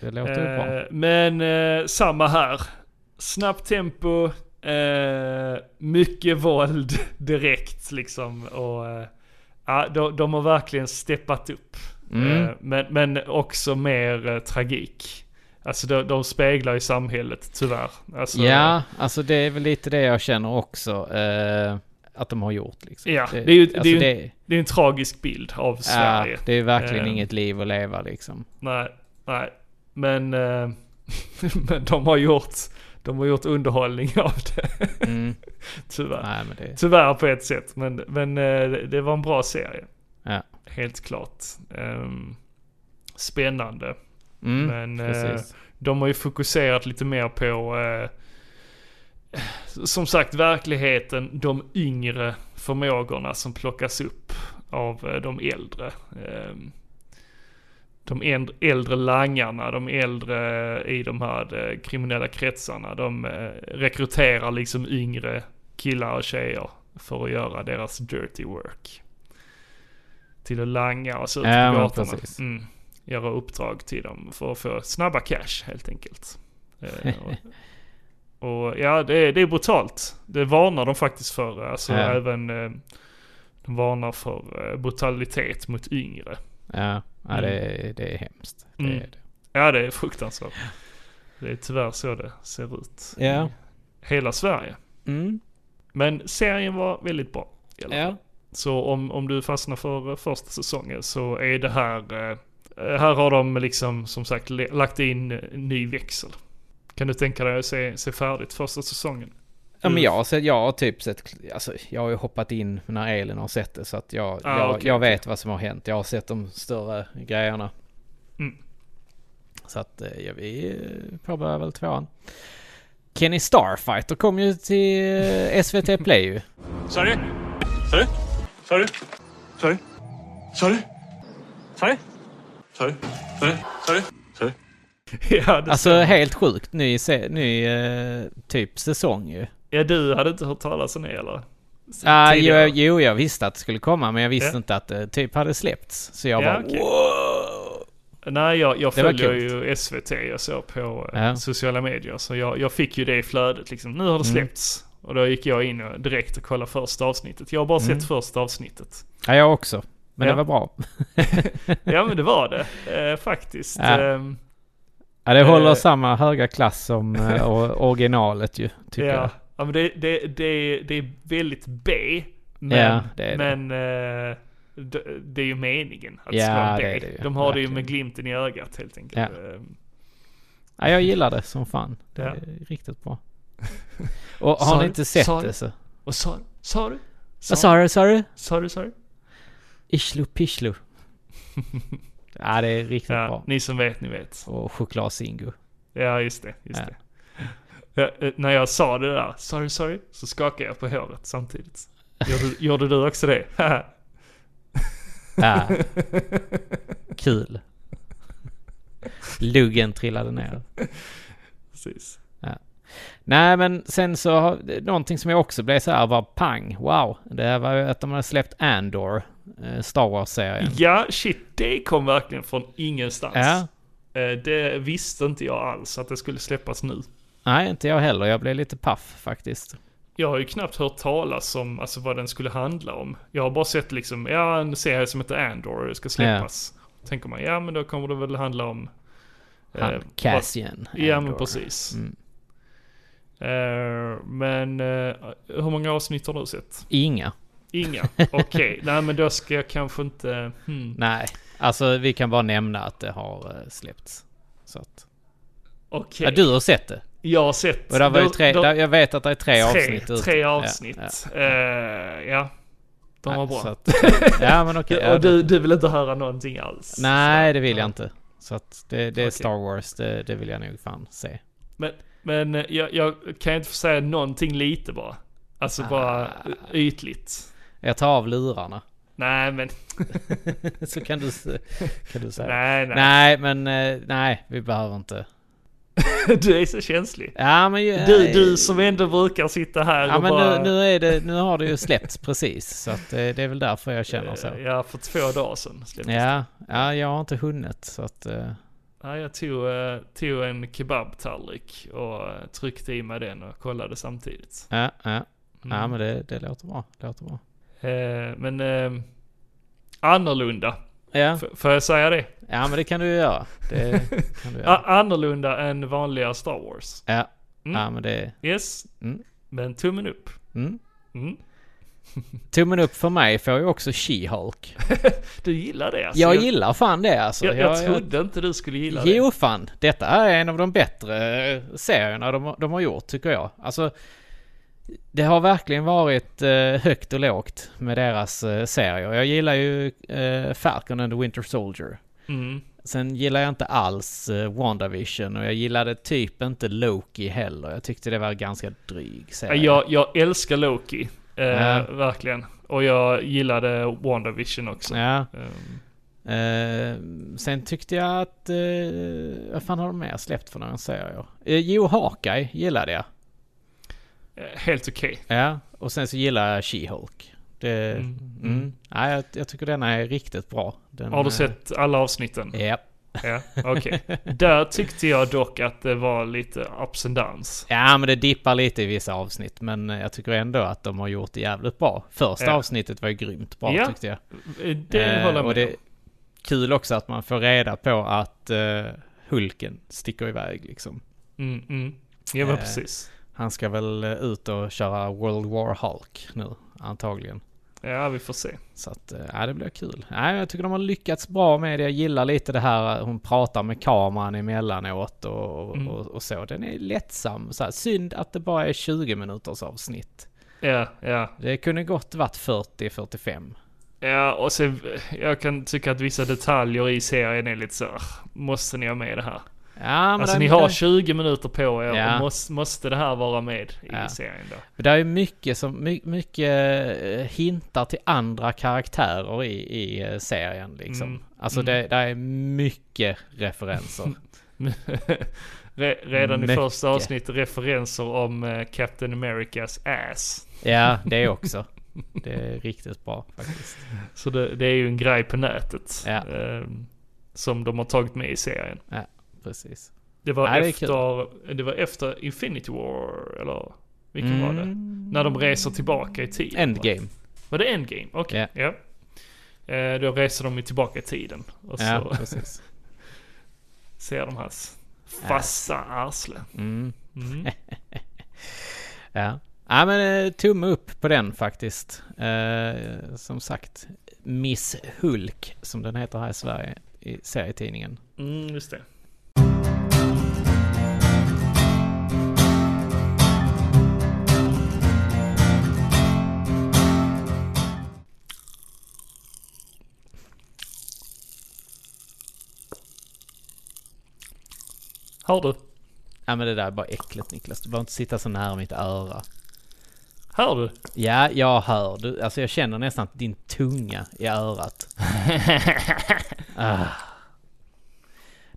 [SPEAKER 1] det låter ju bra.
[SPEAKER 2] Eh, men eh, samma här. Snabbt tempo, eh, mycket våld direkt liksom. Och, eh, ja, de, de har verkligen steppat upp.
[SPEAKER 1] Mm.
[SPEAKER 2] Eh, men, men också mer eh, tragik. Alltså de, de speglar ju samhället tyvärr. Alltså,
[SPEAKER 1] Ja, alltså det är väl lite det jag känner också. eh, att de har gjort liksom.
[SPEAKER 2] Ja, det är ju- det är ju-
[SPEAKER 1] det,
[SPEAKER 2] Det är en tragisk bild av
[SPEAKER 1] ja,
[SPEAKER 2] Sverige.
[SPEAKER 1] det är ju verkligen
[SPEAKER 2] Eh.
[SPEAKER 1] inget liv att leva liksom.
[SPEAKER 2] Nej, nej. Men, eh, men de har gjort, de har gjort underhållning av det
[SPEAKER 1] Mm.
[SPEAKER 2] tyvärr.
[SPEAKER 1] Nej, men det...
[SPEAKER 2] Tyvärr på ett sätt, men, men eh, det var en bra serie.
[SPEAKER 1] Ja.
[SPEAKER 2] Helt klart. Ehm, spännande.
[SPEAKER 1] Mm.
[SPEAKER 2] men eh,
[SPEAKER 1] Precis.
[SPEAKER 2] de har ju fokuserat lite mer på, eh, som sagt, verkligheten, de yngre förmågorna som plockas upp av eh, de äldre. Ehm, de änd- äldre langarna, de äldre i de här eh, kriminella kretsarna, de eh, rekryterar liksom yngre killar och tjejer för att göra deras dirty work. Till att langa och så ut på
[SPEAKER 1] Ja, men
[SPEAKER 2] gatorna.
[SPEAKER 1] precis.
[SPEAKER 2] Mm. Göra uppdrag till dem för att få snabba cash helt enkelt. Eh, och, och ja, det är, det är brutalt. Det varnar de faktiskt för. Alltså
[SPEAKER 1] Ja.
[SPEAKER 2] även eh, de varnar för eh, brutalitet mot yngre.
[SPEAKER 1] Ja, ja det, det är hemskt. Det
[SPEAKER 2] Mm.
[SPEAKER 1] är det.
[SPEAKER 2] Ja, det är fruktansvärt. Det är tyvärr så det ser ut
[SPEAKER 1] Ja.
[SPEAKER 2] i hela Sverige.
[SPEAKER 1] Mm.
[SPEAKER 2] Men serien var väldigt bra i alla fall.
[SPEAKER 1] Ja.
[SPEAKER 2] Så om, om du fastnar för eh, första säsongen så är det här eh, Eh, Här har de liksom som sagt le- lagt in eh, ny växel. Kan du tänka dig att se, se färdigt första säsongen?
[SPEAKER 1] Ja, men
[SPEAKER 2] Mm.
[SPEAKER 1] jag, har sett, jag har typ sett, alltså, jag har ju hoppat in när Elin har sett det så att jag,
[SPEAKER 2] Ah,
[SPEAKER 1] jag,
[SPEAKER 2] okej,
[SPEAKER 1] jag
[SPEAKER 2] okej.
[SPEAKER 1] vet vad som har hänt. Jag har sett de större grejerna.
[SPEAKER 2] Mm.
[SPEAKER 1] Så att eh, ja, vi eh, påbörjar väl tvåan. Kenny Starfighter kom ju till eh, SVT Play ju.
[SPEAKER 3] Sorry. Sorry. Sorry. Sorry. Sorry. Sorry. Sorry. Sorry. Sorry. Sorry.
[SPEAKER 2] Ja, det,
[SPEAKER 1] Alltså helt sjukt ny, se, ny eh, typ säsong ju.
[SPEAKER 2] ja, du hade inte hört talas om det eller?
[SPEAKER 1] Ah, jo,
[SPEAKER 2] tidigare.
[SPEAKER 1] jo, jag visste att det skulle komma men jag visste
[SPEAKER 2] Ja.
[SPEAKER 1] inte att det typ hade släppts. Så jag
[SPEAKER 2] Ja,
[SPEAKER 1] bara
[SPEAKER 2] okej.
[SPEAKER 1] wow!
[SPEAKER 2] Nej, jag, jag
[SPEAKER 1] Det var
[SPEAKER 2] följer ju SVT och så på eh,
[SPEAKER 1] Ja.
[SPEAKER 2] sociala medier. Så jag, jag fick ju det i flödet liksom. Nu har det
[SPEAKER 1] Mm.
[SPEAKER 2] släppts. Och då gick jag in och direkt och kollade första avsnittet. Jag har bara
[SPEAKER 1] Mm.
[SPEAKER 2] sett första avsnittet.
[SPEAKER 1] Ja, jag också. Men
[SPEAKER 2] Ja.
[SPEAKER 1] det var bra.
[SPEAKER 2] Ja men det var det. Eh, faktiskt.
[SPEAKER 1] Ja.
[SPEAKER 2] Ehm,
[SPEAKER 1] Ja, det håller
[SPEAKER 2] Eh.
[SPEAKER 1] samma höga klass som eh, or- originalet ju, tycker
[SPEAKER 2] ja.
[SPEAKER 1] jag.
[SPEAKER 2] ja men det, det, det, det är väldigt B. Men,
[SPEAKER 1] Ja, det är det.
[SPEAKER 2] men eh, det, det är ju meningen att det
[SPEAKER 1] Ja,
[SPEAKER 2] ska vara B.
[SPEAKER 1] det är det ju.
[SPEAKER 2] De har det ju med
[SPEAKER 1] Verkligen.
[SPEAKER 2] glimten i ögat helt enkelt.
[SPEAKER 1] Ja.
[SPEAKER 2] Ehm,
[SPEAKER 1] Ja, jag gillar det som fan. Det
[SPEAKER 2] Ja.
[SPEAKER 1] är riktigt bra. Och har
[SPEAKER 2] Sorry,
[SPEAKER 1] ni inte sett
[SPEAKER 2] sorry.
[SPEAKER 1] det så...
[SPEAKER 2] Och sa, sa du?
[SPEAKER 1] Vad sa du? Sa du?
[SPEAKER 2] Sa du, sa du?
[SPEAKER 1] Ishlu pishlu. Typ, ja, det är riktigt
[SPEAKER 2] Ja,
[SPEAKER 1] bra.
[SPEAKER 2] ni som vet, ni vet.
[SPEAKER 1] Och chokladzingo.
[SPEAKER 2] Ja, just det. Just
[SPEAKER 1] Ja.
[SPEAKER 2] det. Ja, eh, när jag sa det där, sorry, sorry, så skakade jag på håret samtidigt. Gjorde, gjorde du också det?
[SPEAKER 1] Ja. Kul. Luggen trillade ner.
[SPEAKER 2] Precis.
[SPEAKER 1] Nej, men sen så har det- någonting som jag också blev så här var pang, wow. Det var ju att de hade släppt Andor, eh, Star Wars-serien.
[SPEAKER 2] Ja, shit, det kom verkligen från ingenstans.
[SPEAKER 1] Ja.
[SPEAKER 2] Eh, Det visste inte jag alls att det skulle släppas nu.
[SPEAKER 1] Nej, inte jag heller. Jag blev lite paff faktiskt.
[SPEAKER 2] Jag har ju knappt hört talas om alltså, vad den skulle handla om. Jag har bara sett liksom, ja, en serie som heter Andor ska släppas. Tänker man, ja men då kommer det väl handla om...
[SPEAKER 1] Han,
[SPEAKER 2] eh, vad-
[SPEAKER 1] Cassian.
[SPEAKER 2] Ja men
[SPEAKER 1] Andor.
[SPEAKER 2] precis.
[SPEAKER 1] Mm.
[SPEAKER 2] Eh, men eh, hur många avsnitt har du sett?
[SPEAKER 1] Inga.
[SPEAKER 2] Inga? Okej, nej men då ska jag kanske inte... Hmm.
[SPEAKER 1] Nej, alltså vi kan bara nämna att det har eh, släppts. Så att,
[SPEAKER 2] Okej,
[SPEAKER 1] ja, du har sett det.
[SPEAKER 2] jag har sett...
[SPEAKER 1] Och där var ju
[SPEAKER 2] då-
[SPEAKER 1] tre,
[SPEAKER 2] då-
[SPEAKER 1] där, jag vet att det är tre,
[SPEAKER 2] tre,
[SPEAKER 1] avsnitt ute.
[SPEAKER 2] tre
[SPEAKER 1] Ja,
[SPEAKER 2] avsnitt.
[SPEAKER 1] Ja,
[SPEAKER 2] Ja, ja de
[SPEAKER 1] Nej,
[SPEAKER 2] var bra.
[SPEAKER 1] så att, ja men okej. ja,
[SPEAKER 2] och du, du vill inte höra någonting alls?
[SPEAKER 1] nej, det vill
[SPEAKER 2] ja.
[SPEAKER 1] jag inte. Så att det, det är
[SPEAKER 2] Okej.
[SPEAKER 1] Star Wars, det, det vill jag nog fan se.
[SPEAKER 2] Men, men eh, jag, jag kan ju inte få säga någonting lite bara. Alltså bara
[SPEAKER 1] Ah.
[SPEAKER 2] ytligt.
[SPEAKER 1] Jag tar av lurarna.
[SPEAKER 2] Nej men,
[SPEAKER 1] Så kan du, se- kan du säga.
[SPEAKER 2] nej nej.
[SPEAKER 1] Nej, men eh, nej, vi behöver inte.
[SPEAKER 2] Du är så känslig.
[SPEAKER 1] Ja, men ju-
[SPEAKER 2] Du, du som ändå brukar sitta här
[SPEAKER 1] Eh, Ja
[SPEAKER 2] och
[SPEAKER 1] men
[SPEAKER 2] Alltså, bara...
[SPEAKER 1] nu, nu, är det, nu har det ju släppts precis så att eh, det är väl därför jag känner så.
[SPEAKER 2] Ja, för två dagar sedan släpptes det.
[SPEAKER 1] Ja, ja jag har inte hunnit så att... eh,
[SPEAKER 2] Ja, jag tog, eh, tog en kebabtallrik och eh, tryckte i mig den och kollade samtidigt.
[SPEAKER 1] Ja, ja.
[SPEAKER 2] Mm.
[SPEAKER 1] ja men det, det låter bra. Det låter bra.
[SPEAKER 2] Eh, men eh, annorlunda,
[SPEAKER 1] Ja.
[SPEAKER 2] F- får jag säga det?
[SPEAKER 1] ja men det kan du ju göra. Det kan du
[SPEAKER 2] Ja.
[SPEAKER 1] göra.
[SPEAKER 2] Annorlunda än vanliga Star Wars.
[SPEAKER 1] Ja,
[SPEAKER 2] Mm.
[SPEAKER 1] ja men det...
[SPEAKER 2] Yes,
[SPEAKER 1] Mm.
[SPEAKER 2] men tummen upp.
[SPEAKER 1] Mm.
[SPEAKER 2] Mm.
[SPEAKER 1] Tummen upp för mig får ju också She-Hulk.
[SPEAKER 2] Du gillar det alltså?
[SPEAKER 1] Jag gillar fan det alltså.
[SPEAKER 2] jag, jag, trodde inte du skulle gilla det.
[SPEAKER 1] Jo fan, detta är en av de bättre serierna de, de har gjort tycker jag. Alltså, det har verkligen varit eh, högt och lågt med deras eh, serier. Jag gillar ju eh, Falcon and the Winter Soldier.
[SPEAKER 2] Mm.
[SPEAKER 1] Sen gillar jag inte alls eh, WandaVision och jag gillade typ inte Loki heller. Jag tyckte det var en ganska dryg
[SPEAKER 2] Ja,
[SPEAKER 1] serie.
[SPEAKER 2] Jag, jag älskar Loki, eh,
[SPEAKER 1] Ja.
[SPEAKER 2] verkligen. Och jag gillade WandaVision också.
[SPEAKER 1] Ja.
[SPEAKER 2] Ehm,
[SPEAKER 1] Eh, sen tyckte jag att... Eh, vad fan har de mer släppt för några serier? Eh, jo, Hawkeye gillade jag.
[SPEAKER 2] eh, helt okej.
[SPEAKER 1] Ja, och sen så gillar jag She-Hulk. Det,
[SPEAKER 2] Mm.
[SPEAKER 1] mm. Nej, jag, jag tycker denna är riktigt bra. Den,
[SPEAKER 2] Har du
[SPEAKER 1] eh,
[SPEAKER 2] sett alla avsnitten?
[SPEAKER 1] Ja.
[SPEAKER 2] Ja, okej. Där tyckte jag dock att det var lite ups and downs.
[SPEAKER 1] ja, men det dippar lite i vissa avsnitt. Men eh, jag tycker ändå att de har gjort det jävligt bra. Första
[SPEAKER 2] Ja.
[SPEAKER 1] avsnittet var ju grymt bra
[SPEAKER 2] Ja,
[SPEAKER 1] tyckte jag.
[SPEAKER 2] Eh, Det
[SPEAKER 1] Eh,
[SPEAKER 2] håller jag
[SPEAKER 1] och
[SPEAKER 2] med
[SPEAKER 1] det är
[SPEAKER 2] om.
[SPEAKER 1] kul också att man får reda på att eh, Hulken sticker iväg liksom.
[SPEAKER 2] Mm, mm. Ja, men
[SPEAKER 1] Eh,
[SPEAKER 2] precis.
[SPEAKER 1] Han ska väl eh, ut och köra World War Hulk nu, antagligen.
[SPEAKER 2] Ja, vi får se.
[SPEAKER 1] Så att, eh, ja det blir kul. Nej, jag tycker de har lyckats bra med det. Jag gillar lite det här eh, hon pratar med kameran emellanåt och, och,
[SPEAKER 2] Mm.
[SPEAKER 1] och, och så. Den är lättsam. Så här, synd att det bara är 20 minuters avsnitt.
[SPEAKER 2] Ja, ja.
[SPEAKER 1] Det kunde gott varit 40-45.
[SPEAKER 2] Ja, och så, eh, jag kan tycka att vissa detaljer i serien är lite så, "Ah, måste ni ha med det här?
[SPEAKER 1] Ja, men
[SPEAKER 2] alltså
[SPEAKER 1] den-
[SPEAKER 2] ni har 20 minuter på er
[SPEAKER 1] Ja.
[SPEAKER 2] och måste, måste det här vara med i
[SPEAKER 1] Ja.
[SPEAKER 2] serien då?
[SPEAKER 1] Det är mycket som, my, mycket eh, hintar till andra karaktärer i, i eh, serien liksom.
[SPEAKER 2] Mm,
[SPEAKER 1] Alltså
[SPEAKER 2] mm.
[SPEAKER 1] det, det är mycket referenser.
[SPEAKER 2] Re- Redan i
[SPEAKER 1] Mycket.
[SPEAKER 2] första avsnittet referenser om eh, Captain Americas ass.
[SPEAKER 1] ja, det också. Det är riktigt bra faktiskt.
[SPEAKER 2] Så det, det är ju en grej på nätet.
[SPEAKER 1] Ja.
[SPEAKER 2] ehm, som de har tagit med i serien.
[SPEAKER 1] Precis.
[SPEAKER 2] Det var,
[SPEAKER 1] Nej, det är
[SPEAKER 2] efter, det, var efter Infinity War, eller vilken var det? När de reser tillbaka i tiden. va?
[SPEAKER 1] Mm. Endgame.
[SPEAKER 2] Var det Endgame? Okej. Ja. Eh, då reser de ju tillbaka i tiden. Och
[SPEAKER 1] Ja,
[SPEAKER 2] så
[SPEAKER 1] precis.
[SPEAKER 2] ser de hans fasta arsle.
[SPEAKER 1] Mm.
[SPEAKER 2] Mm.
[SPEAKER 1] Ja. ja, men eh, tumme upp på den faktiskt. Eh, som sagt, Miss Hulk som den heter här i Sverige i serietidningen.
[SPEAKER 2] Mm, just det. Hör du?
[SPEAKER 1] Ja men det där är bara äckligt Niklas. Du behöver inte sitta så nära mitt öra.
[SPEAKER 2] Hör du?
[SPEAKER 1] Ja, jag hör. Du, alltså jag känner nästan din tunga i örat. ah.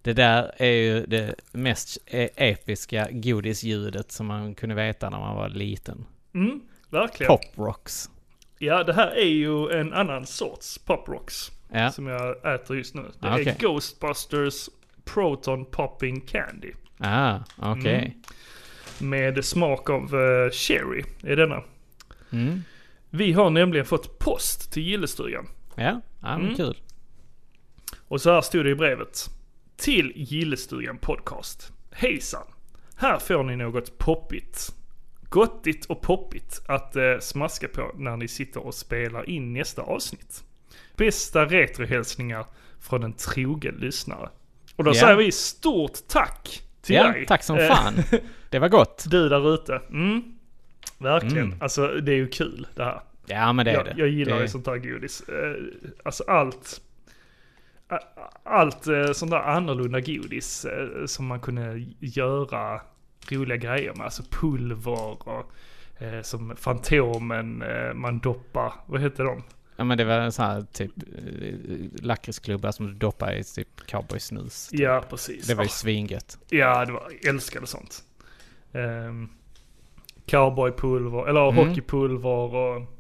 [SPEAKER 1] Det där är ju det mest e- episka godisljudet som man kunde veta när man var liten.
[SPEAKER 2] Mm, verkligen.
[SPEAKER 1] Pop rocks.
[SPEAKER 2] Ja, det här är ju en annan sorts pop rocks
[SPEAKER 1] Ja.
[SPEAKER 2] som jag äter just nu. Det
[SPEAKER 1] Ah, okej.
[SPEAKER 2] är Ghostbusters Proton Popping Candy.
[SPEAKER 1] Ah, okej.
[SPEAKER 2] Med smak av eh, cherry i denna.
[SPEAKER 1] Mm.
[SPEAKER 2] Vi har nämligen fått post till gillestugan.
[SPEAKER 1] Ja, ja men
[SPEAKER 2] Mm.
[SPEAKER 1] kul.
[SPEAKER 2] Och så här stod det i brevet. Till Gillestugan Podcast. Hejsan! Här får ni något poppigt. Gottigt och poppigt att eh, smaska på när ni sitter och spelar in nästa avsnitt. Bästa retrohälsningar från en trogen lyssnare. Och då
[SPEAKER 1] Ja.
[SPEAKER 2] säger vi stort tack till
[SPEAKER 1] Ja,
[SPEAKER 2] dig.
[SPEAKER 1] tack som
[SPEAKER 2] Eh,
[SPEAKER 1] fan. Det var gott.
[SPEAKER 2] Du där ute. Mm. Verkligen.
[SPEAKER 1] Mm.
[SPEAKER 2] Alltså det är ju kul det här.
[SPEAKER 1] Ja, men det är
[SPEAKER 2] jag,
[SPEAKER 1] det.
[SPEAKER 2] jag gillar
[SPEAKER 1] det.
[SPEAKER 2] ju sånt här godis. Eh, Alltså allt. a- Allt eh, sånt där annorlunda godis eh, som man kunde göra roliga grejer med. Alltså pulver och eh, som Fantomen eh, man doppar. Vad heter de?
[SPEAKER 1] Ja, men det var en sån här typ eh, lakritsklubba som du doppar i typ cowboysnus.
[SPEAKER 2] Ja, precis. Ah,
[SPEAKER 1] Det var ju svingött.
[SPEAKER 2] Ja, det var, jag älskade sånt. Um, cowboypulver, eller
[SPEAKER 1] Mm.
[SPEAKER 2] hockeypulver och...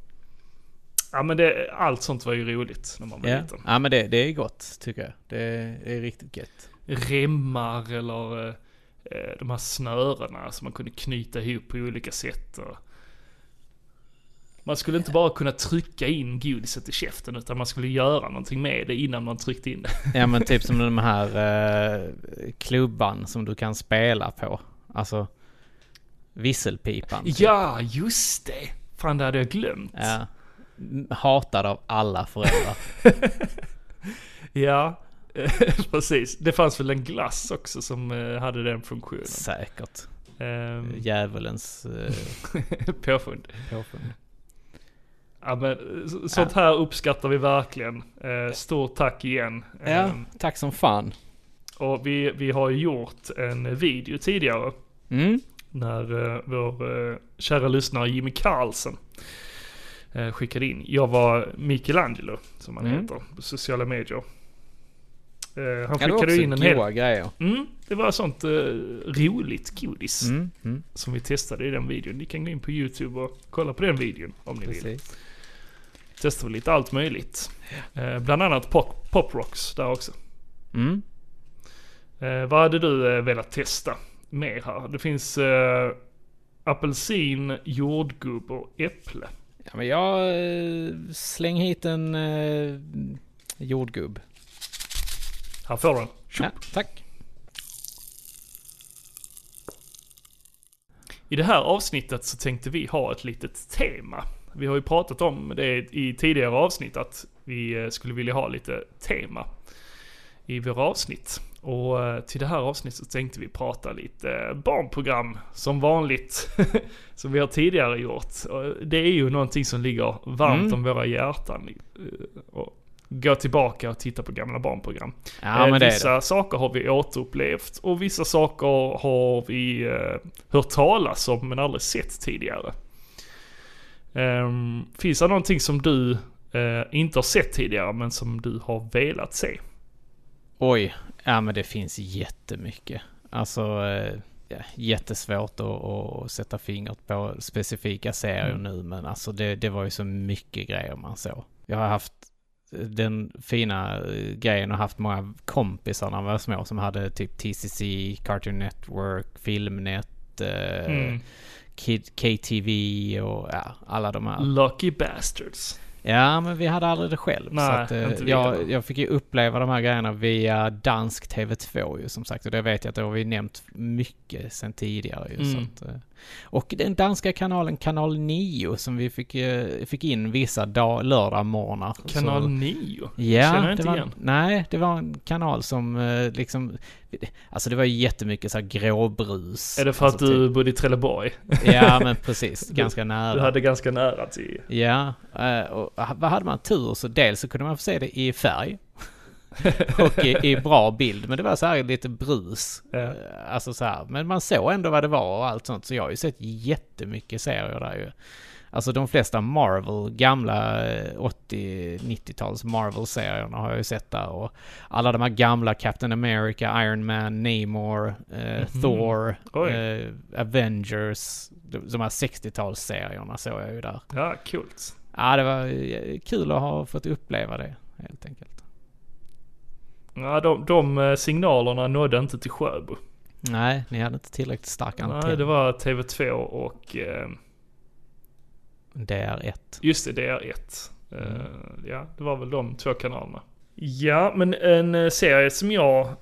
[SPEAKER 2] Ja men det, allt sånt var ju roligt när man var
[SPEAKER 1] Ja.
[SPEAKER 2] liten.
[SPEAKER 1] ja, men det, det är gott tycker jag. Det är, det är riktigt gött.
[SPEAKER 2] Remmar eller eh, eh, de här snörena som man kunde knyta ihop på olika sätt. Och man skulle inte bara kunna trycka in godiset i käften utan man skulle göra någonting med det innan man tryckte in det.
[SPEAKER 1] Ja, men typ som de här eh, klubban som du kan spela på. Alltså visselpipan. typ.
[SPEAKER 2] Ja, just det! Fan, det hade jag glömt.
[SPEAKER 1] ja. Hatad av alla föräldrar.
[SPEAKER 2] Ja, precis. Det fanns väl en glass också som eh, hade den funktionen.
[SPEAKER 1] Säkert.
[SPEAKER 2] Ehm,
[SPEAKER 1] Djävulens eh,
[SPEAKER 2] Påfund.
[SPEAKER 1] påfund.
[SPEAKER 2] Ja, men, eh, så- sånt här uppskattar vi verkligen. Eh, Stort tack igen.
[SPEAKER 1] Ja,
[SPEAKER 2] Ehm,
[SPEAKER 1] Mm. tack som fan.
[SPEAKER 2] Och vi, vi har ju gjort en video tidigare
[SPEAKER 1] Mm.
[SPEAKER 2] när eh, vår eh, kära lyssnare Jimmy Karlsson eh, skickade in. Jag var Michelangelo, som han
[SPEAKER 1] Mm.
[SPEAKER 2] heter, på sociala medier. Eh, han
[SPEAKER 1] Ja, det var
[SPEAKER 2] skickade
[SPEAKER 1] också
[SPEAKER 2] in en hel...
[SPEAKER 1] goa grejer.
[SPEAKER 2] Mm, det var sånt eh, roligt godis
[SPEAKER 1] Mm. Mm.
[SPEAKER 2] som vi testade i den videon. Ni kan gå in på YouTube och kolla på den videon om ni vill.
[SPEAKER 1] Precis.
[SPEAKER 2] Testade vi lite allt möjligt. Eh, bland annat pop, pop rocks där också.
[SPEAKER 1] Mm.
[SPEAKER 2] Eh, vad hade du eh, velat testa mer här? Det finns eh, apelsin, jordgubb och äpple.
[SPEAKER 1] Ja, men jag eh, släng hit en eh, jordgubb.
[SPEAKER 2] Här får du den.
[SPEAKER 1] Ja,
[SPEAKER 2] Eh,
[SPEAKER 1] tack.
[SPEAKER 2] I det här avsnittet så tänkte vi ha ett litet tema. Vi har ju pratat om det i tidigare avsnitt att vi eh, skulle vilja ha lite tema i våra avsnitt. Och eh, till det här avsnittet tänkte vi prata lite eh, barnprogram som vanligt. som vi har tidigare gjort. Och Det är ju någonting som ligger varmt
[SPEAKER 1] Mm.
[SPEAKER 2] om våra hjärtan. eh, Och gå tillbaka och titta på gamla barnprogram.
[SPEAKER 1] Ja,
[SPEAKER 2] Eh,
[SPEAKER 1] men det är
[SPEAKER 2] vissa saker har vi återupplevt och vissa saker har vi eh, hört talas om men aldrig sett tidigare. Ehm, finns det någonting som du eh, inte har sett tidigare men som du har velat se?
[SPEAKER 1] Oj, ja men det finns jättemycket. Alltså eh, ja, jättesvårt att, att sätta fingret på specifika serier nu men alltså det, det var ju så mycket grejer man såg. Jag har haft den fina eh, grejen och haft många kompisar när jag var små som hade typ TCC, Cartoon Network, Filmnet, eh,
[SPEAKER 2] Mm.
[SPEAKER 1] Kid, KTV och ja, alla de här.
[SPEAKER 2] Lucky bastards.
[SPEAKER 1] Ja, men vi hade aldrig det själv. så
[SPEAKER 2] Nej,
[SPEAKER 1] att, eh,
[SPEAKER 2] inte vi
[SPEAKER 1] jag,
[SPEAKER 2] heller.
[SPEAKER 1] jag fick ju uppleva de här grejerna via dansk TV2 ju som sagt. Och det vet jag att det har vi nämnt mycket sen tidigare ju. Så
[SPEAKER 2] Mm.
[SPEAKER 1] att, eh, och den danska kanalen Kanal 9 som vi fick, eh, fick in vissa dag, lördagmorgnar.
[SPEAKER 2] Kanal
[SPEAKER 1] Så-
[SPEAKER 2] 9.
[SPEAKER 1] Ja,
[SPEAKER 2] Känner jag inte
[SPEAKER 1] det var,
[SPEAKER 2] igen.
[SPEAKER 1] Nej, det var en kanal som eh, liksom... Alltså det var ju jättemycket så här gråbrus.
[SPEAKER 2] Är det för att
[SPEAKER 1] alltså,
[SPEAKER 2] du bodde i Trelleborg?
[SPEAKER 1] Typ, ja, men precis. ganska nära.
[SPEAKER 2] Du hade ganska nära till...
[SPEAKER 1] Ja, eh, och vad hade man tur så dels så kunde man få se det i färg. och i, i bra bild, men det var så här lite brus.
[SPEAKER 2] Ja.
[SPEAKER 1] Eh, Alltså så här, men man såg ändå vad det var och allt sånt. Så jag har ju sett jättemycket serier där ju. Alltså de flesta Marvel, gamla eh, 80-90-tals Marvel-serierna har jag ju sett där. Och alla de här gamla Captain America, Iron Man, Namor, eh, Thor,
[SPEAKER 2] Mhm. Oj.
[SPEAKER 1] eh, Avengers. De, de här 60-talsserierna såg jag ju där.
[SPEAKER 2] Ja, coolt.
[SPEAKER 1] Ja, det var eh, kul att ha fått uppleva det helt enkelt.
[SPEAKER 2] Ja, de, de eh, signalerna nådde inte till Sjöbo.
[SPEAKER 1] Nej, ni hade inte tillräckligt stark antenn.
[SPEAKER 2] Nej, det var TV2 och... Eh,
[SPEAKER 1] DR1.
[SPEAKER 2] Just det, DR1. Eh,
[SPEAKER 1] Mm.
[SPEAKER 2] ja, det var väl de två kanalerna. Ja, men en eh, serie som jag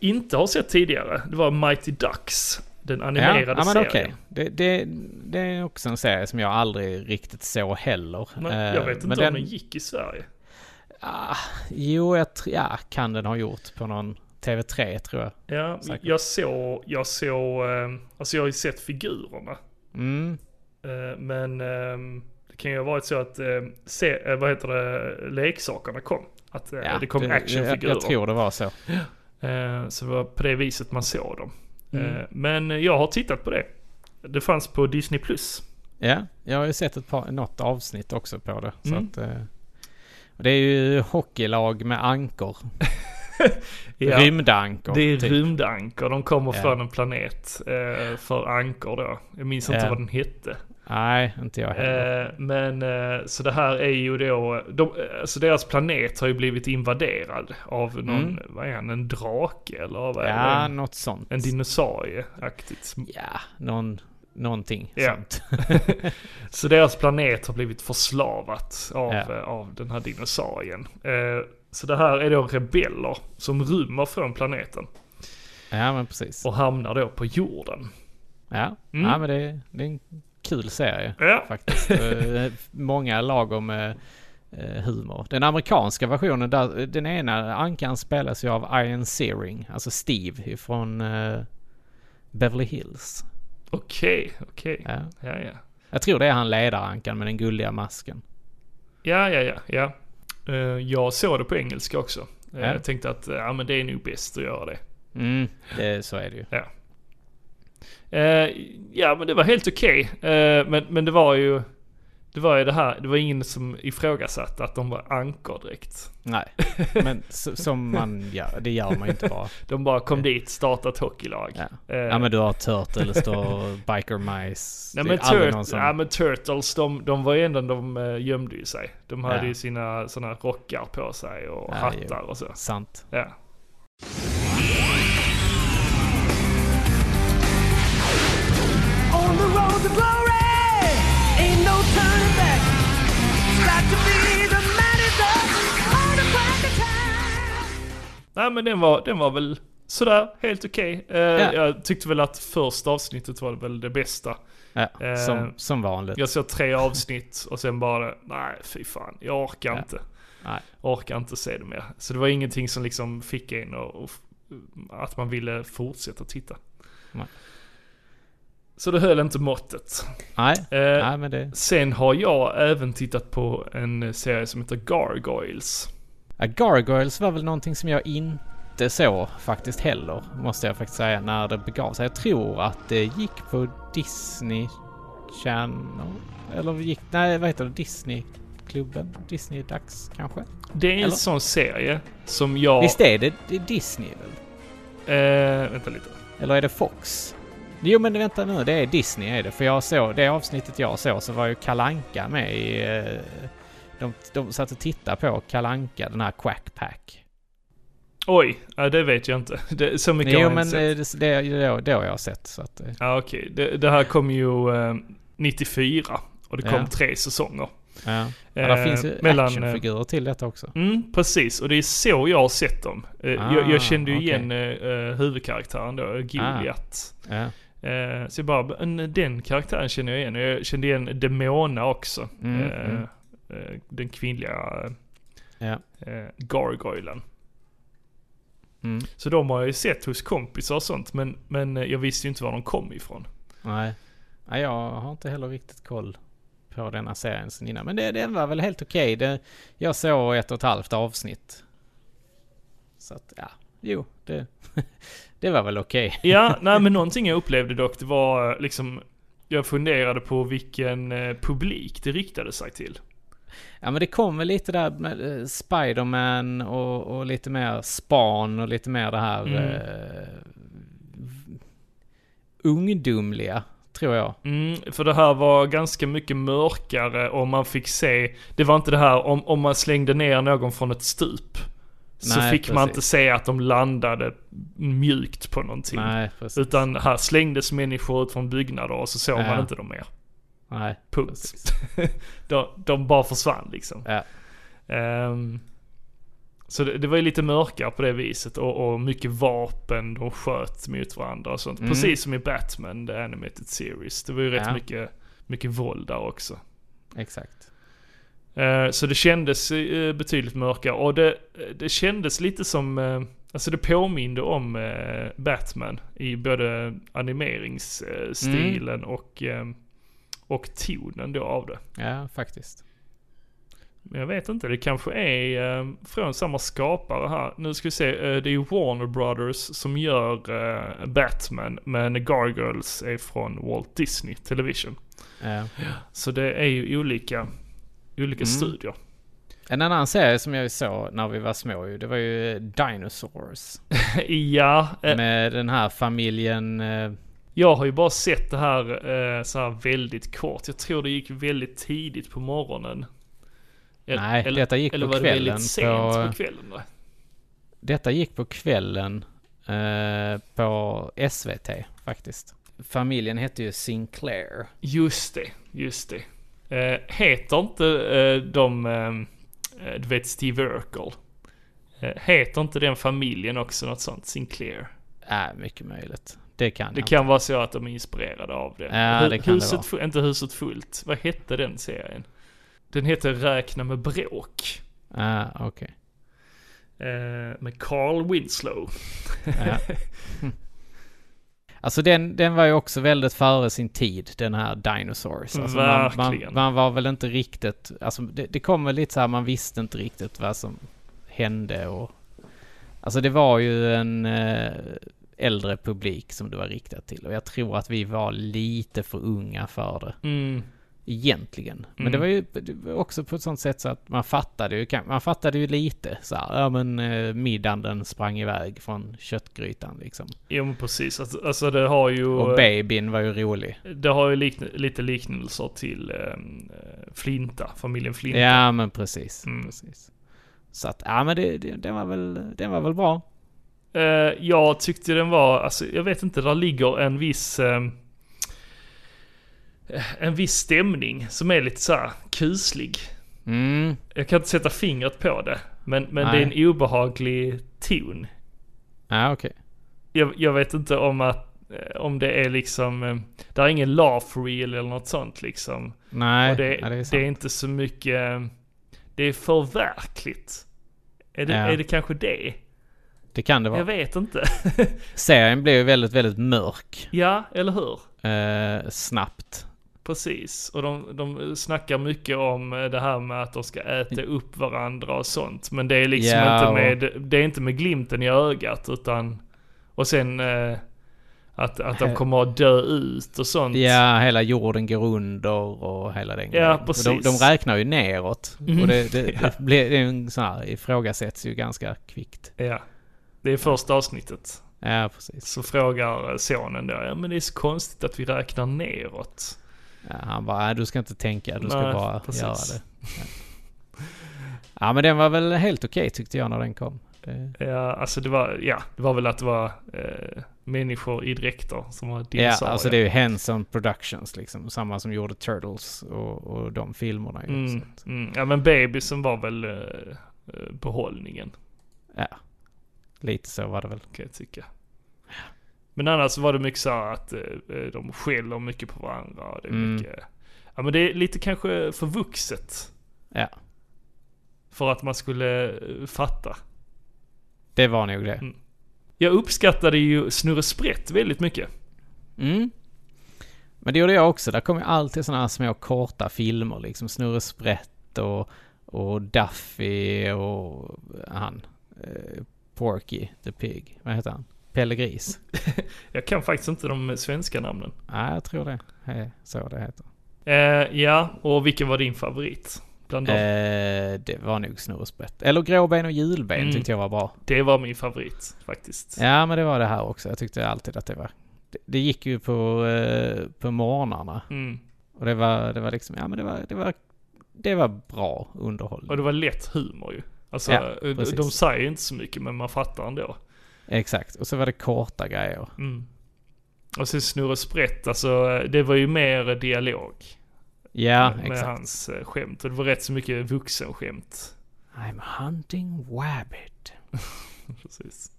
[SPEAKER 2] inte har sett tidigare, det var Mighty Ducks. Den
[SPEAKER 1] Ja,
[SPEAKER 2] animerade
[SPEAKER 1] ja, men
[SPEAKER 2] serien.
[SPEAKER 1] okej. Det, det, det är också en serie som jag aldrig riktigt såg heller.
[SPEAKER 2] Men, jag
[SPEAKER 1] Eh,
[SPEAKER 2] vet inte
[SPEAKER 1] men
[SPEAKER 2] om den... gick i Sverige.
[SPEAKER 1] Ah, jo, jag tr- ja, kan den ha gjort på någon TV3 tror jag.
[SPEAKER 2] Ja,
[SPEAKER 1] Säkert.
[SPEAKER 2] jag såg, jag såg, eh, alltså jag har ju sett figurerna.
[SPEAKER 1] Mm.
[SPEAKER 2] Eh, Men eh, det kan ju ha varit så att, eh, se, eh, vad heter det, leksakerna kom. Att eh, det kom
[SPEAKER 1] jag,
[SPEAKER 2] actionfigurer.
[SPEAKER 1] jag tror det var så.
[SPEAKER 2] Eh, Så det var på det viset man såg dem.
[SPEAKER 1] Mm.
[SPEAKER 2] Eh, Men jag har tittat på det. Det fanns på Disney+. Plus.
[SPEAKER 1] Ja, jag har ju sett ett par, något avsnitt också på det. Så
[SPEAKER 2] Mm.
[SPEAKER 1] att, eh, det är ju hockeylag med ankor.
[SPEAKER 2] Ja,
[SPEAKER 1] Rymdankor.
[SPEAKER 2] det är
[SPEAKER 1] typ.
[SPEAKER 2] rymdankor. De kommer
[SPEAKER 1] Ja.
[SPEAKER 2] från en planet eh, för ankor då. Jag minns inte
[SPEAKER 1] Ja.
[SPEAKER 2] vad den hette.
[SPEAKER 1] Nej, inte jag heller.
[SPEAKER 2] Eh, Men eh, så det här är ju då, de, alltså deras planet har ju blivit invaderad av någon,
[SPEAKER 1] Mm.
[SPEAKER 2] vad är han, en drake eller vad är det?
[SPEAKER 1] Ja,
[SPEAKER 2] En,
[SPEAKER 1] något sånt.
[SPEAKER 2] en dinosaurie-aktigt.
[SPEAKER 1] ja, någon, någonting
[SPEAKER 2] Ja.
[SPEAKER 1] sånt.
[SPEAKER 2] Så deras planet har blivit förslavat av,
[SPEAKER 1] Ja.
[SPEAKER 2] eh, av den här dinosaurien. Eh, så det här är då rebeller som rymmer från planeten
[SPEAKER 1] Ja, men precis.
[SPEAKER 2] och hamnar då på jorden.
[SPEAKER 1] Ja,
[SPEAKER 2] Mm.
[SPEAKER 1] ja men det, det är en kul serie
[SPEAKER 2] Ja,
[SPEAKER 1] faktiskt. Eh, Många lagom eh, eh, humor. Den amerikanska versionen, där, den ena ankan spelas ju av Ian Searing, alltså Steve från eh, Beverly Hills.
[SPEAKER 2] okej, okej.
[SPEAKER 1] Ja.
[SPEAKER 2] Ja, ja.
[SPEAKER 1] Jag tror det är han ledarankan med den gulliga masken.
[SPEAKER 2] Ja, ja, ja. ja. Eh, jag såg det på engelska också. Eh,
[SPEAKER 1] Ja.
[SPEAKER 2] Jag tänkte att eh, ja, men det är nog bäst att göra det.
[SPEAKER 1] Mm, det, så är det ju.
[SPEAKER 2] Ja. Eh, ja, men det var helt okej. Eh, men, men det var ju... Det var ju det här, det var ingen som ifrågasatte att de var ankor direkt.
[SPEAKER 1] Nej, men s- som man gör, det gör man ju inte bara.
[SPEAKER 2] De bara kom dit, startade ett hockeylag.
[SPEAKER 1] Ja.
[SPEAKER 2] Eh,
[SPEAKER 1] Ja men du har Turtles då, Biker Mice.
[SPEAKER 2] Nej
[SPEAKER 1] det
[SPEAKER 2] men,
[SPEAKER 1] är aldrig
[SPEAKER 2] tur-
[SPEAKER 1] någon som...
[SPEAKER 2] ja, men Turtles, de, de var ju ändå, de eh, gömde ju sig. De hade
[SPEAKER 1] Ja.
[SPEAKER 2] ju sina sådana rockar på sig och
[SPEAKER 1] Ja,
[SPEAKER 2] hattar och så.
[SPEAKER 1] Sant.
[SPEAKER 2] Ja.
[SPEAKER 4] On the road to glory, ain't no turning back. It's got to be the man is up, on the private time.
[SPEAKER 2] Nej men den var, den var väl sådär, helt okej. Eh,
[SPEAKER 1] Ja.
[SPEAKER 2] Jag tyckte väl att första avsnittet var väl det bästa.
[SPEAKER 1] Ja,
[SPEAKER 2] Eh,
[SPEAKER 1] som, som vanligt.
[SPEAKER 2] Jag såg tre avsnitt och sen bara, nej fy fan, jag orkar
[SPEAKER 1] Ja.
[SPEAKER 2] inte.
[SPEAKER 1] Nej.
[SPEAKER 2] Orkar inte se det mer. Så det var ingenting som liksom fick en och, och, att man ville fortsätta titta.
[SPEAKER 1] Nej.
[SPEAKER 2] Så det höll inte måttet.
[SPEAKER 1] Nej,
[SPEAKER 2] Eh,
[SPEAKER 1] nej men det...
[SPEAKER 2] Sen har jag även tittat på en serie som heter Gargoyles.
[SPEAKER 1] Ja, Gargoyles var väl någonting som jag inte såg faktiskt heller, måste jag faktiskt säga, när det begav sig. Jag tror att det gick på Disney Channel. Eller gick... Nej, vad heter det? Disney-klubben? Disney-dags kanske?
[SPEAKER 2] Det är en
[SPEAKER 1] Eller?
[SPEAKER 2] sån serie som jag...
[SPEAKER 1] Visst är det, det är Disney väl?
[SPEAKER 2] Eh, vänta lite.
[SPEAKER 1] Eller är det Fox? Jo men vänta nu, det är Disney är det. För jag såg, det avsnittet jag såg så var ju Kalanka med i... eh, De, de satt och tittade på Kalanka, den här Quack Pack.
[SPEAKER 2] Oj, ja, det vet jag inte. Det, så mycket har
[SPEAKER 1] Jo
[SPEAKER 2] jag
[SPEAKER 1] men
[SPEAKER 2] inte sett.
[SPEAKER 1] eh, det, det, det, är då- då jag har sett. Så att, eh,
[SPEAKER 2] Ja, okej. Det, det här kom ju eh, 94 och det kom
[SPEAKER 1] Ja.
[SPEAKER 2] tre säsonger.
[SPEAKER 1] ja. ja, där
[SPEAKER 2] Eh,
[SPEAKER 1] finns ju
[SPEAKER 2] mellan, eh,
[SPEAKER 1] actionfigurer till detta också.
[SPEAKER 2] Mm, precis. Och det är så jag har sett dem. Eh, jag,
[SPEAKER 1] Ah,
[SPEAKER 2] jag kände ju
[SPEAKER 1] okej.
[SPEAKER 2] igen eh, eh, huvudkaraktären då, Goliat.
[SPEAKER 1] Ja.
[SPEAKER 2] Eh, så jag bara, "Men den karaktären känner jag igen. Och jag kände igen Demona också.
[SPEAKER 1] Mm,
[SPEAKER 2] eh,
[SPEAKER 1] mm.
[SPEAKER 2] eh, den kvinnliga
[SPEAKER 1] Ja.
[SPEAKER 2] eh, gargoylen.
[SPEAKER 1] Mm.
[SPEAKER 2] Så de har jag ju sett hos kompisar och sånt. Men, men eh, jag visste ju inte var de kom ifrån.
[SPEAKER 1] Nej. Nej, jag har inte heller riktigt koll på denna serien sen innan. Men det, den var väl helt okej. Det- Jag såg ett och ett halvt avsnitt. Så att, ja. Jo, det, det var väl okej.
[SPEAKER 2] Ja, nej men någonting jag upplevde dock, det var eh, liksom, jag funderade på vilken eh, publik det riktade sig till.
[SPEAKER 1] Ja, men det kom väl lite där med eh, Spiderman och, och lite mer span och lite mer det här
[SPEAKER 2] Mm.
[SPEAKER 1] eh, ungdomliga, tror jag.
[SPEAKER 2] Mm, för det här var ganska mycket mörkare och man fick se, det var inte det här om, om man slängde ner någon från ett stup. Så
[SPEAKER 1] Nej,
[SPEAKER 2] fick man
[SPEAKER 1] precis.
[SPEAKER 2] inte se att de landade mjukt på någonting.
[SPEAKER 1] Nej, precis.
[SPEAKER 2] Utan här slängdes människor ut från byggnader och så såg
[SPEAKER 1] Ja.
[SPEAKER 2] man inte dem mer.
[SPEAKER 1] Nej,
[SPEAKER 2] Punkt.
[SPEAKER 1] precis.
[SPEAKER 2] De, de bara försvann liksom.
[SPEAKER 1] Ja.
[SPEAKER 2] Ehm, så det, det var ju lite mörkare på det viset och, och mycket vapen de sköt mot varandra och sånt.
[SPEAKER 1] Mm.
[SPEAKER 2] Precis som i Batman, The Animated Series. Det var ju rätt
[SPEAKER 1] Ja.
[SPEAKER 2] mycket, mycket våld där också.
[SPEAKER 1] Exakt.
[SPEAKER 2] Eh, så det kändes eh, betydligt mörkare och det, det kändes lite som, eh, alltså det påminde om eh, Batman i både animeringsstilen
[SPEAKER 1] Mm.
[SPEAKER 2] och, eh, och tonen då av det.
[SPEAKER 1] Ja, faktiskt.
[SPEAKER 2] Men jag vet inte, det kanske är eh, från samma skapare här. Nu ska vi se, eh, det är ju Warner Brothers som gör eh, Batman, men Gargoyles är från Walt Disney Television.
[SPEAKER 1] Ja.
[SPEAKER 2] Så det är ju olika,
[SPEAKER 1] Mm.
[SPEAKER 2] olika studier.
[SPEAKER 1] En annan serie som jag ju såg när vi var små ju, det var ju eh, Dinosaurs.
[SPEAKER 2] ja, eh,
[SPEAKER 1] Med den här familjen... eh,
[SPEAKER 2] jag har ju bara sett det här eh, så här väldigt kort. Jag tror det gick väldigt tidigt på morgonen. El-
[SPEAKER 1] Nej, detta gick
[SPEAKER 2] eller
[SPEAKER 1] på
[SPEAKER 2] var det
[SPEAKER 1] kvällen.
[SPEAKER 2] väldigt sent
[SPEAKER 1] på, eh,
[SPEAKER 2] på kvällen? Då?
[SPEAKER 1] detta gick på kvällen eh, på SVT faktiskt. Familjen hette ju Sinclair.
[SPEAKER 2] Just det, just det. Eh, heter inte eh, de, eh, du vet Steve Urkel? Eh, heter inte den familjen också något sånt? Sinclair?
[SPEAKER 1] Äh, mycket möjligt. Det kan
[SPEAKER 2] Det
[SPEAKER 1] jag.
[SPEAKER 2] kan vara så att de är inspirerade av det.
[SPEAKER 1] Ja,
[SPEAKER 2] Hu-
[SPEAKER 1] det kan det
[SPEAKER 2] huset
[SPEAKER 1] vara.
[SPEAKER 2] fu- Inte Huset Fullt. Vad hette den serien? Den heter Räkna med bråk.
[SPEAKER 1] Ja, Ah, okej.
[SPEAKER 2] Eh, med Carl Winslow.
[SPEAKER 1] Ja. Alltså den, den var ju också väldigt före sin tid, den här Dinosaurs. Alltså man, man,
[SPEAKER 2] Verkligen.
[SPEAKER 1] man var väl inte riktigt, alltså det, det kom väl lite så här, man visste inte riktigt vad som hände och... Alltså det var ju en eh, äldre publik som det var riktat till och jag tror att vi var lite för unga för det
[SPEAKER 2] Mm.
[SPEAKER 1] egentligen. Men
[SPEAKER 2] Mm.
[SPEAKER 1] det var ju det var också på ett sånt sätt så att man fattade ju, kan- man fattade ju lite så här, ja men eh, middagen den sprang iväg från köttgrytan liksom.
[SPEAKER 2] Jo men precis, alltså, alltså det har ju...
[SPEAKER 1] Och babyn var ju rolig.
[SPEAKER 2] det har ju likn- lite liknelser till ehm, eh, Flinta, familjen Flinta.
[SPEAKER 1] Ja men precis.
[SPEAKER 2] Mm.
[SPEAKER 1] precis. Så att, ja men det, det, den, var väl, den var väl bra.
[SPEAKER 2] Eh, jag tyckte den var, alltså jag vet inte, där ligger en viss... ehm, eh, en viss stämning som är lite så här kuslig.
[SPEAKER 1] Mm.
[SPEAKER 2] Jag kan inte sätta fingret på det. Men, men det
[SPEAKER 1] Nej.
[SPEAKER 2] är en obehaglig ton.
[SPEAKER 1] Ja okej.
[SPEAKER 2] Jag, jag vet inte om att eh, om det är liksom, eh, där är ingen laugh reel eller något sånt liksom.
[SPEAKER 1] Nej,
[SPEAKER 2] Och det,
[SPEAKER 1] ja, det är sant.
[SPEAKER 2] det är inte så mycket, eh, det är för verkligt. Är det,
[SPEAKER 1] Ja.
[SPEAKER 2] är det kanske det?
[SPEAKER 1] det kan det
[SPEAKER 2] Jag
[SPEAKER 1] vara.
[SPEAKER 2] vet inte.
[SPEAKER 1] Serien blev ju väldigt, väldigt mörk
[SPEAKER 2] ja, eller hur?
[SPEAKER 1] eh, snabbt.
[SPEAKER 2] Precis, och de, de snackar mycket om eh, det här med att de ska äta upp varandra och sånt. Men det är liksom
[SPEAKER 1] Mm. Ja, och-
[SPEAKER 2] inte, med, det är inte med glimten i ögat utan... Och sen eh, att, att de kommer att dö ut och sånt.
[SPEAKER 1] Eh. Ja, hela jorden går under och hela den
[SPEAKER 2] Ja,
[SPEAKER 1] grejen. Och De,
[SPEAKER 2] precis.
[SPEAKER 1] de räknar ju neråt. Och det, det, det, blir, det är ju en sån här, ifrågasätts ju ganska kvickt.
[SPEAKER 2] Ja. Det är första avsnittet.
[SPEAKER 1] Ja, precis.
[SPEAKER 2] Så frågar eh, sonen då, ja men det är så konstigt att vi räknar neråt.
[SPEAKER 1] Ja, han bara, "Äh, du ska inte tänka, du ska
[SPEAKER 2] Nej,
[SPEAKER 1] bara
[SPEAKER 2] precis.
[SPEAKER 1] göra det. Ja. ja, men den var väl helt okej tyckte jag när den kom. Det-
[SPEAKER 2] Ja, alltså det var, ja, det var väl att det var eh, människor i dräkter som var
[SPEAKER 1] Ja,
[SPEAKER 2] dinosaurier.
[SPEAKER 1] alltså det är ju Henson Productions liksom. Samma som gjorde Turtles och, och de filmerna ju.
[SPEAKER 2] Mm,
[SPEAKER 1] Så att,
[SPEAKER 2] mm. Ja men bebisen var väl eh, eh, behållningen
[SPEAKER 1] ja, lite så var det väl.
[SPEAKER 2] kan jag tycka. Men annars var det mycket så här att eh, eh, de skäller mycket på varandra och det är
[SPEAKER 1] Mm.
[SPEAKER 2] mycket... Ja men det är lite kanske förvuxet.
[SPEAKER 1] Ja,
[SPEAKER 2] För att man skulle eh, fatta.
[SPEAKER 1] det var nog det.
[SPEAKER 2] Jag uppskattade ju Snurre Sprätt väldigt mycket.
[SPEAKER 1] Mm. Men det gjorde jag också. Där kom ju alltid sådana här små korta filmer liksom. Snurre Sprätt och, och Duffy och han. Eh, Porky the Pig. Vad heter han? Pelle Gris.
[SPEAKER 2] Jag kan faktiskt inte de svenska namnen.
[SPEAKER 1] Nej, jag tror det. är Så det heter.
[SPEAKER 2] Eh, ja, och vilken var din favorit? Bland dem?
[SPEAKER 1] Eh, det var nog Snurre Sprätt. Eller Gråben och Julben
[SPEAKER 2] Mm.
[SPEAKER 1] tyckte jag var bra.
[SPEAKER 2] Det var min favorit faktiskt.
[SPEAKER 1] Ja, men det var det här också. Jag tyckte alltid att det var... Det, det gick ju på, eh, på morgnarna.
[SPEAKER 2] Mm.
[SPEAKER 1] Och det var, det var liksom, ja men det var, det var, det var bra underhållning.
[SPEAKER 2] Och det var lätt humor ju. Alltså,
[SPEAKER 1] Ja,
[SPEAKER 2] de-
[SPEAKER 1] precis.
[SPEAKER 2] de säger ju inte så mycket men man fattar ändå.
[SPEAKER 1] Exakt, och så var det korta grejer.
[SPEAKER 2] Mm. Och sen Snurre Sprätt, alltså det var ju mer dialog
[SPEAKER 1] Ja,
[SPEAKER 2] med
[SPEAKER 1] exakt.
[SPEAKER 2] hans eh, skämt. Och det var rätt så mycket vuxenskämt.
[SPEAKER 1] I'm hunting wabbit.
[SPEAKER 2] Precis.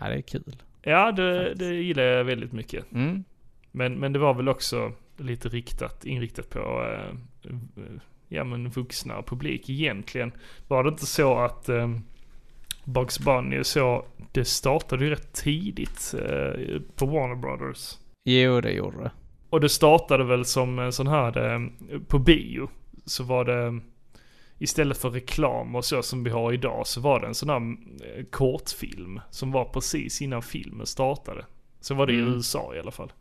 [SPEAKER 1] Ja, det är kul.
[SPEAKER 2] Ja, det, det gillar jag väldigt mycket.
[SPEAKER 1] Mm.
[SPEAKER 2] Men, men det var väl också lite riktat, inriktat på eh, eh, ja, men vuxna publik egentligen. Var det inte så att eh, Bugs Bunny och så, det startade ju rätt tidigt eh, på Warner Brothers.
[SPEAKER 1] Jo, det gjorde det.
[SPEAKER 2] Och det startade väl som en sån här, eh, på bio, så var det eh, Istället för reklam och så som vi har idag så var det en sån här eh, kortfilm som var precis innan filmen startade. Så var det
[SPEAKER 1] Mm.
[SPEAKER 2] i USA i alla fall.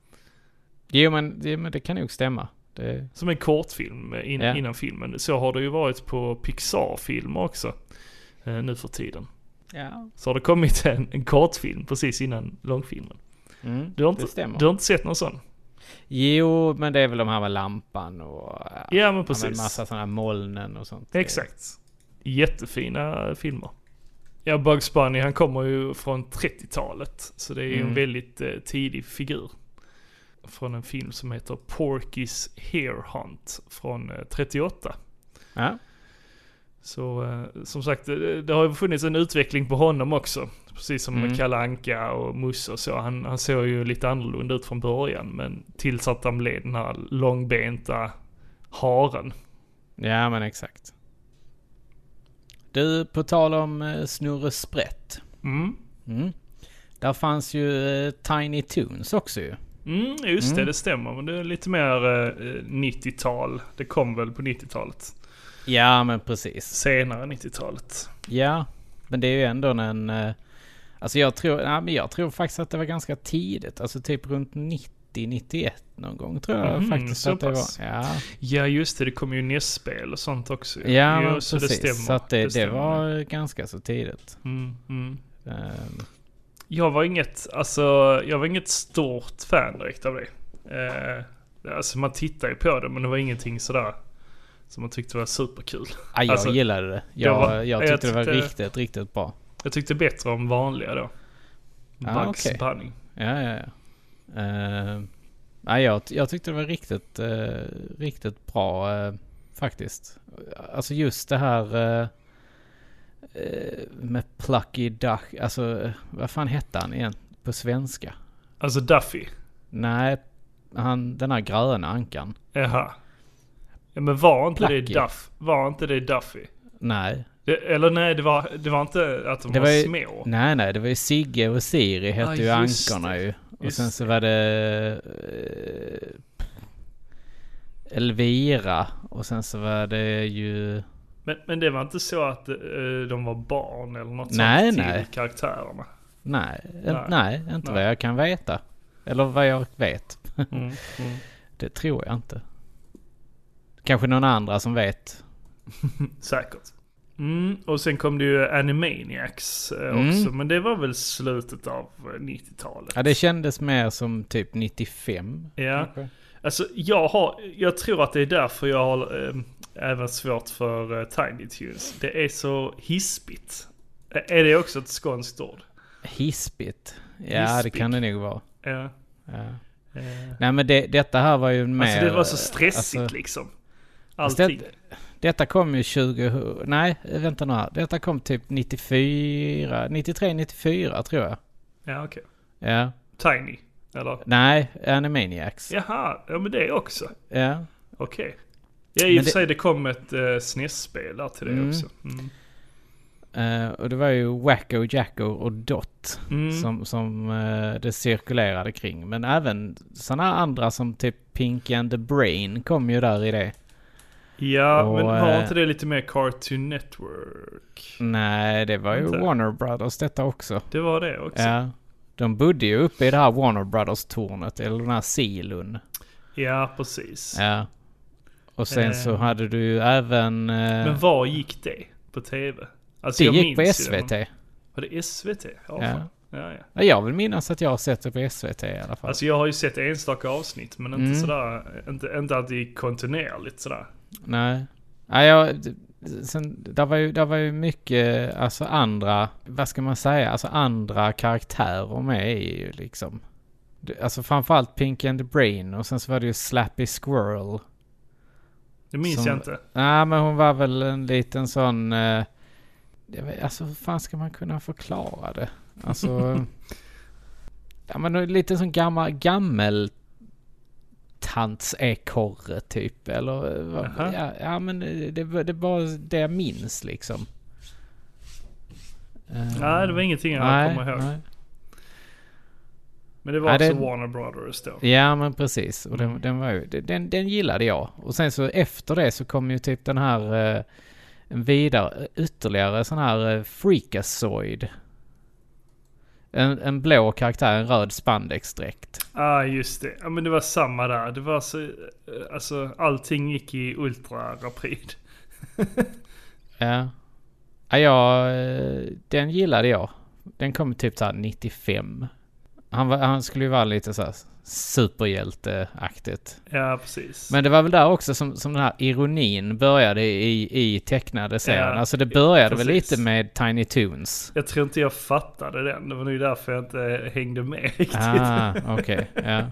[SPEAKER 1] Jo, men det, men det kan nog stämma. Det,
[SPEAKER 2] Som en kortfilm eh, in,
[SPEAKER 1] Ja.
[SPEAKER 2] innan filmen. Så har det ju varit på Pixar-filmer också. Eh, nu för tiden.
[SPEAKER 1] ja.
[SPEAKER 2] Så har det kommit en, en kortfilm precis innan långfilmen.
[SPEAKER 1] Mm,
[SPEAKER 2] Du har,
[SPEAKER 1] det
[SPEAKER 2] inte,
[SPEAKER 1] stämmer.
[SPEAKER 2] du har inte sett någon sån?
[SPEAKER 1] Jo, men det är väl de här med lampan och... Ja,
[SPEAKER 2] Ja, men
[SPEAKER 1] Ja, men
[SPEAKER 2] precis.
[SPEAKER 1] massa sådana här molnen och sånt.
[SPEAKER 2] Exakt. Jättefina filmer. Ja, Bugs Bunny han kommer ju från 30-talet. Så det är ju en
[SPEAKER 1] Mm.
[SPEAKER 2] väldigt eh, tidig figur. Från en film som heter Porky's Hair Hunt från eh, 38.
[SPEAKER 1] Ja.
[SPEAKER 2] Så eh, som sagt, det, det har ju funnits en utveckling på honom också. Precis som
[SPEAKER 1] Mm.
[SPEAKER 2] med Kalle Anka och Musse och så. Han, han såg ju lite annorlunda ut från början. Men tills att han blev den här långbenta haren.
[SPEAKER 1] ja, men exakt. Du, på tal om eh, Snurre Sprätt.
[SPEAKER 2] Mm.
[SPEAKER 1] Mm. Där fanns ju eh, Tiny Toons också ju.
[SPEAKER 2] Mm, just det, det stämmer. Men det är lite mer eh, 90-tal. Det kom väl på 90-talet.
[SPEAKER 1] Ja, men precis.
[SPEAKER 2] Senare 90-talet.
[SPEAKER 1] Ja, men det är ju ändå en... eh, Alltså jag tror, ja, men jag tror faktiskt att det var ganska tidigt. Alltså typ runt 90-91 någon gång tror jag
[SPEAKER 2] Mhm,
[SPEAKER 1] faktiskt
[SPEAKER 2] så
[SPEAKER 1] att det
[SPEAKER 2] pass.
[SPEAKER 1] var. Ja,
[SPEAKER 2] Ja, just det. Det kom ju NES-spel och sånt också.
[SPEAKER 1] ja
[SPEAKER 2] Jo,
[SPEAKER 1] men precis. så att det, det,
[SPEAKER 2] stämmer.
[SPEAKER 1] var ganska så tidigt.
[SPEAKER 2] Mm, mm.
[SPEAKER 1] Ehm,
[SPEAKER 2] Jag var inget, alltså, jag var inget stort fan direkt av det. Eh, alltså man tittar ju på det men det var ingenting sådär som man tyckte var superkul.
[SPEAKER 1] ja, jag
[SPEAKER 2] Alltså,
[SPEAKER 1] gillade det. Jag,
[SPEAKER 2] var-
[SPEAKER 1] jag,
[SPEAKER 2] jag
[SPEAKER 1] tyckte det var
[SPEAKER 2] tyckte-
[SPEAKER 1] riktigt, riktigt bra.
[SPEAKER 2] Jag tyckte bättre om vanliga då.
[SPEAKER 1] Ah,
[SPEAKER 2] Bugs
[SPEAKER 1] okej.
[SPEAKER 2] Bunny.
[SPEAKER 1] Ja, ja, ja. Ehm, nej, jag, jag tyckte det var riktigt, eh, riktigt bra eh, faktiskt. Alltså just det här eh, eh, med Plucky Duck. Alltså, eh, vad fan hette han igen på svenska?
[SPEAKER 2] Alltså Duffy?
[SPEAKER 1] Nej, han, den här gröna ankan.
[SPEAKER 2] Jaha. Ja, men var inte
[SPEAKER 1] Plucky.
[SPEAKER 2] det Duff? Var inte det Duffy?
[SPEAKER 1] Nej.
[SPEAKER 2] Det, eller nej, det var, det var inte att de
[SPEAKER 1] Det
[SPEAKER 2] var,
[SPEAKER 1] var ju,
[SPEAKER 2] små.
[SPEAKER 1] Nej, nej, det var ju Sigge och Siri hette
[SPEAKER 2] Ja,
[SPEAKER 1] ju
[SPEAKER 2] just
[SPEAKER 1] ankorna
[SPEAKER 2] det.
[SPEAKER 1] ju. Och
[SPEAKER 2] Just
[SPEAKER 1] sen så var det eh, Elvira och sen så var det ju...
[SPEAKER 2] Men, men det var inte så att eh, de var barn eller något
[SPEAKER 1] Nej,
[SPEAKER 2] sånt
[SPEAKER 1] nej.
[SPEAKER 2] till karaktärerna?
[SPEAKER 1] Nej, en,
[SPEAKER 2] Nej.
[SPEAKER 1] nej. inte
[SPEAKER 2] Nej.
[SPEAKER 1] vad jag kan veta. Eller vad jag vet.
[SPEAKER 2] Mm, mm.
[SPEAKER 1] Det tror jag inte. Kanske någon andra som vet.
[SPEAKER 2] Säkert. Mm, och sen kom det ju Animaniacs eh,
[SPEAKER 1] Mm.
[SPEAKER 2] också, men det var väl slutet av eh, 90-talet.
[SPEAKER 1] Ja, det kändes mer som typ 95.
[SPEAKER 2] Ja.
[SPEAKER 1] kanske.
[SPEAKER 2] Alltså jag har, jag tror att det är därför jag har eh, även svårt för eh, Tiny Tunes. Det är så hispigt. Eh, Är det också ett skånskt ord?
[SPEAKER 1] Hispigt. Ja, det
[SPEAKER 2] Hispigt.
[SPEAKER 1] kan det nog vara.
[SPEAKER 2] Ja.
[SPEAKER 1] Ja.
[SPEAKER 2] Eh,
[SPEAKER 1] Nej, men det, detta här var ju mer...
[SPEAKER 2] alltså det var så stressigt
[SPEAKER 1] alltså,
[SPEAKER 2] liksom.
[SPEAKER 1] Fast det-
[SPEAKER 2] Allting.
[SPEAKER 1] Detta kom ju 20... Nej, vänta nu här. Detta kom typ 94... 93, 94 tror jag.
[SPEAKER 2] Ja okej.
[SPEAKER 1] Ja.
[SPEAKER 2] Tiny. Eller?
[SPEAKER 1] Nej, Animaniacs. Ja.
[SPEAKER 2] Jaha, ja men det också.
[SPEAKER 1] ja.
[SPEAKER 2] Okej. Ja i
[SPEAKER 1] Men
[SPEAKER 2] och för
[SPEAKER 1] det-
[SPEAKER 2] sig det kom ett eh, SNES-spel där till det
[SPEAKER 1] Mm.
[SPEAKER 2] också. Mm.
[SPEAKER 1] Eh, och det var ju Wacko, Jacko och Dot
[SPEAKER 2] Mm.
[SPEAKER 1] som, som eh, det cirkulerade kring. Men även sådana andra som typ Pinky and the Brain kom ju där i det.
[SPEAKER 2] Ja,
[SPEAKER 1] Och,
[SPEAKER 2] men var
[SPEAKER 1] eh,
[SPEAKER 2] inte det lite mer Cartoon Network?
[SPEAKER 1] Nej, det var ju
[SPEAKER 2] Inte.
[SPEAKER 1] Warner Brothers detta också.
[SPEAKER 2] Det var det också.
[SPEAKER 1] Ja. De bodde ju uppe i det här Warner Brothers-tornet, eller den här silon.
[SPEAKER 2] Ja, precis.
[SPEAKER 1] Ja. Och sen så
[SPEAKER 2] Eh.
[SPEAKER 1] hade du ju även... eh,
[SPEAKER 2] Men var gick det på TV? Alltså,
[SPEAKER 1] det
[SPEAKER 2] jag
[SPEAKER 1] gick på
[SPEAKER 2] minns ju det, men-
[SPEAKER 1] SVT.
[SPEAKER 2] Var det SVT? Ja,
[SPEAKER 1] Ja.
[SPEAKER 2] fan. ja. ja.
[SPEAKER 1] Ja, Jag vill minnas att jag har sett det på SVT i alla fall.
[SPEAKER 2] Alltså jag har ju sett enstaka avsnitt men inte
[SPEAKER 1] Mm.
[SPEAKER 2] sådär, inte, inte att det gick kontinuerligt sådär.
[SPEAKER 1] Nej. Nej, jag... Sen, där, var ju, där var ju mycket, alltså andra, vad ska man säga, alltså andra karaktärer med är ju liksom. Det- Alltså framförallt Pinky and the Brain och sen så var det ju Slappy Squirrel.
[SPEAKER 2] Det minns
[SPEAKER 1] Som-
[SPEAKER 2] jag inte.
[SPEAKER 1] Nej men hon var väl en liten sån, eh, jag vet, alltså hur fan ska man kunna förklara det? Alltså, ja men en liten sån gammal, gammel tantsekorre typ eller eh, vad-
[SPEAKER 2] Jaha.
[SPEAKER 1] ja, ja men eh, det, var- det var det jag minns liksom. Eh,
[SPEAKER 2] Nej, det var ingenting jag
[SPEAKER 1] nej,
[SPEAKER 2] kommer ihåg.
[SPEAKER 1] nej.
[SPEAKER 2] Men det var
[SPEAKER 1] Nej, det-
[SPEAKER 2] också Warner Brothers då.
[SPEAKER 1] Ja men precis. Och den, den, var ju, den, den gillade jag. Och sen så efter det så kom ju typ den här eh, en vidare, eh, ytterligare sån här eh, freakazoid. En, en blå karaktär, en röd spandexdräkt.
[SPEAKER 2] Ah, just det. Ja, men det var samma där. Det var så, eh, alltså allting gick i ultrarapid.
[SPEAKER 1] Ja. Ja, jag, eh, den gillade jag. Den kom typ såhär 95. Han, var, han skulle ju vara lite såhär superhjälteaktigt.
[SPEAKER 2] Ja, precis.
[SPEAKER 1] Men det var väl där också som, som den här ironin började i, i tecknade serien.
[SPEAKER 2] Ja,
[SPEAKER 1] alltså det började väl
[SPEAKER 2] precis.
[SPEAKER 1] lite med Tiny Toons.
[SPEAKER 2] Jag tror inte jag fattade den. Det var nog därför jag inte hängde med riktigt.
[SPEAKER 1] Ah, okej. ja.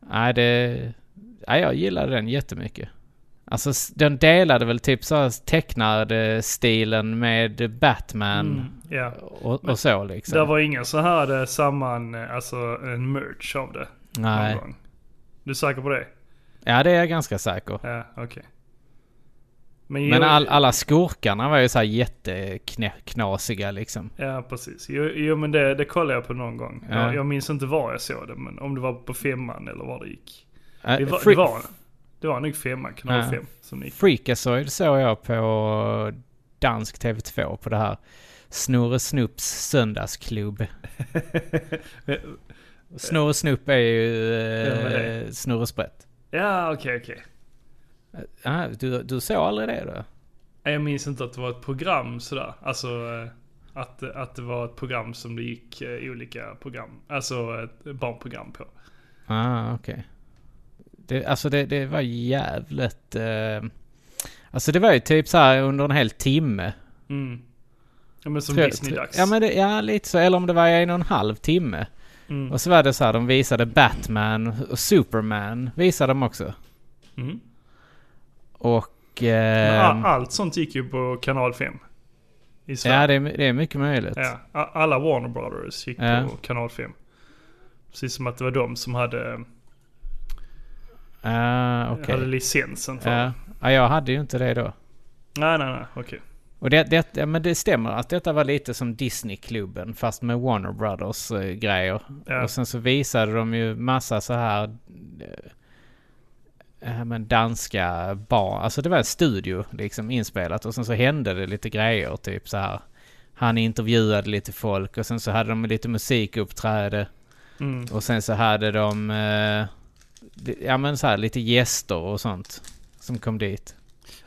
[SPEAKER 1] Nej, det... Nej, jag gillade den jättemycket. Alltså s- den delade väl typ så här tecknade stilen med Batman
[SPEAKER 2] Ja.
[SPEAKER 1] och, och så liksom.
[SPEAKER 2] Mm. Det var ingen så här eh, samman, eh, alltså en merch av det. någon
[SPEAKER 1] Nej.
[SPEAKER 2] gång. Du är säker på det?
[SPEAKER 1] Ja, det är jag ganska säker.
[SPEAKER 2] Ja, okej. Men,
[SPEAKER 1] Men
[SPEAKER 2] jo-
[SPEAKER 1] all, alla skurkarna var ju så här jätteknasiga liksom.
[SPEAKER 2] Ja, precis. Jo, jo men det, det kollade jag på någon gång.
[SPEAKER 1] Ja.
[SPEAKER 2] Jag, jag minns inte var jag såg det, men om det var på femman eller var det gick.
[SPEAKER 1] Äh,
[SPEAKER 2] Det var,
[SPEAKER 1] Fre-
[SPEAKER 2] det var, det var nog femman, kanal
[SPEAKER 1] Ja.
[SPEAKER 2] fem, som det gick.
[SPEAKER 1] Freakazoid såg jag på dansk TV2 på det här Snorre Snupps söndagsklubb. Snorre Snupp är ju
[SPEAKER 2] Vem är
[SPEAKER 1] eh,
[SPEAKER 2] det?
[SPEAKER 1] Snorre Sprätt.
[SPEAKER 2] Ja, okej, okej.
[SPEAKER 1] Ah, du, du såg aldrig det då?
[SPEAKER 2] Nej, Jag minns inte att det var ett program sådär. Alltså eh, att, att det var ett program som det gick eh, olika program, alltså ett barnprogram på.
[SPEAKER 1] Ah, okej. Det, alltså det, det var jävligt... Eh, alltså det var ju typ så här under en hel timme.
[SPEAKER 2] Mm. Ja, men som
[SPEAKER 1] Tror jag-
[SPEAKER 2] Disney-dags.
[SPEAKER 1] Ja, men det, ja, lite så. Eller om det var en och en halv timme.
[SPEAKER 2] Mm.
[SPEAKER 1] Och så var det så här, de visade Batman och Superman visade de också.
[SPEAKER 2] Mm. alltså.
[SPEAKER 1] Och...
[SPEAKER 2] Men
[SPEAKER 1] ehm,
[SPEAKER 2] a- Allt sånt gick ju på kanal 5. i Sverige.
[SPEAKER 1] Ja, det är, det är mycket möjligt.
[SPEAKER 2] Ja, a- alla Warner Brothers gick
[SPEAKER 1] Ja.
[SPEAKER 2] på kanal 5. Precis som att det var de som hade,
[SPEAKER 1] Ah, okej.
[SPEAKER 2] hade licensen för
[SPEAKER 1] Ja.
[SPEAKER 2] det.
[SPEAKER 1] Ja, jag hade ju inte det då.
[SPEAKER 2] Nej, nej, nej, okej.
[SPEAKER 1] Och det, det, ja, men det stämmer att detta var lite som Disneyklubben fast med Warner Brothers eh, grejer.
[SPEAKER 2] Ja.
[SPEAKER 1] Och sen så visade de ju massa så här eh, eh, men danska barn. Alltså det var en studio liksom inspelat och sen så hände det lite grejer typ så här. Han intervjuade lite folk och sen så hade de lite musikuppträde.
[SPEAKER 2] Mm.
[SPEAKER 1] Och sen så hade de eh, det- ja men så här lite gäster och sånt som kom dit.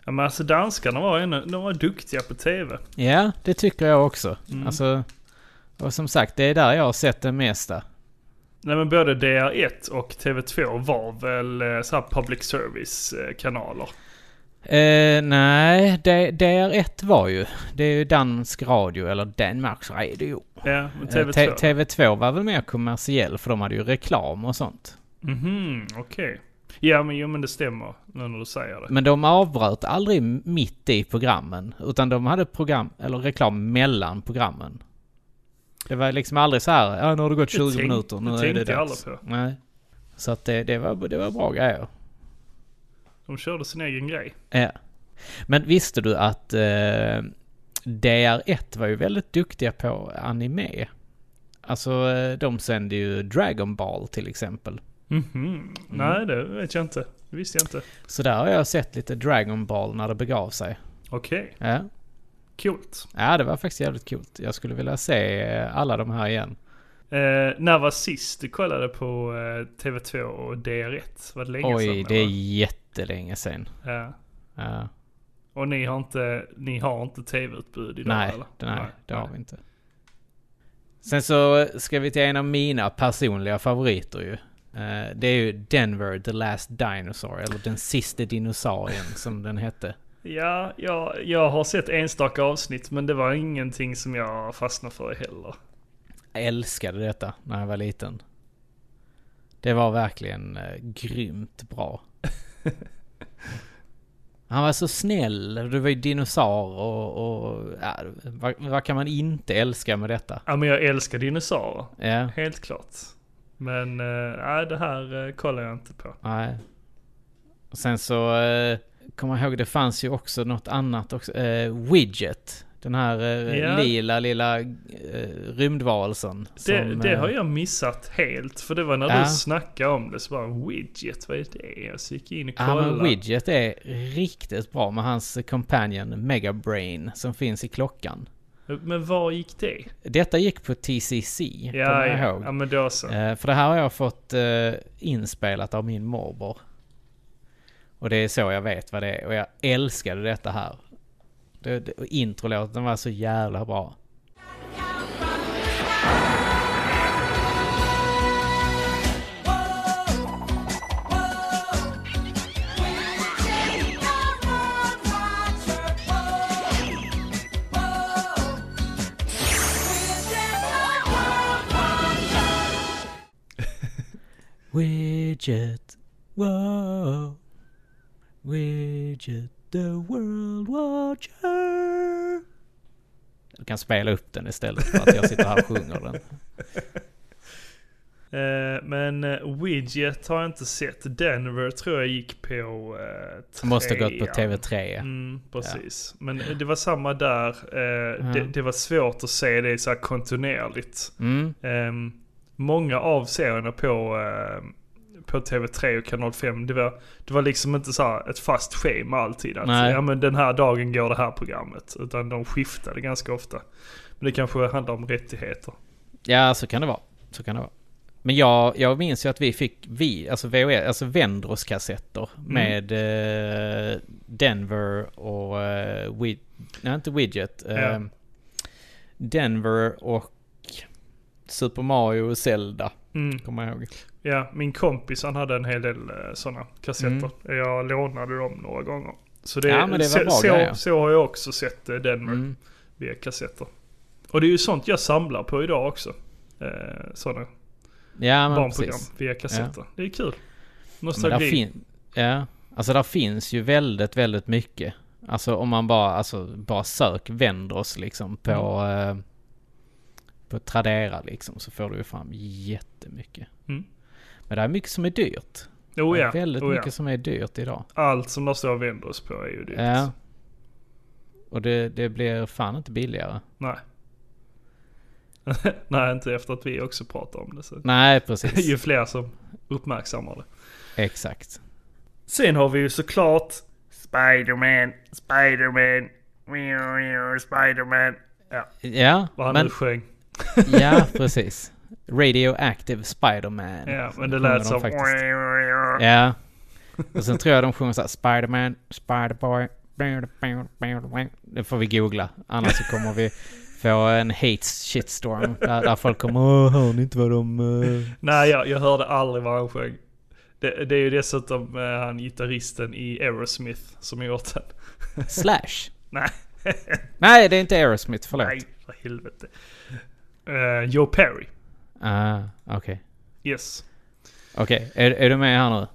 [SPEAKER 2] Ja, men alltså danskarna var, en, de var duktiga på TV.
[SPEAKER 1] Ja, det tycker jag också.
[SPEAKER 2] Mm.
[SPEAKER 1] Alltså, och som sagt, det är där jag har sett det mesta.
[SPEAKER 2] Nej men både DR1 och TV2 var väl eh, så här public service eh, kanaler.
[SPEAKER 1] Eh, nej, det- DR1 var ju. Det är ju dansk radio, eller Danmarks radio.
[SPEAKER 2] Ja, men
[SPEAKER 1] Eh, T-
[SPEAKER 2] TV2.
[SPEAKER 1] TV2 var väl mer kommersiell, för de hade ju reklam och sånt.
[SPEAKER 2] Mhm, okej. Ja men jo men det stämmer nu när du säger det.
[SPEAKER 1] Men de avbröt aldrig mitt i programmen, utan de hade program, eller reklam mellan programmen. Det var liksom aldrig så här, ja nu har det gått 20
[SPEAKER 2] tänk-
[SPEAKER 1] minuter, nu
[SPEAKER 2] det
[SPEAKER 1] är det
[SPEAKER 2] tänkte jag
[SPEAKER 1] dags.
[SPEAKER 2] aldrig
[SPEAKER 1] Nej. Så att det, det, var, det var bra grejer.
[SPEAKER 2] De körde sin egen grej.
[SPEAKER 1] Ja. Men visste du att eh, DR1 var ju väldigt duktiga på anime? Alltså eh, de sände ju Dragon Ball till exempel.
[SPEAKER 2] Mhm, nej det vet jag inte. Det visste jag inte.
[SPEAKER 1] Så där har jag sett lite Dragon Ball när det begav sig.
[SPEAKER 2] Okej,
[SPEAKER 1] Ja,
[SPEAKER 2] coolt.
[SPEAKER 1] ja det var faktiskt jävligt coolt. Jag skulle vilja se eh, alla de här igen.
[SPEAKER 2] Eh, när var sist du kollade på eh, TV2 och DR1? Var det länge sedan?
[SPEAKER 1] Oj, det är
[SPEAKER 2] eller?
[SPEAKER 1] jättelänge sen.
[SPEAKER 2] Ja.
[SPEAKER 1] Ja.
[SPEAKER 2] Och ni har inte, ni har inte TV-utbud idag
[SPEAKER 1] Nej,
[SPEAKER 2] eller?
[SPEAKER 1] nej, det har vi inte. Sen så ska vi till en av mina personliga favoriter ju. Eh, Det är ju Denver the Last Dinosaur, eller Den Sista Dinosaurien som den hette.
[SPEAKER 2] Ja, jag, jag har sett enstaka avsnitt men det var ingenting som jag fastnade för heller.
[SPEAKER 1] Jag älskade detta när jag var liten. Det var verkligen eh, grymt bra. Han var så snäll, och det var ju dinosaur och... och ja, vad, vad kan man inte älska med detta?
[SPEAKER 2] Ja men jag älskar dinosaurier,
[SPEAKER 1] Ja.
[SPEAKER 2] helt klart. Men eh, nej, det här eh, kollar jag inte på.
[SPEAKER 1] Nej. Och sen så eh, kommer jag ihåg det fanns ju också något annat också. Eh, widget. Den här eh,
[SPEAKER 2] Ja.
[SPEAKER 1] lila lilla eh, rymdvarelsen.
[SPEAKER 2] Det,
[SPEAKER 1] som,
[SPEAKER 2] det
[SPEAKER 1] eh,
[SPEAKER 2] har jag missat helt för det var när
[SPEAKER 1] Ja.
[SPEAKER 2] du snackade om det så bara widget, vad är det? Och så gick jag in och
[SPEAKER 1] eh, Ja
[SPEAKER 2] kollade.
[SPEAKER 1] men widget är riktigt bra med hans companion Megabrain som finns i klockan.
[SPEAKER 2] Men var gick det?
[SPEAKER 1] Detta gick på TCC,
[SPEAKER 2] Ja,
[SPEAKER 1] kommer jag
[SPEAKER 2] ja.
[SPEAKER 1] ihåg.
[SPEAKER 2] ja men då så.
[SPEAKER 1] Eh, för det här har jag fått eh, inspelat av min morbror. Och det är så jag vet vad det är. Och jag älskade detta här. Det, det, och introlåten var så jävla bra. Widget, wow. Widget, the world watcher. Du kan spela upp den istället för att jag sitter här och sjunger den.
[SPEAKER 2] Eh, men eh, widget har jag inte sett. Denver tror jag gick på eh,
[SPEAKER 1] Den måste ha gått på
[SPEAKER 2] trean.
[SPEAKER 1] TV3. ja.
[SPEAKER 2] Mm, precis. Men det var samma där. Eh, det, det var svårt att se det så här kontinuerligt.
[SPEAKER 1] Mm.
[SPEAKER 2] Ehm, många av serierna på, ehm, på TV3 och Kanal 5, det var, det var liksom inte så här ett fast schema alltid. Att,
[SPEAKER 1] Nej.
[SPEAKER 2] ja, men den här dagen går det här programmet. Utan de skiftade ganska ofta. Men det kanske handlar om rättigheter.
[SPEAKER 1] Ja, så kan det vara. Så kan det vara. Men jag, jag minns ju att vi fick vi, alltså VHS, alltså Vendros kassetter
[SPEAKER 2] Mm.
[SPEAKER 1] med eh, Denver och... Eh, Wid, nej, inte Widget. Eh,
[SPEAKER 2] Ja.
[SPEAKER 1] Denver och Super Mario och Zelda,
[SPEAKER 2] Mm.
[SPEAKER 1] kommer jag ihåg.
[SPEAKER 2] Ja, min kompis han hade en hel del sådana kassetter. Jag lånade dem några gånger. Så det,
[SPEAKER 1] Mm. Ja, men det var
[SPEAKER 2] så,
[SPEAKER 1] bra
[SPEAKER 2] så,
[SPEAKER 1] grejer.
[SPEAKER 2] så har jag också sett eh, Denver
[SPEAKER 1] Mm.
[SPEAKER 2] via kassetter. Och det är ju sånt jag samlar på idag också. Eh, sådana
[SPEAKER 1] Ja, men
[SPEAKER 2] barnprogram
[SPEAKER 1] precis.
[SPEAKER 2] via kassetter. Det är kul.
[SPEAKER 1] Men där alltså
[SPEAKER 2] Nostalgi.
[SPEAKER 1] fin, ja, alltså där finns ju väldigt, väldigt mycket. Alltså om man bara, alltså, bara sök Vendors liksom på,
[SPEAKER 2] Mm.
[SPEAKER 1] eh, på Tradera liksom så får du ju fram jättemycket.
[SPEAKER 2] Mm.
[SPEAKER 1] Men det är mycket som är dyrt.
[SPEAKER 2] Oh
[SPEAKER 1] Det
[SPEAKER 2] ja,
[SPEAKER 1] är väldigt
[SPEAKER 2] oh ja.
[SPEAKER 1] mycket som är dyrt idag.
[SPEAKER 2] Allt som det står Windows på är ju dyrt.
[SPEAKER 1] Ja. Och det, det blir fan inte billigare.
[SPEAKER 2] Nej. Nej, inte efter att vi också pratar om det. Så.
[SPEAKER 1] Nej,
[SPEAKER 2] ju
[SPEAKER 1] precis.
[SPEAKER 2] fler som uppmärksammar det.
[SPEAKER 1] Exakt.
[SPEAKER 2] Sen har vi ju såklart
[SPEAKER 5] Spider-Man, Spider-Man, meow, meow, Spider-Man.
[SPEAKER 1] Ja,
[SPEAKER 2] vad han
[SPEAKER 1] men,
[SPEAKER 2] nu sjöng.
[SPEAKER 1] ja precis. Radioactive Spider-Man.
[SPEAKER 2] Ja, men det
[SPEAKER 1] sjunger
[SPEAKER 2] lät
[SPEAKER 1] de
[SPEAKER 2] som-
[SPEAKER 1] faktiskt. Ja. Och sen tror jag de sjunger såhär Spiderman, Spiderboy. Det får vi googla. Annars så kommer vi få en hate shitstorm. Där, där folk kommer Åh, hör ni inte vad de... eh?"
[SPEAKER 2] Nej, jag, jag hörde aldrig vad han sjöng. Det, det är ju dessutom eh, han gitarristen i Aerosmith som gjort den.
[SPEAKER 1] Slash.
[SPEAKER 2] Nej,
[SPEAKER 1] Nej, det är inte Aerosmith. Förlåt.
[SPEAKER 2] nej, för helvete. Eh, Joe Perry.
[SPEAKER 1] Ah, okej.
[SPEAKER 2] Yes.
[SPEAKER 1] Okej, är, är du med här nu?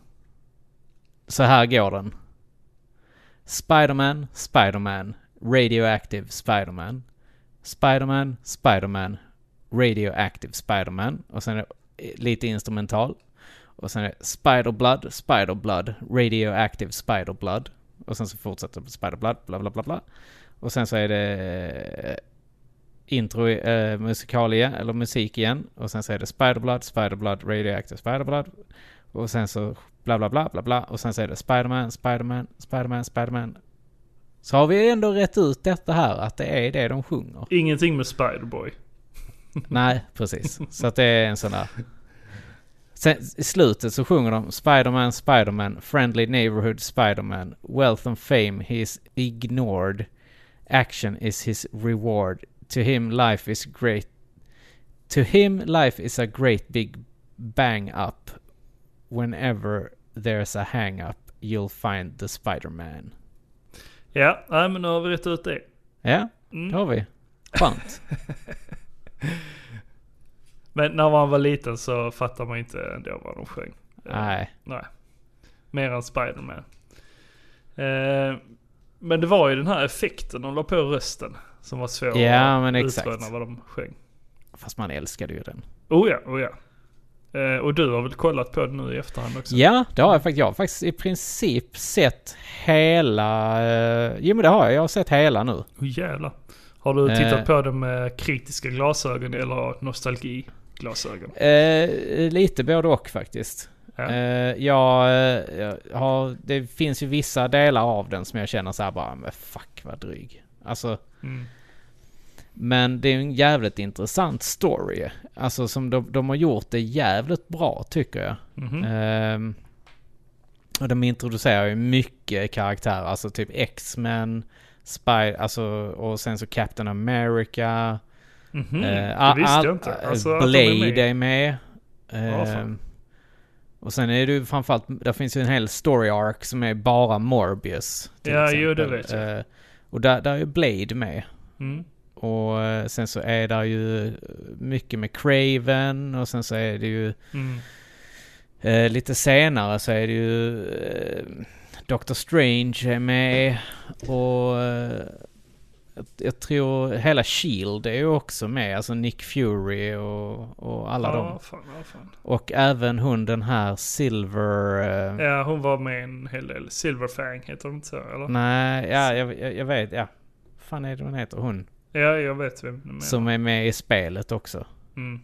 [SPEAKER 1] Så här går den. Spiderman, Spiderman, Radioactive Spiderman. Spiderman, Spiderman, Radioactive Spiderman. Och sen är det eh, lite instrumental. Och sen är det Spiderblood, Spiderblood, Radioactive Spiderblood. Och sen så fortsätter det på Spiderblood, bla bla bla bla. Och sen så är det eh, intro, eh, musikalia, eller musik igen. Och sen så är det Spiderblood, Spiderblood, Radioactive Spiderblood. Och sen så bla bla bla bla bla. Och sen så är det Spiderman, Spiderman, Spiderman, Spiderman. Så har vi ändå rätt ut detta här, att det är det de sjunger.
[SPEAKER 2] Ingenting med Spider-Boy.
[SPEAKER 1] Nej, precis. Så att det är en sån där... Sen, I slutet så sjunger de Spiderman, Spiderman, Friendly Neighborhood Spiderman, Wealth and Fame he is ignored, Action is his reward, To him life is great, To him life is a great big bang up, Whenever there's a hang up you'll find the Spiderman.
[SPEAKER 2] Ja, nej, men nu har vi rätt ut det.
[SPEAKER 1] Ja, det har vi. Skönt.
[SPEAKER 2] Men när man var liten så fattade man inte ändå vad de sjöng.
[SPEAKER 1] Nej.
[SPEAKER 2] Nej. Mer än Spider-Man. Eh, men det var ju den här effekten de la på rösten som var svår
[SPEAKER 1] Ja, men
[SPEAKER 2] att
[SPEAKER 1] exakt.
[SPEAKER 2] utröna vad de sjöng.
[SPEAKER 1] Fast man älskade ju den.
[SPEAKER 2] Oh ja, oh ja. Eh, och du har väl kollat på det nu i efterhand också?
[SPEAKER 1] Ja, det har jag faktiskt. Jag har faktiskt i princip sett hela... Eh, jo men det har jag. Jag har sett hela nu.
[SPEAKER 2] Oh, jävlar. Har du tittat
[SPEAKER 1] Eh.
[SPEAKER 2] på det med kritiska glasögon eller nostalgiglasögon?
[SPEAKER 1] Eh, lite både och faktiskt.
[SPEAKER 2] Ja.
[SPEAKER 1] Eh, jag, eh, jag har... Det finns ju vissa delar av den som jag känner så här bara, men fuck vad dryg. Alltså...
[SPEAKER 2] Mm.
[SPEAKER 1] Men det är ju en jävligt intressant story. Alltså som de, de har gjort det jävligt bra tycker jag.
[SPEAKER 2] Mhm.
[SPEAKER 1] Ehm, och de introducerar ju mycket karaktärer, alltså typ X-Men, Spy, alltså och sen så Captain America.
[SPEAKER 2] Mhm,
[SPEAKER 1] eh,
[SPEAKER 2] det visste
[SPEAKER 1] all-
[SPEAKER 2] jag inte.
[SPEAKER 1] eh,
[SPEAKER 2] Alltså, att de är med.
[SPEAKER 1] Blade är med.
[SPEAKER 2] Ja, fan.
[SPEAKER 1] Ehm, och sen är det ju framförallt, där finns ju en hel story arc som är bara Morbius. till
[SPEAKER 2] Ja,
[SPEAKER 1] exempel.
[SPEAKER 2] jo, det vet jag.
[SPEAKER 1] Eh, och där, där är ju Blade med.
[SPEAKER 2] Mm.
[SPEAKER 1] Och eh, sen så är det ju eh, mycket med Craven och sen så är det ju
[SPEAKER 2] Mm.
[SPEAKER 1] eh, lite senare så är det ju eh, Doctor Strange är med och eh, jag- jag tror hela Shield E är ju också med, alltså Nick Fury och, och alla
[SPEAKER 2] Ja,
[SPEAKER 1] dem.
[SPEAKER 2] fan, ja, fan.
[SPEAKER 1] Och även hon den här Silver... Eh,
[SPEAKER 2] Ja, hon var med en hel del. Silverfang heter hon inte så, eller?
[SPEAKER 1] Mm. Nej, ja jag, jag, jag vet, ja. fan är det hon heter? Hon
[SPEAKER 2] Ja, jag vet vem du menar.
[SPEAKER 1] som är med i spelet också.
[SPEAKER 2] Mm.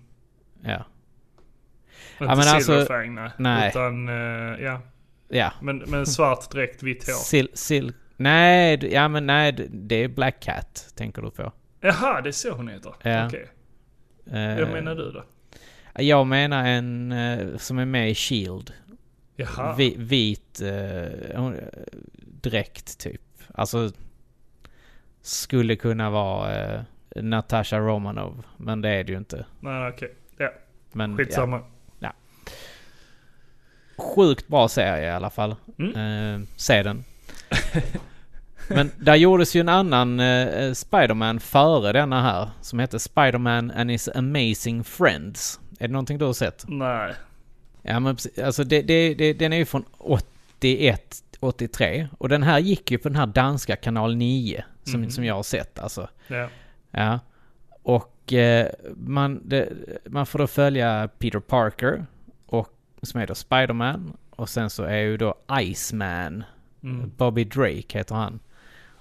[SPEAKER 1] Ja.
[SPEAKER 2] Inte
[SPEAKER 1] men alltså-
[SPEAKER 2] silverfang, nej.
[SPEAKER 1] nej.
[SPEAKER 2] Utan, eh, ja.
[SPEAKER 1] Ja,
[SPEAKER 2] Men, men svart dräkt, vitt hår.
[SPEAKER 1] Sil, sil, nej, d- ja men nej, d- det är Black Cat tänker du på.
[SPEAKER 2] Jaha, det är så hon heter?
[SPEAKER 1] Ja.
[SPEAKER 2] Okej.
[SPEAKER 1] Eh,
[SPEAKER 2] Vem menar du då?
[SPEAKER 1] Jag menar en eh, som är med i Shield.
[SPEAKER 2] Jaha.
[SPEAKER 1] Vi, vit eh, hon- eh, dräkt typ. Alltså, skulle kunna vara eh, Natasha Romanov, men det är det ju inte.
[SPEAKER 2] Nej, nej, okej. Ja,
[SPEAKER 1] Men, ja.
[SPEAKER 2] skitsamma.
[SPEAKER 1] Sjukt bra serie i alla fall.
[SPEAKER 2] Mm.
[SPEAKER 1] Eh, se den. Men där gjordes ju en annan eh, Spider-Man före denna här. Som hette Spider-Man and his amazing friends. Är det någonting du har sett?
[SPEAKER 2] Nej.
[SPEAKER 1] Ja men precis. alltså det, det, det, den är ju från 81 83. Och den här gick ju på den här danska kanal 9 som, som jag har sett alltså.
[SPEAKER 2] Ja.
[SPEAKER 1] Ja. Och eh, man, det, man får då följa Peter Parker, och, som är då Spiderman. Och sen så är ju då Iceman. Bobby Drake heter han.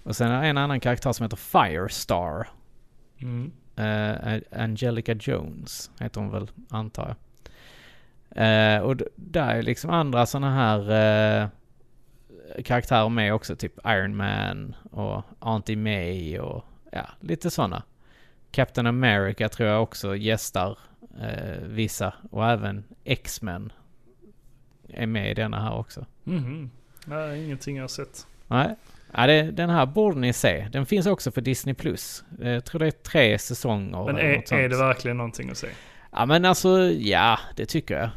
[SPEAKER 1] Och sen är det en annan karaktär som heter Firestar.
[SPEAKER 2] Mm.
[SPEAKER 1] Eh, Angelica Jones heter hon väl, antar jag. Eh, och d- där är liksom andra sådana här eh, karaktärer med också, typ Iron Man och Auntie May och ja, lite sådana. Captain America tror jag också gästar eh, vissa och även X-Men är med i denna här också.
[SPEAKER 2] Mhm. Nej, ingenting jag har sett.
[SPEAKER 1] Nej. Ja, det, den här borde ni se. Den finns också på Disney+. Plus. Eh, Jag tror det är tre säsonger.
[SPEAKER 2] Men
[SPEAKER 1] eller något
[SPEAKER 2] är,
[SPEAKER 1] sånt.
[SPEAKER 2] är det verkligen någonting att se?
[SPEAKER 1] Ja men alltså, ja det tycker jag.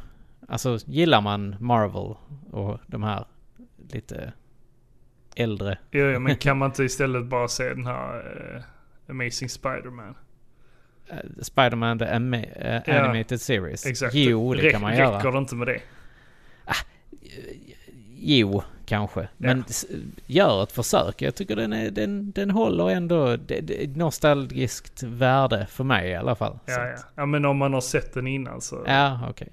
[SPEAKER 1] Alltså gillar man Marvel och de här lite äldre.
[SPEAKER 2] Jo, jo, men kan man inte istället bara se den här eh, Amazing Spider-Man?
[SPEAKER 1] eh, Spider-Man the Ama- eh,
[SPEAKER 2] Ja,
[SPEAKER 1] Animated Series.
[SPEAKER 2] Exakt.
[SPEAKER 1] Jo, det
[SPEAKER 2] Räck-
[SPEAKER 1] kan man
[SPEAKER 2] räcker
[SPEAKER 1] göra.
[SPEAKER 2] det inte med det?
[SPEAKER 1] Jo, kanske. Men s- gör ett försök. Jag tycker den, är, den, den håller ändå det, det, är nostalgiskt värde för mig i alla fall. Så
[SPEAKER 2] Ja, ja.
[SPEAKER 1] att-
[SPEAKER 2] ja, men om man har sett den innan så
[SPEAKER 1] ja okej.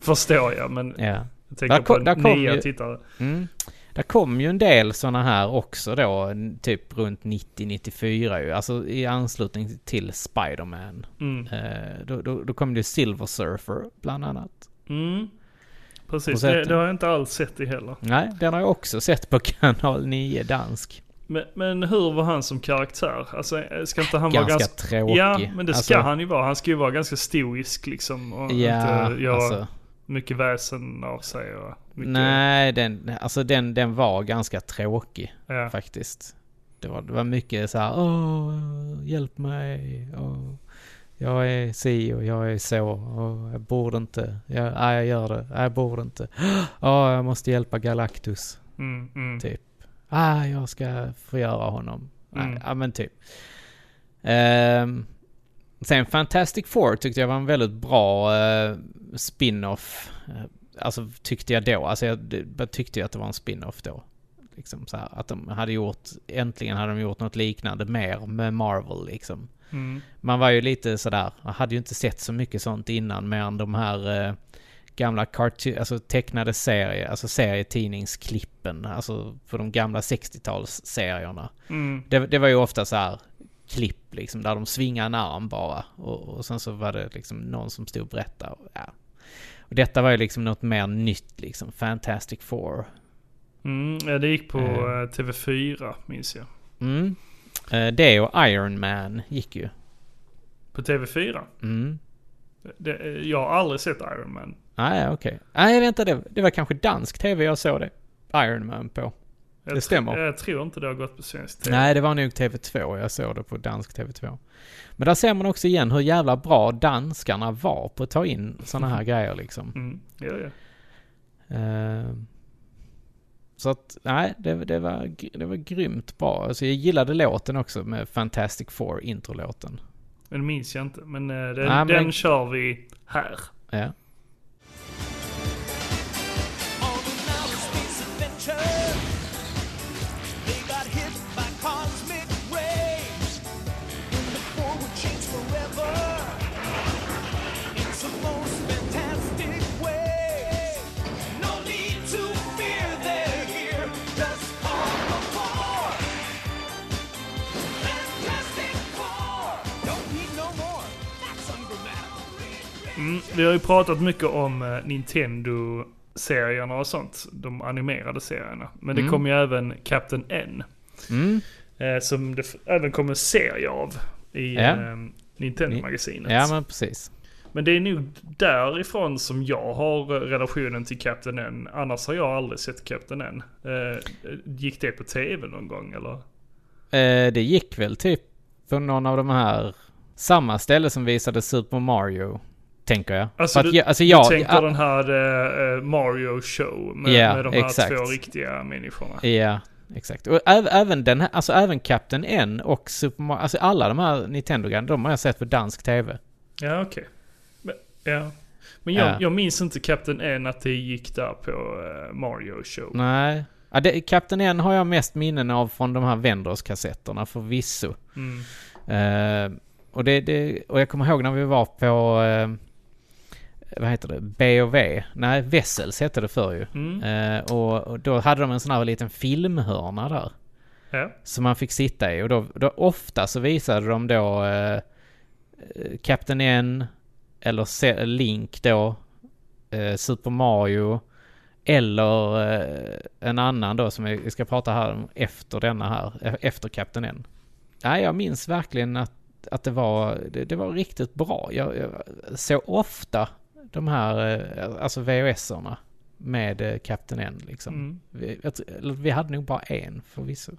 [SPEAKER 2] förstår jag. Men
[SPEAKER 1] Ja.
[SPEAKER 2] jag tänker
[SPEAKER 1] Där kom-
[SPEAKER 2] på
[SPEAKER 1] där kom
[SPEAKER 2] nya
[SPEAKER 1] ju-
[SPEAKER 2] tittare.
[SPEAKER 1] Mm. Det kom ju en del sådana här också då, n- typ runt 90-94 ju, alltså i anslutning till Spider-Man.
[SPEAKER 2] Mm.
[SPEAKER 1] Eh, då, då, då kom det Silver Surfer bland annat.
[SPEAKER 2] Mm.
[SPEAKER 1] Har du
[SPEAKER 2] Precis,
[SPEAKER 1] sett
[SPEAKER 2] det,
[SPEAKER 1] den?
[SPEAKER 2] det har jag inte alls sett det heller.
[SPEAKER 1] Nej, den har jag också sett på kanal 9 dansk.
[SPEAKER 2] Men, men hur var han som karaktär? Alltså, ska inte han vara
[SPEAKER 1] Ganska
[SPEAKER 2] ganska...
[SPEAKER 1] tråkig.
[SPEAKER 2] Ja, men det ska
[SPEAKER 1] Alltså,
[SPEAKER 2] han ju vara. Han ska ju vara ganska stoisk liksom. Och
[SPEAKER 1] Ja,
[SPEAKER 2] inte göra
[SPEAKER 1] alltså.
[SPEAKER 2] mycket väsen av sig. Och mycket,
[SPEAKER 1] Nej, den, alltså den, den var ganska tråkig
[SPEAKER 2] Ja. Mm,
[SPEAKER 1] faktiskt. Det var, det var mycket så här, åh, hjälp mig, åh, jag är si och jag är så, åh, jag borde inte, jag, nej, jag gör det, nej, jag borde inte, åh, jag måste hjälpa Galactus,
[SPEAKER 2] Mm, mm.
[SPEAKER 1] typ. Ah, jag ska förgöra honom. Nej,
[SPEAKER 2] Mm.
[SPEAKER 1] Ja, men typ. Ehm, sen Fantastic Four tyckte jag var en väldigt bra eh, spin-off. Eh, Alltså tyckte jag då. Alltså jag, det- jag tyckte ju att det var en spin-off då. Liksom så här, att de hade gjort, äntligen hade de gjort något liknande mer med Marvel liksom.
[SPEAKER 2] Mm.
[SPEAKER 1] Man var ju lite sådär, jag hade ju inte sett så mycket sånt innan mer än de här eh, gamla cartoon, alltså tecknade serier, alltså serietidningsklippen, alltså på de gamla 60-talsserierna.
[SPEAKER 2] Mm.
[SPEAKER 1] Det, det var ju ofta så här klipp liksom, där de svingar en arm bara. Och, och sen så var det liksom någon som stod och berättade. Och, ja. och detta var ju liksom något mer nytt liksom, Fantastic Four.
[SPEAKER 2] Mm, ja, det gick på
[SPEAKER 1] Eh.
[SPEAKER 2] eh, TV4 minns jag.
[SPEAKER 1] Mm. Eh, Det och Iron Man gick ju.
[SPEAKER 2] På TV4?
[SPEAKER 1] Mm.
[SPEAKER 2] Det, eh, jag har aldrig sett Iron Man.
[SPEAKER 1] Nej, okej. Nej, vänta, det, det var kanske dansk tv jag såg det. Iron Man på.
[SPEAKER 2] Jag
[SPEAKER 1] Det stämmer.
[SPEAKER 2] tr- Jag tror inte det har gått på svensk TV.
[SPEAKER 1] Nej, det var nog TV2 jag såg det på dansk TV2. Men där ser man också igen hur jävla bra danskarna var på att ta in sådana här grejer liksom.
[SPEAKER 2] Mm, ja, ja.
[SPEAKER 1] Eh, Så att, nej, det, det, var, gr- det var grymt bra. Alltså jag gillade låten också med Fantastic Four, introlåten.
[SPEAKER 2] Men det minns jag inte. Men eh, den,
[SPEAKER 1] Nej, men-
[SPEAKER 2] den kör vi här.
[SPEAKER 1] Ja.
[SPEAKER 4] On an outer-space adventure, they got hit by cosmic rays. In the forward change forever. It's a most fantastic way. No need to fear they're here. Just on the floor. Fantastic Four. Don't need no more. That's ungrammatical.
[SPEAKER 2] Mm, vi har ju pratat mycket om eh, Nintendo-serierna och sånt. De animerade serierna. Men det kom ju även Captain N.
[SPEAKER 1] Mm.
[SPEAKER 2] Eh, som det f- även kom en serie av i
[SPEAKER 1] Ja.
[SPEAKER 2] eh, Nintendo-magasinet.
[SPEAKER 1] ja, men precis.
[SPEAKER 2] Men det är nog därifrån som jag har eh, relationen till Captain N. Annars har jag aldrig sett Captain N. Eh, gick det på tv någon gång eller?
[SPEAKER 1] Eh, det gick väl typ på någon av de här, samma ställe som visade Super Mario, tänker jag.
[SPEAKER 2] Alltså,
[SPEAKER 1] För att
[SPEAKER 2] du,
[SPEAKER 1] jag, alltså jag,
[SPEAKER 2] du tänker
[SPEAKER 1] ja,
[SPEAKER 2] den här eh, eh, Mario show med,
[SPEAKER 1] Ja,
[SPEAKER 2] med de här
[SPEAKER 1] exakt.
[SPEAKER 2] två riktiga människorna.
[SPEAKER 1] Ja, exakt. Och äv, även den här, alltså även Captain N och Super Mario, alltså alla de här Nintendo-grejerna, de har jag sett på dansk tv.
[SPEAKER 2] Ja, okej. Men, ja. Men jag,
[SPEAKER 1] Ja.
[SPEAKER 2] jag minns inte Captain N att det gick där på eh, Mario show.
[SPEAKER 1] Nej, Ja, det, Kapten N har jag mest minnen av från de här Vendors-kassetterna förvisso.
[SPEAKER 2] Mm.
[SPEAKER 1] Eh, och, det, det, och jag kommer ihåg när vi var på... Eh, vad heter det? B&V Nej, Vessels hette det förr ju.
[SPEAKER 2] Mm.
[SPEAKER 1] Eh, och, och då hade de en sån här liten filmhörna där.
[SPEAKER 2] Ja.
[SPEAKER 1] Som man fick sitta i. Och då, då ofta så visade de då eh, eh, Captain N eller Se- Link då. Eh, Super Mario. Eller eh, en annan då som vi ska prata här om efter denna här. eh, Efter Captain N. Nej, jag minns verkligen att, att det, var, det, det var riktigt bra. Jag, jag såg ofta de här eh, alltså VHS-erna med eh, Captain N liksom.
[SPEAKER 2] Mm.
[SPEAKER 1] Vi, jag, tr- eller vi hade nog bara en förvisso.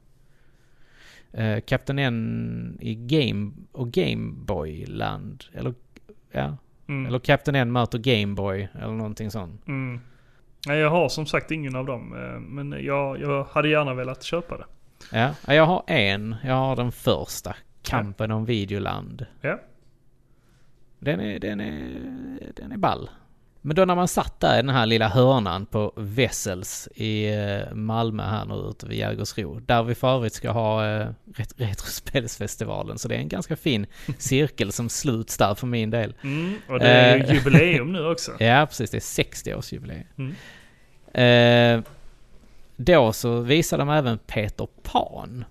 [SPEAKER 1] Eh, Captain N i Game och Gameboy-land. Eller, ja.
[SPEAKER 2] Mm.
[SPEAKER 1] eller Captain N möter Gameboy eller någonting sånt.
[SPEAKER 2] Mm. Nej, jag har som sagt ingen av dem. eh, Men jag, jag hade gärna velat köpa det.
[SPEAKER 1] Ja. Ja, jag har en. Jag har den första. Kampen om Videoland.
[SPEAKER 2] Ja.
[SPEAKER 1] Den är, den är, den är ball. Men då när man satt där i den här lilla hörnan på Vessels i eh, Malmö här nu ute vid Jägersro. Där vi för övrigt ska ha eh, ret- Retrospelsfestivalen. Så det är en ganska fin cirkel som sluts där för min del.
[SPEAKER 2] Mm. Och det är ju
[SPEAKER 1] Eh.
[SPEAKER 2] jubileum nu också.
[SPEAKER 1] Ja, precis. Det är 60-årsjubileum.
[SPEAKER 2] Mm.
[SPEAKER 1] Eh, då så visade de även Peter Pan.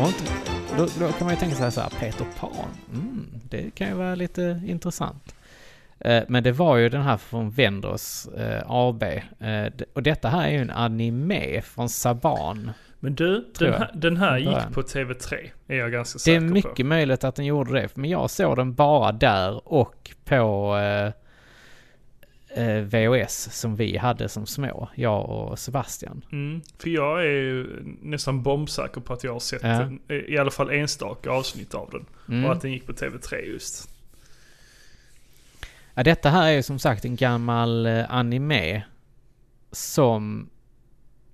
[SPEAKER 1] Och inte, då, då kan man ju tänka sig så här, Peter Pan, mm, det kan ju vara lite intressant. Eh, Men det var ju den här från Vendors eh, AB. Eh, d- Och detta här är ju en anime från Saban.
[SPEAKER 2] Men du,
[SPEAKER 1] Tror
[SPEAKER 2] den
[SPEAKER 1] jag.
[SPEAKER 2] här, den här
[SPEAKER 1] Början.
[SPEAKER 2] gick på TV3. Är jag ganska
[SPEAKER 1] Det
[SPEAKER 2] säker
[SPEAKER 1] är mycket möjligt att den gjorde det, men jag såg den bara där och på eh, eh, VHS som vi hade som små, jag och Sebastian.
[SPEAKER 2] på. Mm. För jag är ju nästan bombsäker på att jag har sett
[SPEAKER 1] Ja.
[SPEAKER 2] den, i alla fall enstaka avsnitt av den.
[SPEAKER 1] Mm.
[SPEAKER 2] Och att den gick på TV3 just.
[SPEAKER 1] Ja, detta här är ju som sagt en gammal eh, anime som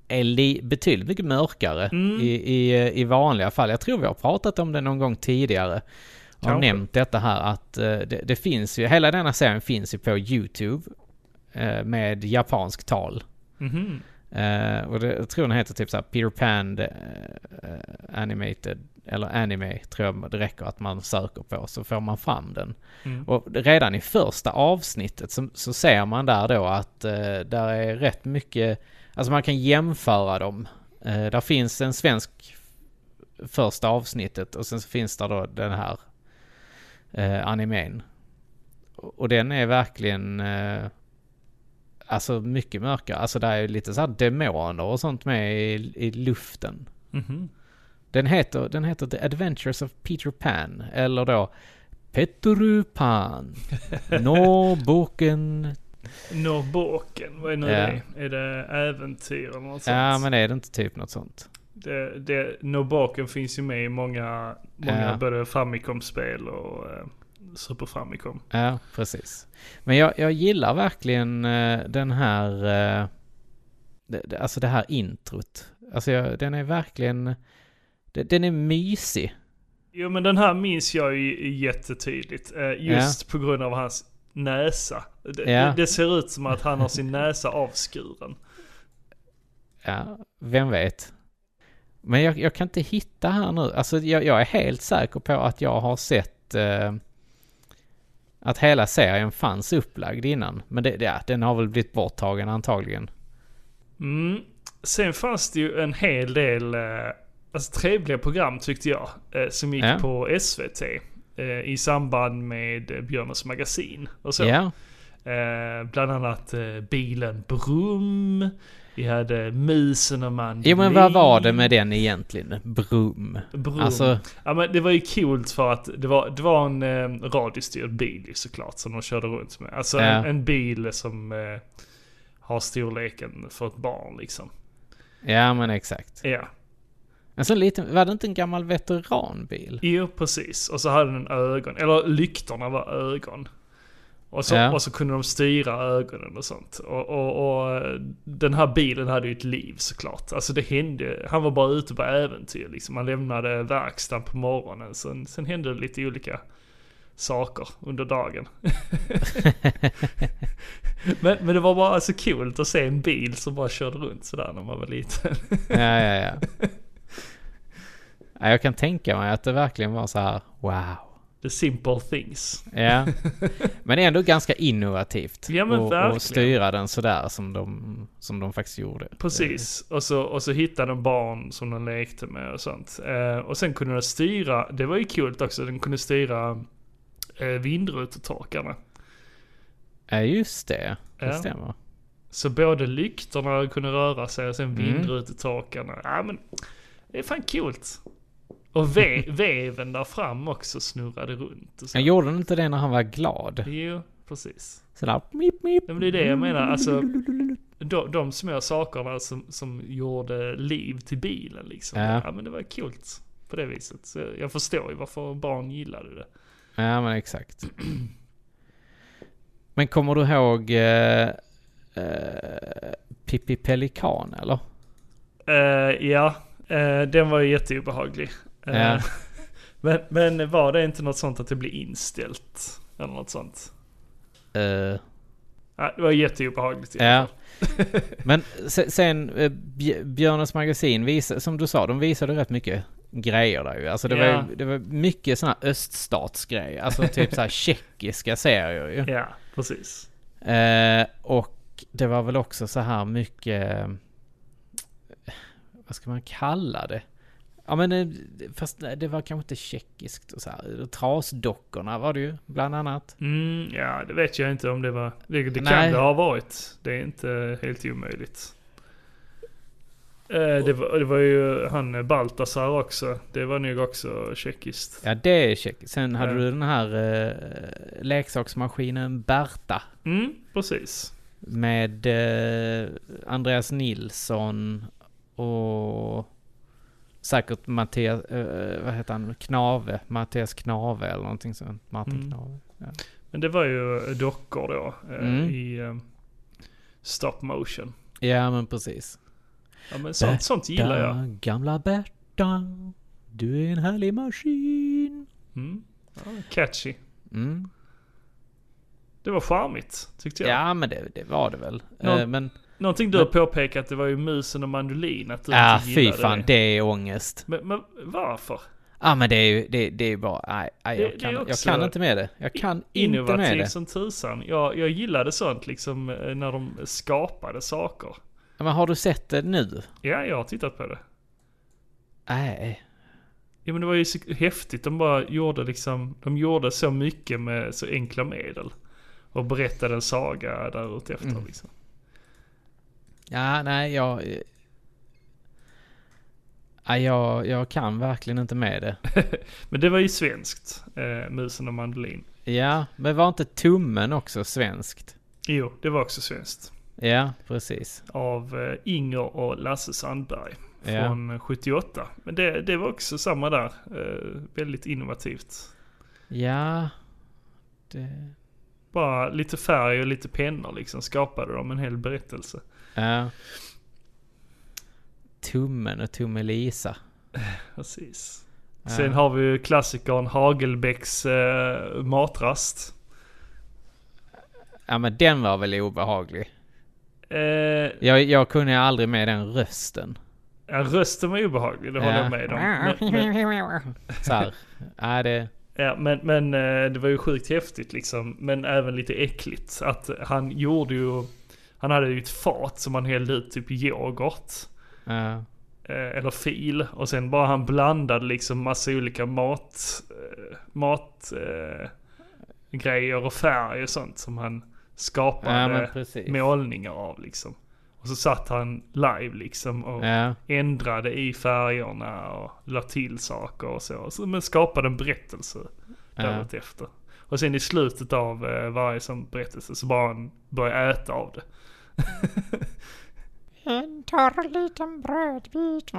[SPEAKER 1] är li- betydligt mycket mörkare
[SPEAKER 2] Mm.
[SPEAKER 1] i, i, eh, i vanliga fall. Jag tror vi har pratat om det någon gång tidigare. Jag har
[SPEAKER 2] Kanske.
[SPEAKER 1] nämnt detta här att eh, det, det finns ju, hela denna serien finns ju på YouTube eh, med japansk tal.
[SPEAKER 2] Mhm.
[SPEAKER 1] Eh, och det, jag tror den heter typ så här Peter Pan eh, eh, Animated, eller Anime tror jag det räcker att man söker på så får man fram den.
[SPEAKER 2] Mm.
[SPEAKER 1] Och redan i första avsnittet så, så ser man där då att eh, där är rätt mycket, alltså man kan jämföra dem. Eh, där finns en svensk första avsnittet och sen så finns där då den här eh, animen. Och och den är verkligen eh, alltså mycket mörkare. Alltså där är ju lite så här demoner och sånt med i, i luften.
[SPEAKER 2] Mhm.
[SPEAKER 1] Den heter, den heter The Adventures of Peter Pan, eller då Petteru Pan. Nå boken...
[SPEAKER 2] Norrbåken, vad är nu
[SPEAKER 1] Ja.
[SPEAKER 2] det? Är det äventyr eller något sånt?
[SPEAKER 1] Ja, men är det inte typ något sånt?
[SPEAKER 2] det, det, Norrbåken finns ju med i många, många
[SPEAKER 1] Ja.
[SPEAKER 2] både Famicom-spel och eh, Super Famicom.
[SPEAKER 1] Ja, precis. Men jag, jag gillar verkligen eh, den här... eh, det- det- alltså det här introt. Alltså jag, den är verkligen... det- Den är mysig.
[SPEAKER 2] Jo men den här minns jag ju jättetydligt. eh, Just på grund av hans näsa. Det,
[SPEAKER 1] Ja.
[SPEAKER 2] det, det ser ut som att han har sin näsa avskuren.
[SPEAKER 1] Ja, vem vet? Men jag, jag kan inte hitta här nu. Alltså jag, jag är helt säker på att jag har sett eh, att hela serien fanns upplagd innan. Men det, ja, den har väl blivit borttagen antagligen.
[SPEAKER 2] Mm. Sen fanns det ju en hel del eh, alltså, trevliga program tyckte jag. eh, Som gick
[SPEAKER 1] Ja.
[SPEAKER 2] på SVT. eh, I samband med eh, Björnes magasin och så.
[SPEAKER 1] Ja,
[SPEAKER 2] Eh, bland annat eh, bilen Brum. Vi hade musen och mandolin.
[SPEAKER 1] jo, men vad var det med den egentligen? Brum.
[SPEAKER 2] Brum.
[SPEAKER 1] Alltså,
[SPEAKER 2] Ja, men det var ju coolt för att det var, det var en eh, radiostyrd bil ju såklart som de körde runt med. Alltså
[SPEAKER 1] Ja.
[SPEAKER 2] en, en bil som eh, har storleken för ett barn liksom.
[SPEAKER 1] ja men exakt.
[SPEAKER 2] Ja,
[SPEAKER 1] En sån liten, var det inte en gammal veteranbil?
[SPEAKER 2] jo precis. Och så hade den ögon, eller lyktorna var ögon. Och så,
[SPEAKER 1] Ja.
[SPEAKER 2] och så kunde de styra ögonen och sånt. Och, och, och eh, den här bilen hade ju ett liv såklart. Alltså det hände, han var bara ute på äventyr liksom. Han lämnade verkstaden på morgonen. Sen, sen hände det lite olika saker under dagen. men, men det var bara så kul att se en bil som bara körde runt sådär när man var liten.
[SPEAKER 1] Ja, ja, ja. ja. Jag kan tänka mig att det verkligen var så här, wow.
[SPEAKER 2] The simple things.
[SPEAKER 1] Ja. Men ändå ganska innovativt.
[SPEAKER 2] Ja, men
[SPEAKER 1] och,
[SPEAKER 2] verkligen.
[SPEAKER 1] och styra den sådär som de, som de faktiskt gjorde.
[SPEAKER 2] Precis, och så, och så hittade de barn som de lekte med och sånt. Eh, och sen kunde de styra, det var ju kul också, de kunde styra eh, vindrutetorkarna.
[SPEAKER 1] Ja, just det. Det
[SPEAKER 2] Ja.
[SPEAKER 1] stämmer.
[SPEAKER 2] Så både lyktorna kunde röra sig och sen vindrutetorkarna. Ja men, det är fan kul. Och ve- veven där fram också snurrade runt. Och så.
[SPEAKER 1] Han gjorde inte det när han var glad?
[SPEAKER 2] Jo, precis.
[SPEAKER 1] Sådär, mip, mip.
[SPEAKER 2] Ja, men det är det jag menar. Alltså, de, de små sakerna som, som gjorde liv till bilen liksom.
[SPEAKER 1] Ja.
[SPEAKER 2] Ja. men det var kul på det viset. Så jag förstår ju varför barn gillade det.
[SPEAKER 1] Ja, men exakt. Men kommer du ihåg eh, eh, Pippi Pelikan, eller?
[SPEAKER 2] Eh, ja, eh, den var ju jätteobehaglig. Eh,
[SPEAKER 1] Ja.
[SPEAKER 2] men, men var det inte något sånt att det blev inställt? Eller något sånt?
[SPEAKER 1] Eh,
[SPEAKER 2] Ja, det var jätteobehagligt.
[SPEAKER 1] Ja. Men se- sen eh, Bj- Björnes magasin, visa, som du sa, de visade rätt mycket grejer där ju. Alltså det,
[SPEAKER 2] Ja.
[SPEAKER 1] var, ju- det var mycket sådana öststatsgrejer. Alltså typ så här tjeckiska serier ju.
[SPEAKER 2] ja, precis.
[SPEAKER 1] Eh, och det var väl också så här mycket... eh, Vad ska man kalla det? Ja men eh, fast det var kanske inte tjeckiskt och så här. Trasdockorna var det ju bland annat.
[SPEAKER 2] Mm, ja, det vet jag inte om det var... Det, det
[SPEAKER 1] Nej.
[SPEAKER 2] kan det ha varit. Det är inte helt omöjligt. Eh, det, var, det var ju han eh, Baltasar också. Det var nog också tjeckiskt.
[SPEAKER 1] Ja det är tjeckiskt. Sen hade
[SPEAKER 2] Ja.
[SPEAKER 1] du den här eh, leksaksmaskinen Berta.
[SPEAKER 2] Mm, precis.
[SPEAKER 1] Med eh, Andreas Nilsson och säkert Mattias, eh, vad heter han, Knave, Mattias Knave eller någonting sånt. Martin
[SPEAKER 2] Mm.
[SPEAKER 1] Knave. Ja.
[SPEAKER 2] Men det var ju eh, dockor då eh,
[SPEAKER 1] Mm.
[SPEAKER 2] i eh, stop motion.
[SPEAKER 1] ja men precis.
[SPEAKER 2] Ja, men
[SPEAKER 1] Eh,
[SPEAKER 2] sånt, sånt gillar jag.
[SPEAKER 1] Berta, Gamla Berta, du är en härlig maskin.
[SPEAKER 2] Mm. Ja, catchy.
[SPEAKER 1] Mm.
[SPEAKER 2] Det var charmigt, tyckte
[SPEAKER 1] Ja.
[SPEAKER 2] jag.
[SPEAKER 1] men det, det var det väl.
[SPEAKER 2] Någon-
[SPEAKER 1] Eh, men,
[SPEAKER 2] Någonting du har påpekat, det var ju musen och mandolin. Att du
[SPEAKER 1] ja
[SPEAKER 2] inte
[SPEAKER 1] fy
[SPEAKER 2] gillade
[SPEAKER 1] fan,
[SPEAKER 2] det.
[SPEAKER 1] det är ångest.
[SPEAKER 2] Men, men varför?
[SPEAKER 1] Ja men det är ju, det, det är ju bara, nej, nej
[SPEAKER 2] Det-
[SPEAKER 1] jag,
[SPEAKER 2] det
[SPEAKER 1] kan,
[SPEAKER 2] är
[SPEAKER 1] jag
[SPEAKER 2] också
[SPEAKER 1] kan inte med det. Jag kan inte med
[SPEAKER 2] Innovativ
[SPEAKER 1] det.
[SPEAKER 2] som tusan. Jag, jag gillade sånt liksom eh, när de skapade saker.
[SPEAKER 1] Ja, Men har du sett det nu?
[SPEAKER 2] Ja, jag har tittat på det.
[SPEAKER 1] Nej.
[SPEAKER 2] Ja men det var ju så häftigt. De bara gjorde liksom, de gjorde så mycket med så enkla medel. Och berättade en saga där efter
[SPEAKER 1] Mm.
[SPEAKER 2] liksom.
[SPEAKER 1] Ja, nej, jag... eh, Ja, jag, jag kan verkligen inte med det.
[SPEAKER 2] Men det var ju svenskt, eh, Musen och mandolin.
[SPEAKER 1] Ja, men var inte tummen också svenskt?
[SPEAKER 2] Jo, det var också svenskt.
[SPEAKER 1] Ja, precis.
[SPEAKER 2] Av eh, Inger och Lasse Sandberg.
[SPEAKER 1] Ja.
[SPEAKER 2] Från 78. Men det, det var också samma där. Eh, väldigt innovativt.
[SPEAKER 1] Ja... Det...
[SPEAKER 2] Bara lite färg och lite pennor liksom skapade de en hel berättelse.
[SPEAKER 1] Ja. Tummen och Tummelisa.
[SPEAKER 2] Precis. Sen har vi ju klassikern Hagelbäcks eh, matrast.
[SPEAKER 1] Ja, men den var väl obehaglig.
[SPEAKER 2] Eh,
[SPEAKER 1] Jag, jag kunde ju aldrig med den rösten.
[SPEAKER 2] ja, rösten var obehaglig, det håller
[SPEAKER 1] Ja.
[SPEAKER 2] jag med om. Men, men,
[SPEAKER 1] Så här. Ja, det...
[SPEAKER 2] ja, men, men eh, det var ju sjukt häftigt liksom. Men även lite äckligt. Att han gjorde ju... Han hade ju ett fat som han hällde ut typ yoghurt.
[SPEAKER 1] Ja.
[SPEAKER 2] eh, eller fil och sen bara han blandade liksom massa olika mat, eh, mat eh, grejer och färg och sånt som han
[SPEAKER 1] Ja, men
[SPEAKER 2] skapade
[SPEAKER 1] precis.
[SPEAKER 2] målningar av liksom. Och så satt han live liksom och
[SPEAKER 1] Ja.
[SPEAKER 2] ändrade i färgerna och la till saker och så. så men skapade en berättelse därefter. efter. Och sen i slutet av eh, varje sån berättelse så bara han började äta av det.
[SPEAKER 6] En torr liten brödbit.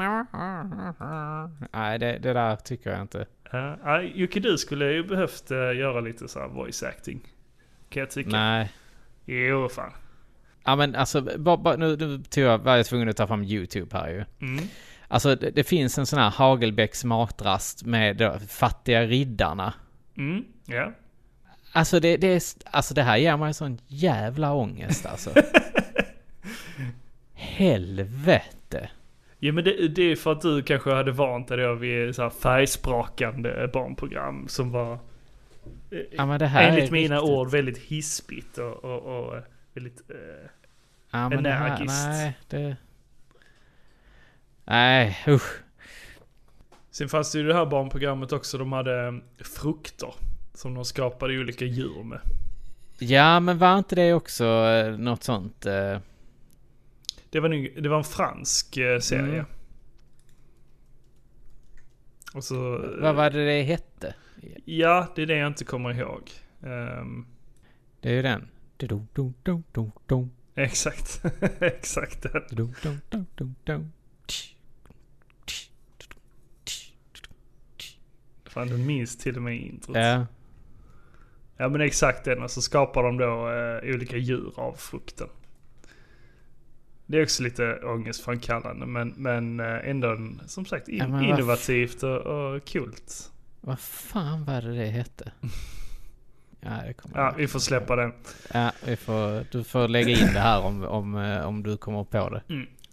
[SPEAKER 1] Nej, det, det där tycker jag inte.
[SPEAKER 2] Ja, nej, Jocke du skulle ju behövt eh, göra lite så här voice acting. kan jag tycka.
[SPEAKER 1] Nej.
[SPEAKER 2] Jo, fan.
[SPEAKER 1] Ja men alltså, bara, bara, nu, nu tog jag, var jag tvungen att ta fram YouTube här ju.
[SPEAKER 2] Mm.
[SPEAKER 1] Alltså det, det finns en sån här Hagelbäcks matrast med då, fattiga riddarna.
[SPEAKER 2] Mm. Ja.
[SPEAKER 1] Alltså det, det, är, s- alltså det här ger mig sån jävla ångest alltså. Helvete.
[SPEAKER 2] Ja men det, det är för att du kanske hade vant dig då vid så här färgsprakande barnprogram som var eh,
[SPEAKER 1] Ja, men det här
[SPEAKER 2] enligt
[SPEAKER 1] är
[SPEAKER 2] mina
[SPEAKER 1] riktigt-
[SPEAKER 2] ord väldigt hispigt och, och, och väldigt... Eh,
[SPEAKER 1] ja, men det här,
[SPEAKER 2] energiskt.
[SPEAKER 1] nej, det... Nej, usch.
[SPEAKER 2] Sen fanns det ju det här barnprogrammet också, de hade eh, frukter som de skapade olika djur med.
[SPEAKER 1] Ja, men var inte det också eh, något sånt? eh,
[SPEAKER 2] Det var, nog- det var en fransk eh, serie.
[SPEAKER 1] Mm.
[SPEAKER 2] Och så... eh,
[SPEAKER 1] Vad var det det hette?
[SPEAKER 2] Ja, det är det jag inte kommer ihåg. Ehm,
[SPEAKER 1] Det är ju den. Du-du-du-du-du-du.
[SPEAKER 2] exakt. exakt den.
[SPEAKER 1] Du-du-du-du-du.
[SPEAKER 2] Fan, du minns till och med introt.
[SPEAKER 1] Ja.
[SPEAKER 2] Ja men exakt den och så skapar de då eh, olika djur av frukten. Det är också lite ångestframkallande men, men eh, ändå en, som sagt in,
[SPEAKER 1] Ja, men vad f-
[SPEAKER 2] innovativt och, och kult.
[SPEAKER 1] Vad fan var det det hette? Ja, det kommer
[SPEAKER 2] Ja,
[SPEAKER 1] jag
[SPEAKER 2] vi får släppa den.
[SPEAKER 1] Ja, vi får, du får lägga in det här om, om, eh, om du kommer på det.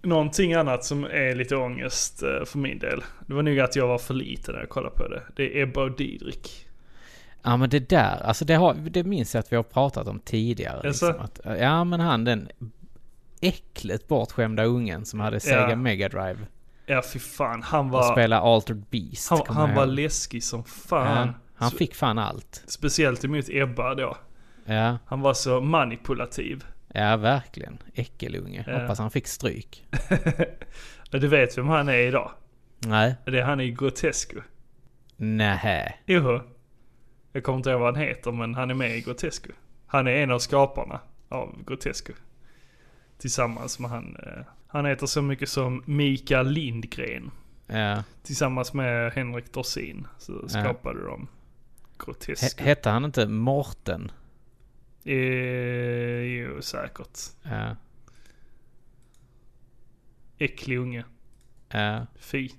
[SPEAKER 2] Någonting annat som är lite ångest eh, för min del. Det var nog att jag var för liten när jag kollade på det. Det är Ebba och Didrik.
[SPEAKER 1] Ja men det där, alltså det, har, det minns jag att vi har pratat om tidigare.
[SPEAKER 2] Jaså?
[SPEAKER 1] Liksom, att, ja men han den äckligt bortskämda ungen som hade Sega
[SPEAKER 2] Ja.
[SPEAKER 1] Mega Drive
[SPEAKER 2] Ja fy fan, han
[SPEAKER 1] och
[SPEAKER 2] var,
[SPEAKER 1] spelade Altered Beast.
[SPEAKER 2] han,
[SPEAKER 1] kommer
[SPEAKER 2] han
[SPEAKER 1] jag
[SPEAKER 2] var
[SPEAKER 1] ihåg.
[SPEAKER 2] läskig som
[SPEAKER 1] Ja,
[SPEAKER 2] fan.
[SPEAKER 1] han, han
[SPEAKER 2] Spe-
[SPEAKER 1] fick fan allt.
[SPEAKER 2] Speciellt emot Ebba då.
[SPEAKER 1] Ja,
[SPEAKER 2] Han var så manipulativ.
[SPEAKER 1] ja verkligen. Äckelunge.
[SPEAKER 2] Ja.
[SPEAKER 1] Hoppas han fick stryk.
[SPEAKER 2] Ja, Du vet vem han är idag?
[SPEAKER 1] Nej.
[SPEAKER 2] Det är han i Grotesco.
[SPEAKER 1] Nähä.
[SPEAKER 2] Joho. Jag kommer inte ihåg vad han heter men han är med i Grotesco. Han är en av skaparna av Grotesco. Tillsammans med han... eh, Han heter så mycket som Mikael Lindgren.
[SPEAKER 1] Ja.
[SPEAKER 2] Tillsammans med Henrik Dorsin så skapade de
[SPEAKER 1] He-
[SPEAKER 2] Grotesco.
[SPEAKER 1] hette han inte Morten?
[SPEAKER 2] Eh, jo, säkert.
[SPEAKER 1] Ja.
[SPEAKER 2] Äcklig unge.
[SPEAKER 1] Ja.
[SPEAKER 2] Fy.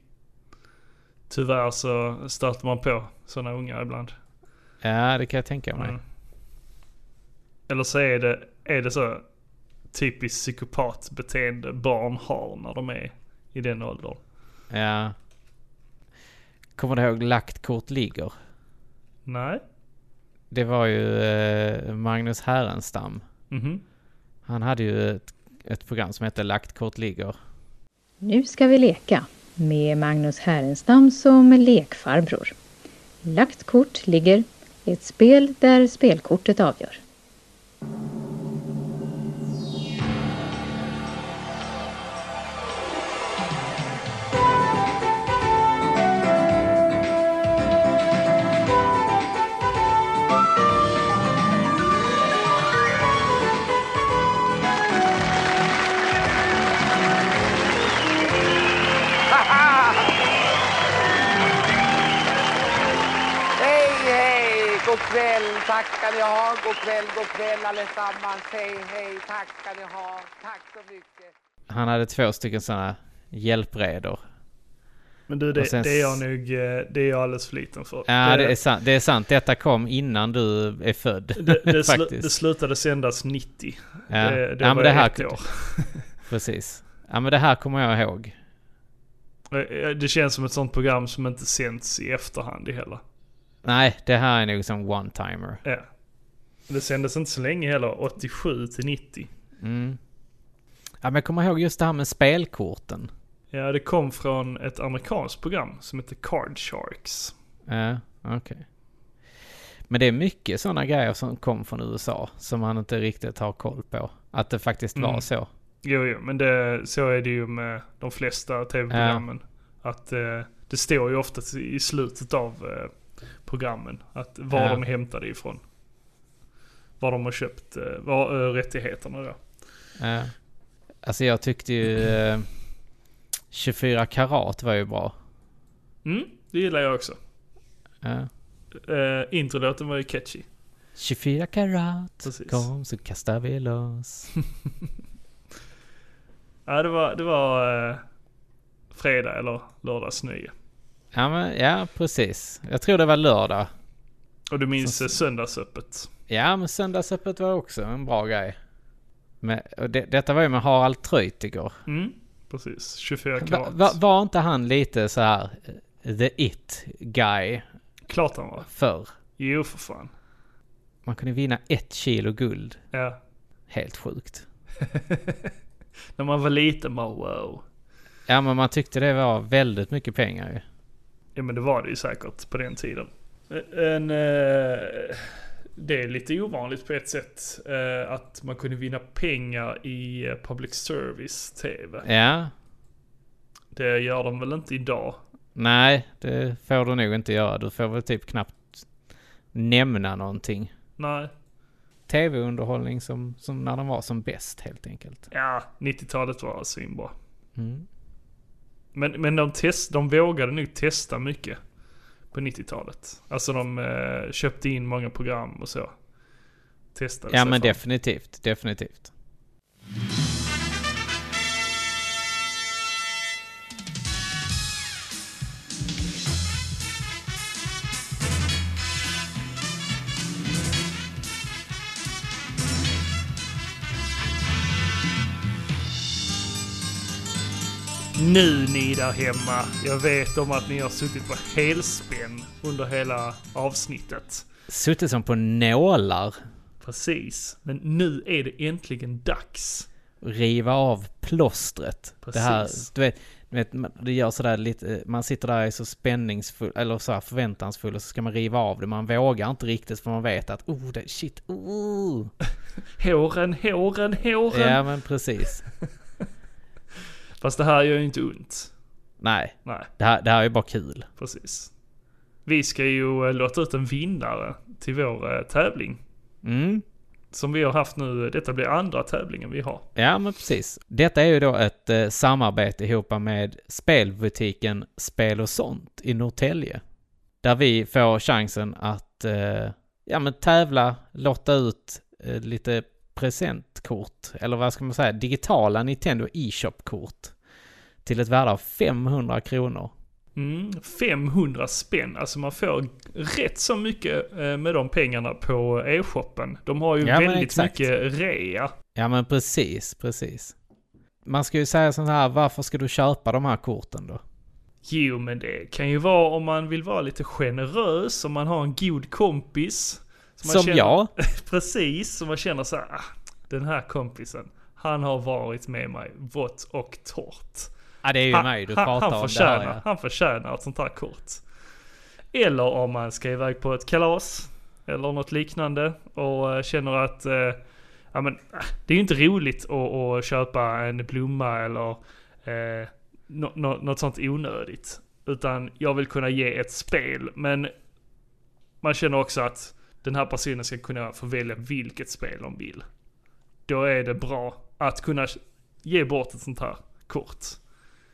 [SPEAKER 2] Tyvärr så stöter man på sådana ungar ibland.
[SPEAKER 1] ja, det kan jag tänka mig.
[SPEAKER 2] Mm. Eller så är det, är det så typiskt psykopatbeteende barn har när de är i den åldern.
[SPEAKER 1] Ja. Kommer du ihåg Lagt kort ligger?
[SPEAKER 2] Nej.
[SPEAKER 1] Det var ju eh, Magnus Härenstam.
[SPEAKER 2] Mhm.
[SPEAKER 1] Han hade ju ett, ett program som hette Lagt kort ligger.
[SPEAKER 7] Nu ska vi leka med Magnus Härenstam som lekfarbror. Lagt kort ligger ett spel där spelkortet avgör.
[SPEAKER 8] Hej, hej! God kväll tackar ni ha. God kväll, god kväll allesammans. Hej, hej tackar ni ha. Tack så mycket.
[SPEAKER 1] Han hade två stycken sådana hjälpredor.
[SPEAKER 2] Men du,
[SPEAKER 1] Och
[SPEAKER 2] det,
[SPEAKER 1] sen
[SPEAKER 2] det är jag
[SPEAKER 1] s-
[SPEAKER 2] nog eh, det är jag alldeles för liten för.
[SPEAKER 1] Ja, det är, sant, det är sant. Detta kom innan du är född.
[SPEAKER 2] det, det, slu- det
[SPEAKER 1] faktiskt.
[SPEAKER 2] slutade sändas 90.
[SPEAKER 1] ja.
[SPEAKER 2] Det, det
[SPEAKER 1] ja,
[SPEAKER 2] var
[SPEAKER 1] men det
[SPEAKER 2] jag
[SPEAKER 1] här,
[SPEAKER 2] ett år.
[SPEAKER 1] Precis. Ja, men det här kommer jag ihåg.
[SPEAKER 2] Eh, Det känns som ett sånt program som inte sänds i efterhand heller.
[SPEAKER 1] Nej, det här är nog som one-timer.
[SPEAKER 2] Ja. Eh. Det sändes inte så länge heller, 87 till 90.
[SPEAKER 1] Mm. Ja, men jag kommer ihåg just det här med spelkorten.
[SPEAKER 2] Ja, det kom från ett amerikanskt program som heter Card Sharks.
[SPEAKER 1] Ja, okej. Men det är mycket sådana grejer som kom från USA som man inte riktigt har koll på. Att det faktiskt var
[SPEAKER 2] Mm.
[SPEAKER 1] så.
[SPEAKER 2] Jo, jo, men det, så är det ju med de flesta tv-programmen. Att eh, det står ju ofta i slutet av eh, programmen att var
[SPEAKER 1] Ja.
[SPEAKER 2] de är hämtade ifrån. Var de har köpt eh, var, eh, rättigheterna då.
[SPEAKER 1] Ja. Alltså jag tyckte ju eh, 24 karat var ju bra.
[SPEAKER 2] Mm, det gillar jag också.
[SPEAKER 1] Ja.
[SPEAKER 2] Eh, introlåten var ju catchy.
[SPEAKER 1] 24 karat,
[SPEAKER 2] Precis.
[SPEAKER 1] kom så kastar vi loss.
[SPEAKER 2] Ja, det var, det var eh, fredag eller lördagsnöje.
[SPEAKER 1] Ja, men, ja, precis. Jag tror det var lördag.
[SPEAKER 2] Och du minns eh, söndagsöppet.
[SPEAKER 1] Ja, men söndagsöppet var också en bra grej. Men, och det, detta var ju med Harald Treutiger.
[SPEAKER 2] Mm, precis. 24
[SPEAKER 1] Va,
[SPEAKER 2] karat.
[SPEAKER 1] va, var inte han lite så här eh, the it guy
[SPEAKER 2] Klart han var.
[SPEAKER 1] förr?
[SPEAKER 2] Jo, för fan.
[SPEAKER 1] Man kunde vinna ett kilo guld.
[SPEAKER 2] Ja.
[SPEAKER 1] Helt sjukt.
[SPEAKER 2] När man var liten bara wow.
[SPEAKER 1] Ja, men man tyckte det var väldigt mycket pengar ju.
[SPEAKER 2] Ja men det var det ju säkert på den tiden. En, eh, det är lite ovanligt på ett sätt eh, att man kunde vinna pengar i eh, public service TV.
[SPEAKER 1] Ja,
[SPEAKER 2] Det gör de väl inte idag?
[SPEAKER 1] nej, det får du nog inte göra. Du får väl typ knappt nämna någonting.
[SPEAKER 2] Nej.
[SPEAKER 1] Tv-underhållning som, som när den var som bäst helt enkelt.
[SPEAKER 2] Ja, 90-talet var svinbra.
[SPEAKER 1] Mm.
[SPEAKER 2] Men, men de, test, de vågade nog testa mycket på 90-talet. Alltså de eh, köpte in många program och så. Testade
[SPEAKER 1] Ja,
[SPEAKER 2] sig
[SPEAKER 1] men
[SPEAKER 2] fram.
[SPEAKER 1] definitivt, definitivt.
[SPEAKER 2] Nu ni där hemma, jag vet om att ni har suttit på helspänn under hela avsnittet.
[SPEAKER 1] Suttit som på nålar.
[SPEAKER 2] Precis, men nu är det äntligen dags.
[SPEAKER 1] riva av plåstret.
[SPEAKER 2] Precis.
[SPEAKER 1] Det här, du vet, du vet, man- det gör sådär lite, eh, man sitter där och är så spänningsfull, eller så här förväntansfull och så ska man riva av det. Man vågar inte riktigt för man vet att oh, det, shit, oh.
[SPEAKER 2] Håren, håren, håren!
[SPEAKER 1] Ja men precis.
[SPEAKER 2] Fast det här gör ju inte ont.
[SPEAKER 1] Nej,
[SPEAKER 2] Nej,
[SPEAKER 1] det här, det här är bara kul.
[SPEAKER 2] precis. Vi ska ju eh, låta ut en vinnare till vår eh, tävling.
[SPEAKER 1] Mm.
[SPEAKER 2] Som vi har haft nu, detta blir andra tävlingen vi har.
[SPEAKER 1] Ja men precis. Detta är ju då ett eh, samarbete ihop med spelbutiken Spel och sånt i Norrtälje. Där vi får chansen att eh, ja, men tävla, lotta ut eh, lite presentkort, eller vad ska man säga, digitala Nintendo E-shop-kort till ett värde av 500 kronor.
[SPEAKER 2] Mm, 500 spänn, alltså man får rätt så mycket eh, med de pengarna på e-shoppen. De har ju
[SPEAKER 1] Ja, men
[SPEAKER 2] väldigt
[SPEAKER 1] exakt.
[SPEAKER 2] mycket rea.
[SPEAKER 1] Ja men precis, precis. Man ska ju säga sånt här, varför ska du köpa de här korten då?
[SPEAKER 2] Jo, men det kan ju vara om man vill vara lite generös, om man har en god kompis. man
[SPEAKER 1] Som
[SPEAKER 2] känner-
[SPEAKER 1] jag?
[SPEAKER 2] Precis, som man känner så här, ah, den här kompisen, han har varit med mig vått och torrt.
[SPEAKER 1] Ja det är ju
[SPEAKER 2] Han-
[SPEAKER 1] mig du
[SPEAKER 2] han-
[SPEAKER 1] pratar
[SPEAKER 2] han
[SPEAKER 1] om det här.
[SPEAKER 2] förtjänar-
[SPEAKER 1] ja.
[SPEAKER 2] Han förtjänar ett sånt här kort. Eller om man ska iväg på ett kalas eller något liknande och eh, känner att eh, ja, men, eh, det är ju inte roligt att, att köpa en blomma eller eh, nå- nå- något sånt onödigt. Utan jag vill kunna ge ett spel men man känner också att den här personen ska kunna få välja vilket spel de vill. Då är det bra att kunna ge bort ett sånt här kort.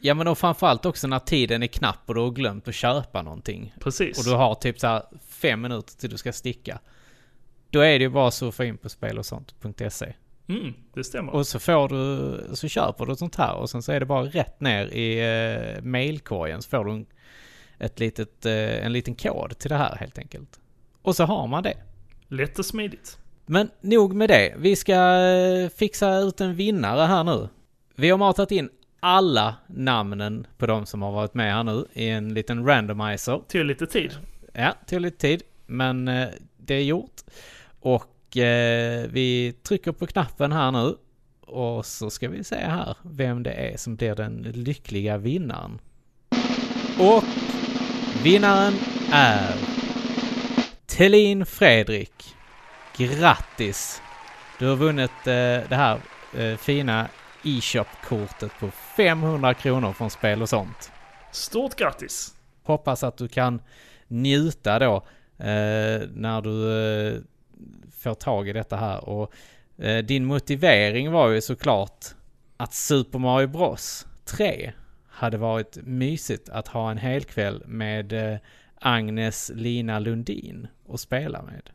[SPEAKER 1] Ja men och framförallt också när tiden är knapp och du har glömt att köpa någonting.
[SPEAKER 2] Precis.
[SPEAKER 1] Och du har typ så här fem minuter till du ska sticka. Då är det ju bara att surfa in på spel och sånt.se.
[SPEAKER 2] Mm, det stämmer.
[SPEAKER 1] Och så får du, så köper du sånt här och sen så är det bara rätt ner i eh, mailkorgen så får du en, ett litet, eh, en liten kod till det här helt enkelt. Och så har man det.
[SPEAKER 2] Lätt och smidigt.
[SPEAKER 1] Men nog med det. Vi ska eh, fixa ut en vinnare här nu. Vi har matat in alla namnen på de som har varit med här nu i en liten randomizer.
[SPEAKER 2] Till lite tid.
[SPEAKER 1] Ja, tog lite tid, men eh, det är gjort. Och eh, vi trycker på knappen här nu. Och så ska vi se här vem det är som blir den lyckliga vinnaren. Och vinnaren är Thelin Fredrik. Grattis! Du har vunnit eh, det här eh, fina e-shop-kortet på 500 kronor från Spel och sånt.
[SPEAKER 2] Stort grattis!
[SPEAKER 1] Hoppas att du kan njuta då eh, när du eh, får tag i detta här. Och eh, din motivering var ju såklart att Super Mario Bros 3 hade varit mysigt att ha en hel kväll med eh, Agnes Lina Lundin och spela med.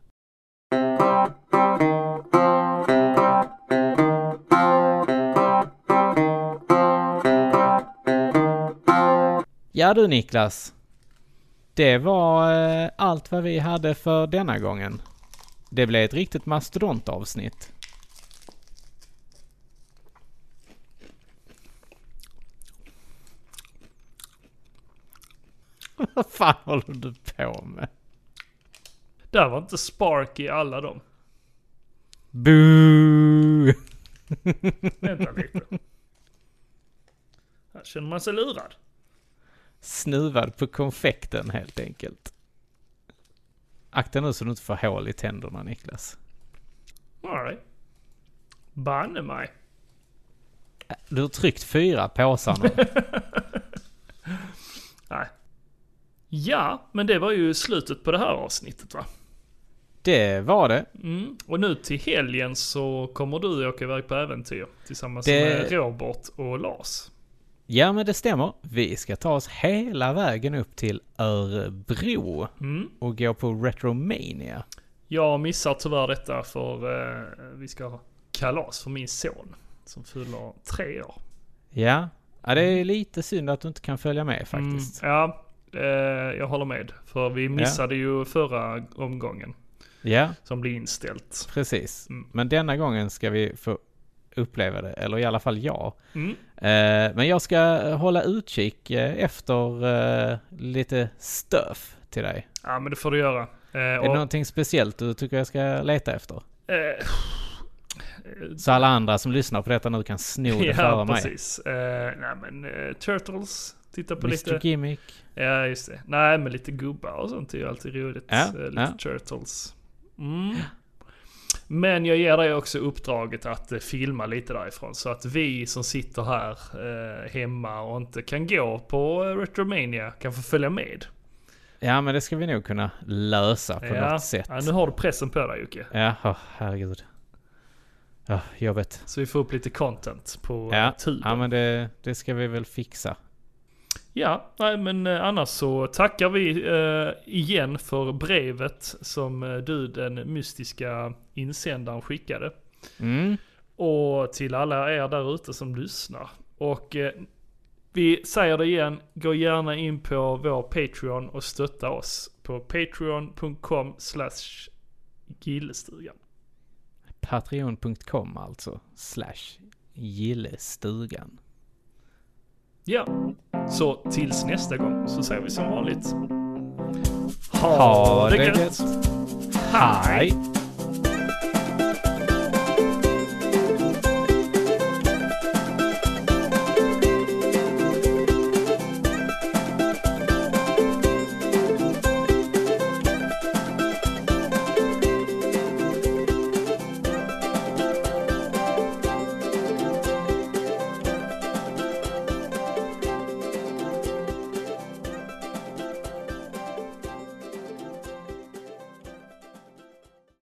[SPEAKER 1] Ja du Niklas. Det var eh, allt vad vi hade för denna gången. Det blev ett riktigt mastodontavsnitt. Vad fan håller du på med?
[SPEAKER 2] Där var inte Spark i alla dem.
[SPEAKER 1] Boo!
[SPEAKER 2] Vänta lite. Här känner man sig lurad.
[SPEAKER 1] Snuvad på konfekten helt enkelt. Akta nu så du inte får hål i tänderna Niklas.
[SPEAKER 2] Alright. Banne mig.
[SPEAKER 1] Du har tryckt fyra påsar nu.
[SPEAKER 2] Nej. Ja, men det var ju slutet på det här avsnittet va?
[SPEAKER 1] Det var det.
[SPEAKER 2] Mm. Och nu till helgen så kommer du åka iväg på äventyr tillsammans
[SPEAKER 1] Det-
[SPEAKER 2] med Robert och Lars.
[SPEAKER 1] Ja men det stämmer. Vi ska ta oss hela vägen upp till Örebro
[SPEAKER 2] Mm.
[SPEAKER 1] och gå på Retromania.
[SPEAKER 2] Jag missar tyvärr detta för eh, vi ska ha kalas för min son som fyller tre år.
[SPEAKER 1] Ja. ja, det är lite synd att du inte kan följa med faktiskt.
[SPEAKER 2] Mm, ja, eh, jag håller med. För vi missade ju förra omgången
[SPEAKER 1] Ja,
[SPEAKER 2] som blev inställt.
[SPEAKER 1] precis.
[SPEAKER 2] Mm.
[SPEAKER 1] Men denna gången ska vi få uppleva det, eller i alla fall jag.
[SPEAKER 2] Mm.
[SPEAKER 1] Eh, Men jag ska hålla utkik eh, efter eh, lite stuff till dig.
[SPEAKER 2] Ja, men det får du göra. Eh,
[SPEAKER 1] Är
[SPEAKER 2] och,
[SPEAKER 1] det någonting speciellt du tycker jag ska leta efter?
[SPEAKER 2] eh,
[SPEAKER 1] Så alla andra som lyssnar på detta nu kan sno det före
[SPEAKER 2] ja,
[SPEAKER 1] mig.
[SPEAKER 2] precis. Eh, nej, men eh, Turtles. Titta på
[SPEAKER 1] Mr
[SPEAKER 2] lite...
[SPEAKER 1] Gimmick.
[SPEAKER 2] Ja, just det. Nej, men lite gubbar och sånt är ju alltid roligt.
[SPEAKER 1] Ja,
[SPEAKER 2] Eh, lite
[SPEAKER 1] ja.
[SPEAKER 2] Turtles. Mm. Men jag ger dig också uppdraget att eh, filma lite därifrån. Så att vi som sitter här eh, hemma och inte kan gå på eh, Retromania kan få följa med.
[SPEAKER 1] Ja, men det ska vi nog kunna lösa på
[SPEAKER 2] ja.
[SPEAKER 1] något sätt.
[SPEAKER 2] ja, nu har du pressen på dig Jocke.
[SPEAKER 1] Ja, åh, herregud. Ja, jobbet.
[SPEAKER 2] Så vi får upp lite content på typ ja.
[SPEAKER 1] Ja,
[SPEAKER 2] tuben.
[SPEAKER 1] ja men det, det ska vi väl fixa.
[SPEAKER 2] Ja, nej men eh, annars så tackar vi eh, igen för brevet som eh, du den mystiska insändaren skickade.
[SPEAKER 1] Mm.
[SPEAKER 2] Och till alla er där ute som lyssnar. Och eh, vi säger det igen, gå gärna in på vår Patreon och stötta oss på patreon.com slash gillestugan.
[SPEAKER 1] Patreon.com alltså. Slash gillestugan.
[SPEAKER 2] Ja, så tills nästa gång så säger vi som vanligt.
[SPEAKER 1] Ha det gött.
[SPEAKER 2] Hej!
[SPEAKER 1] Hej!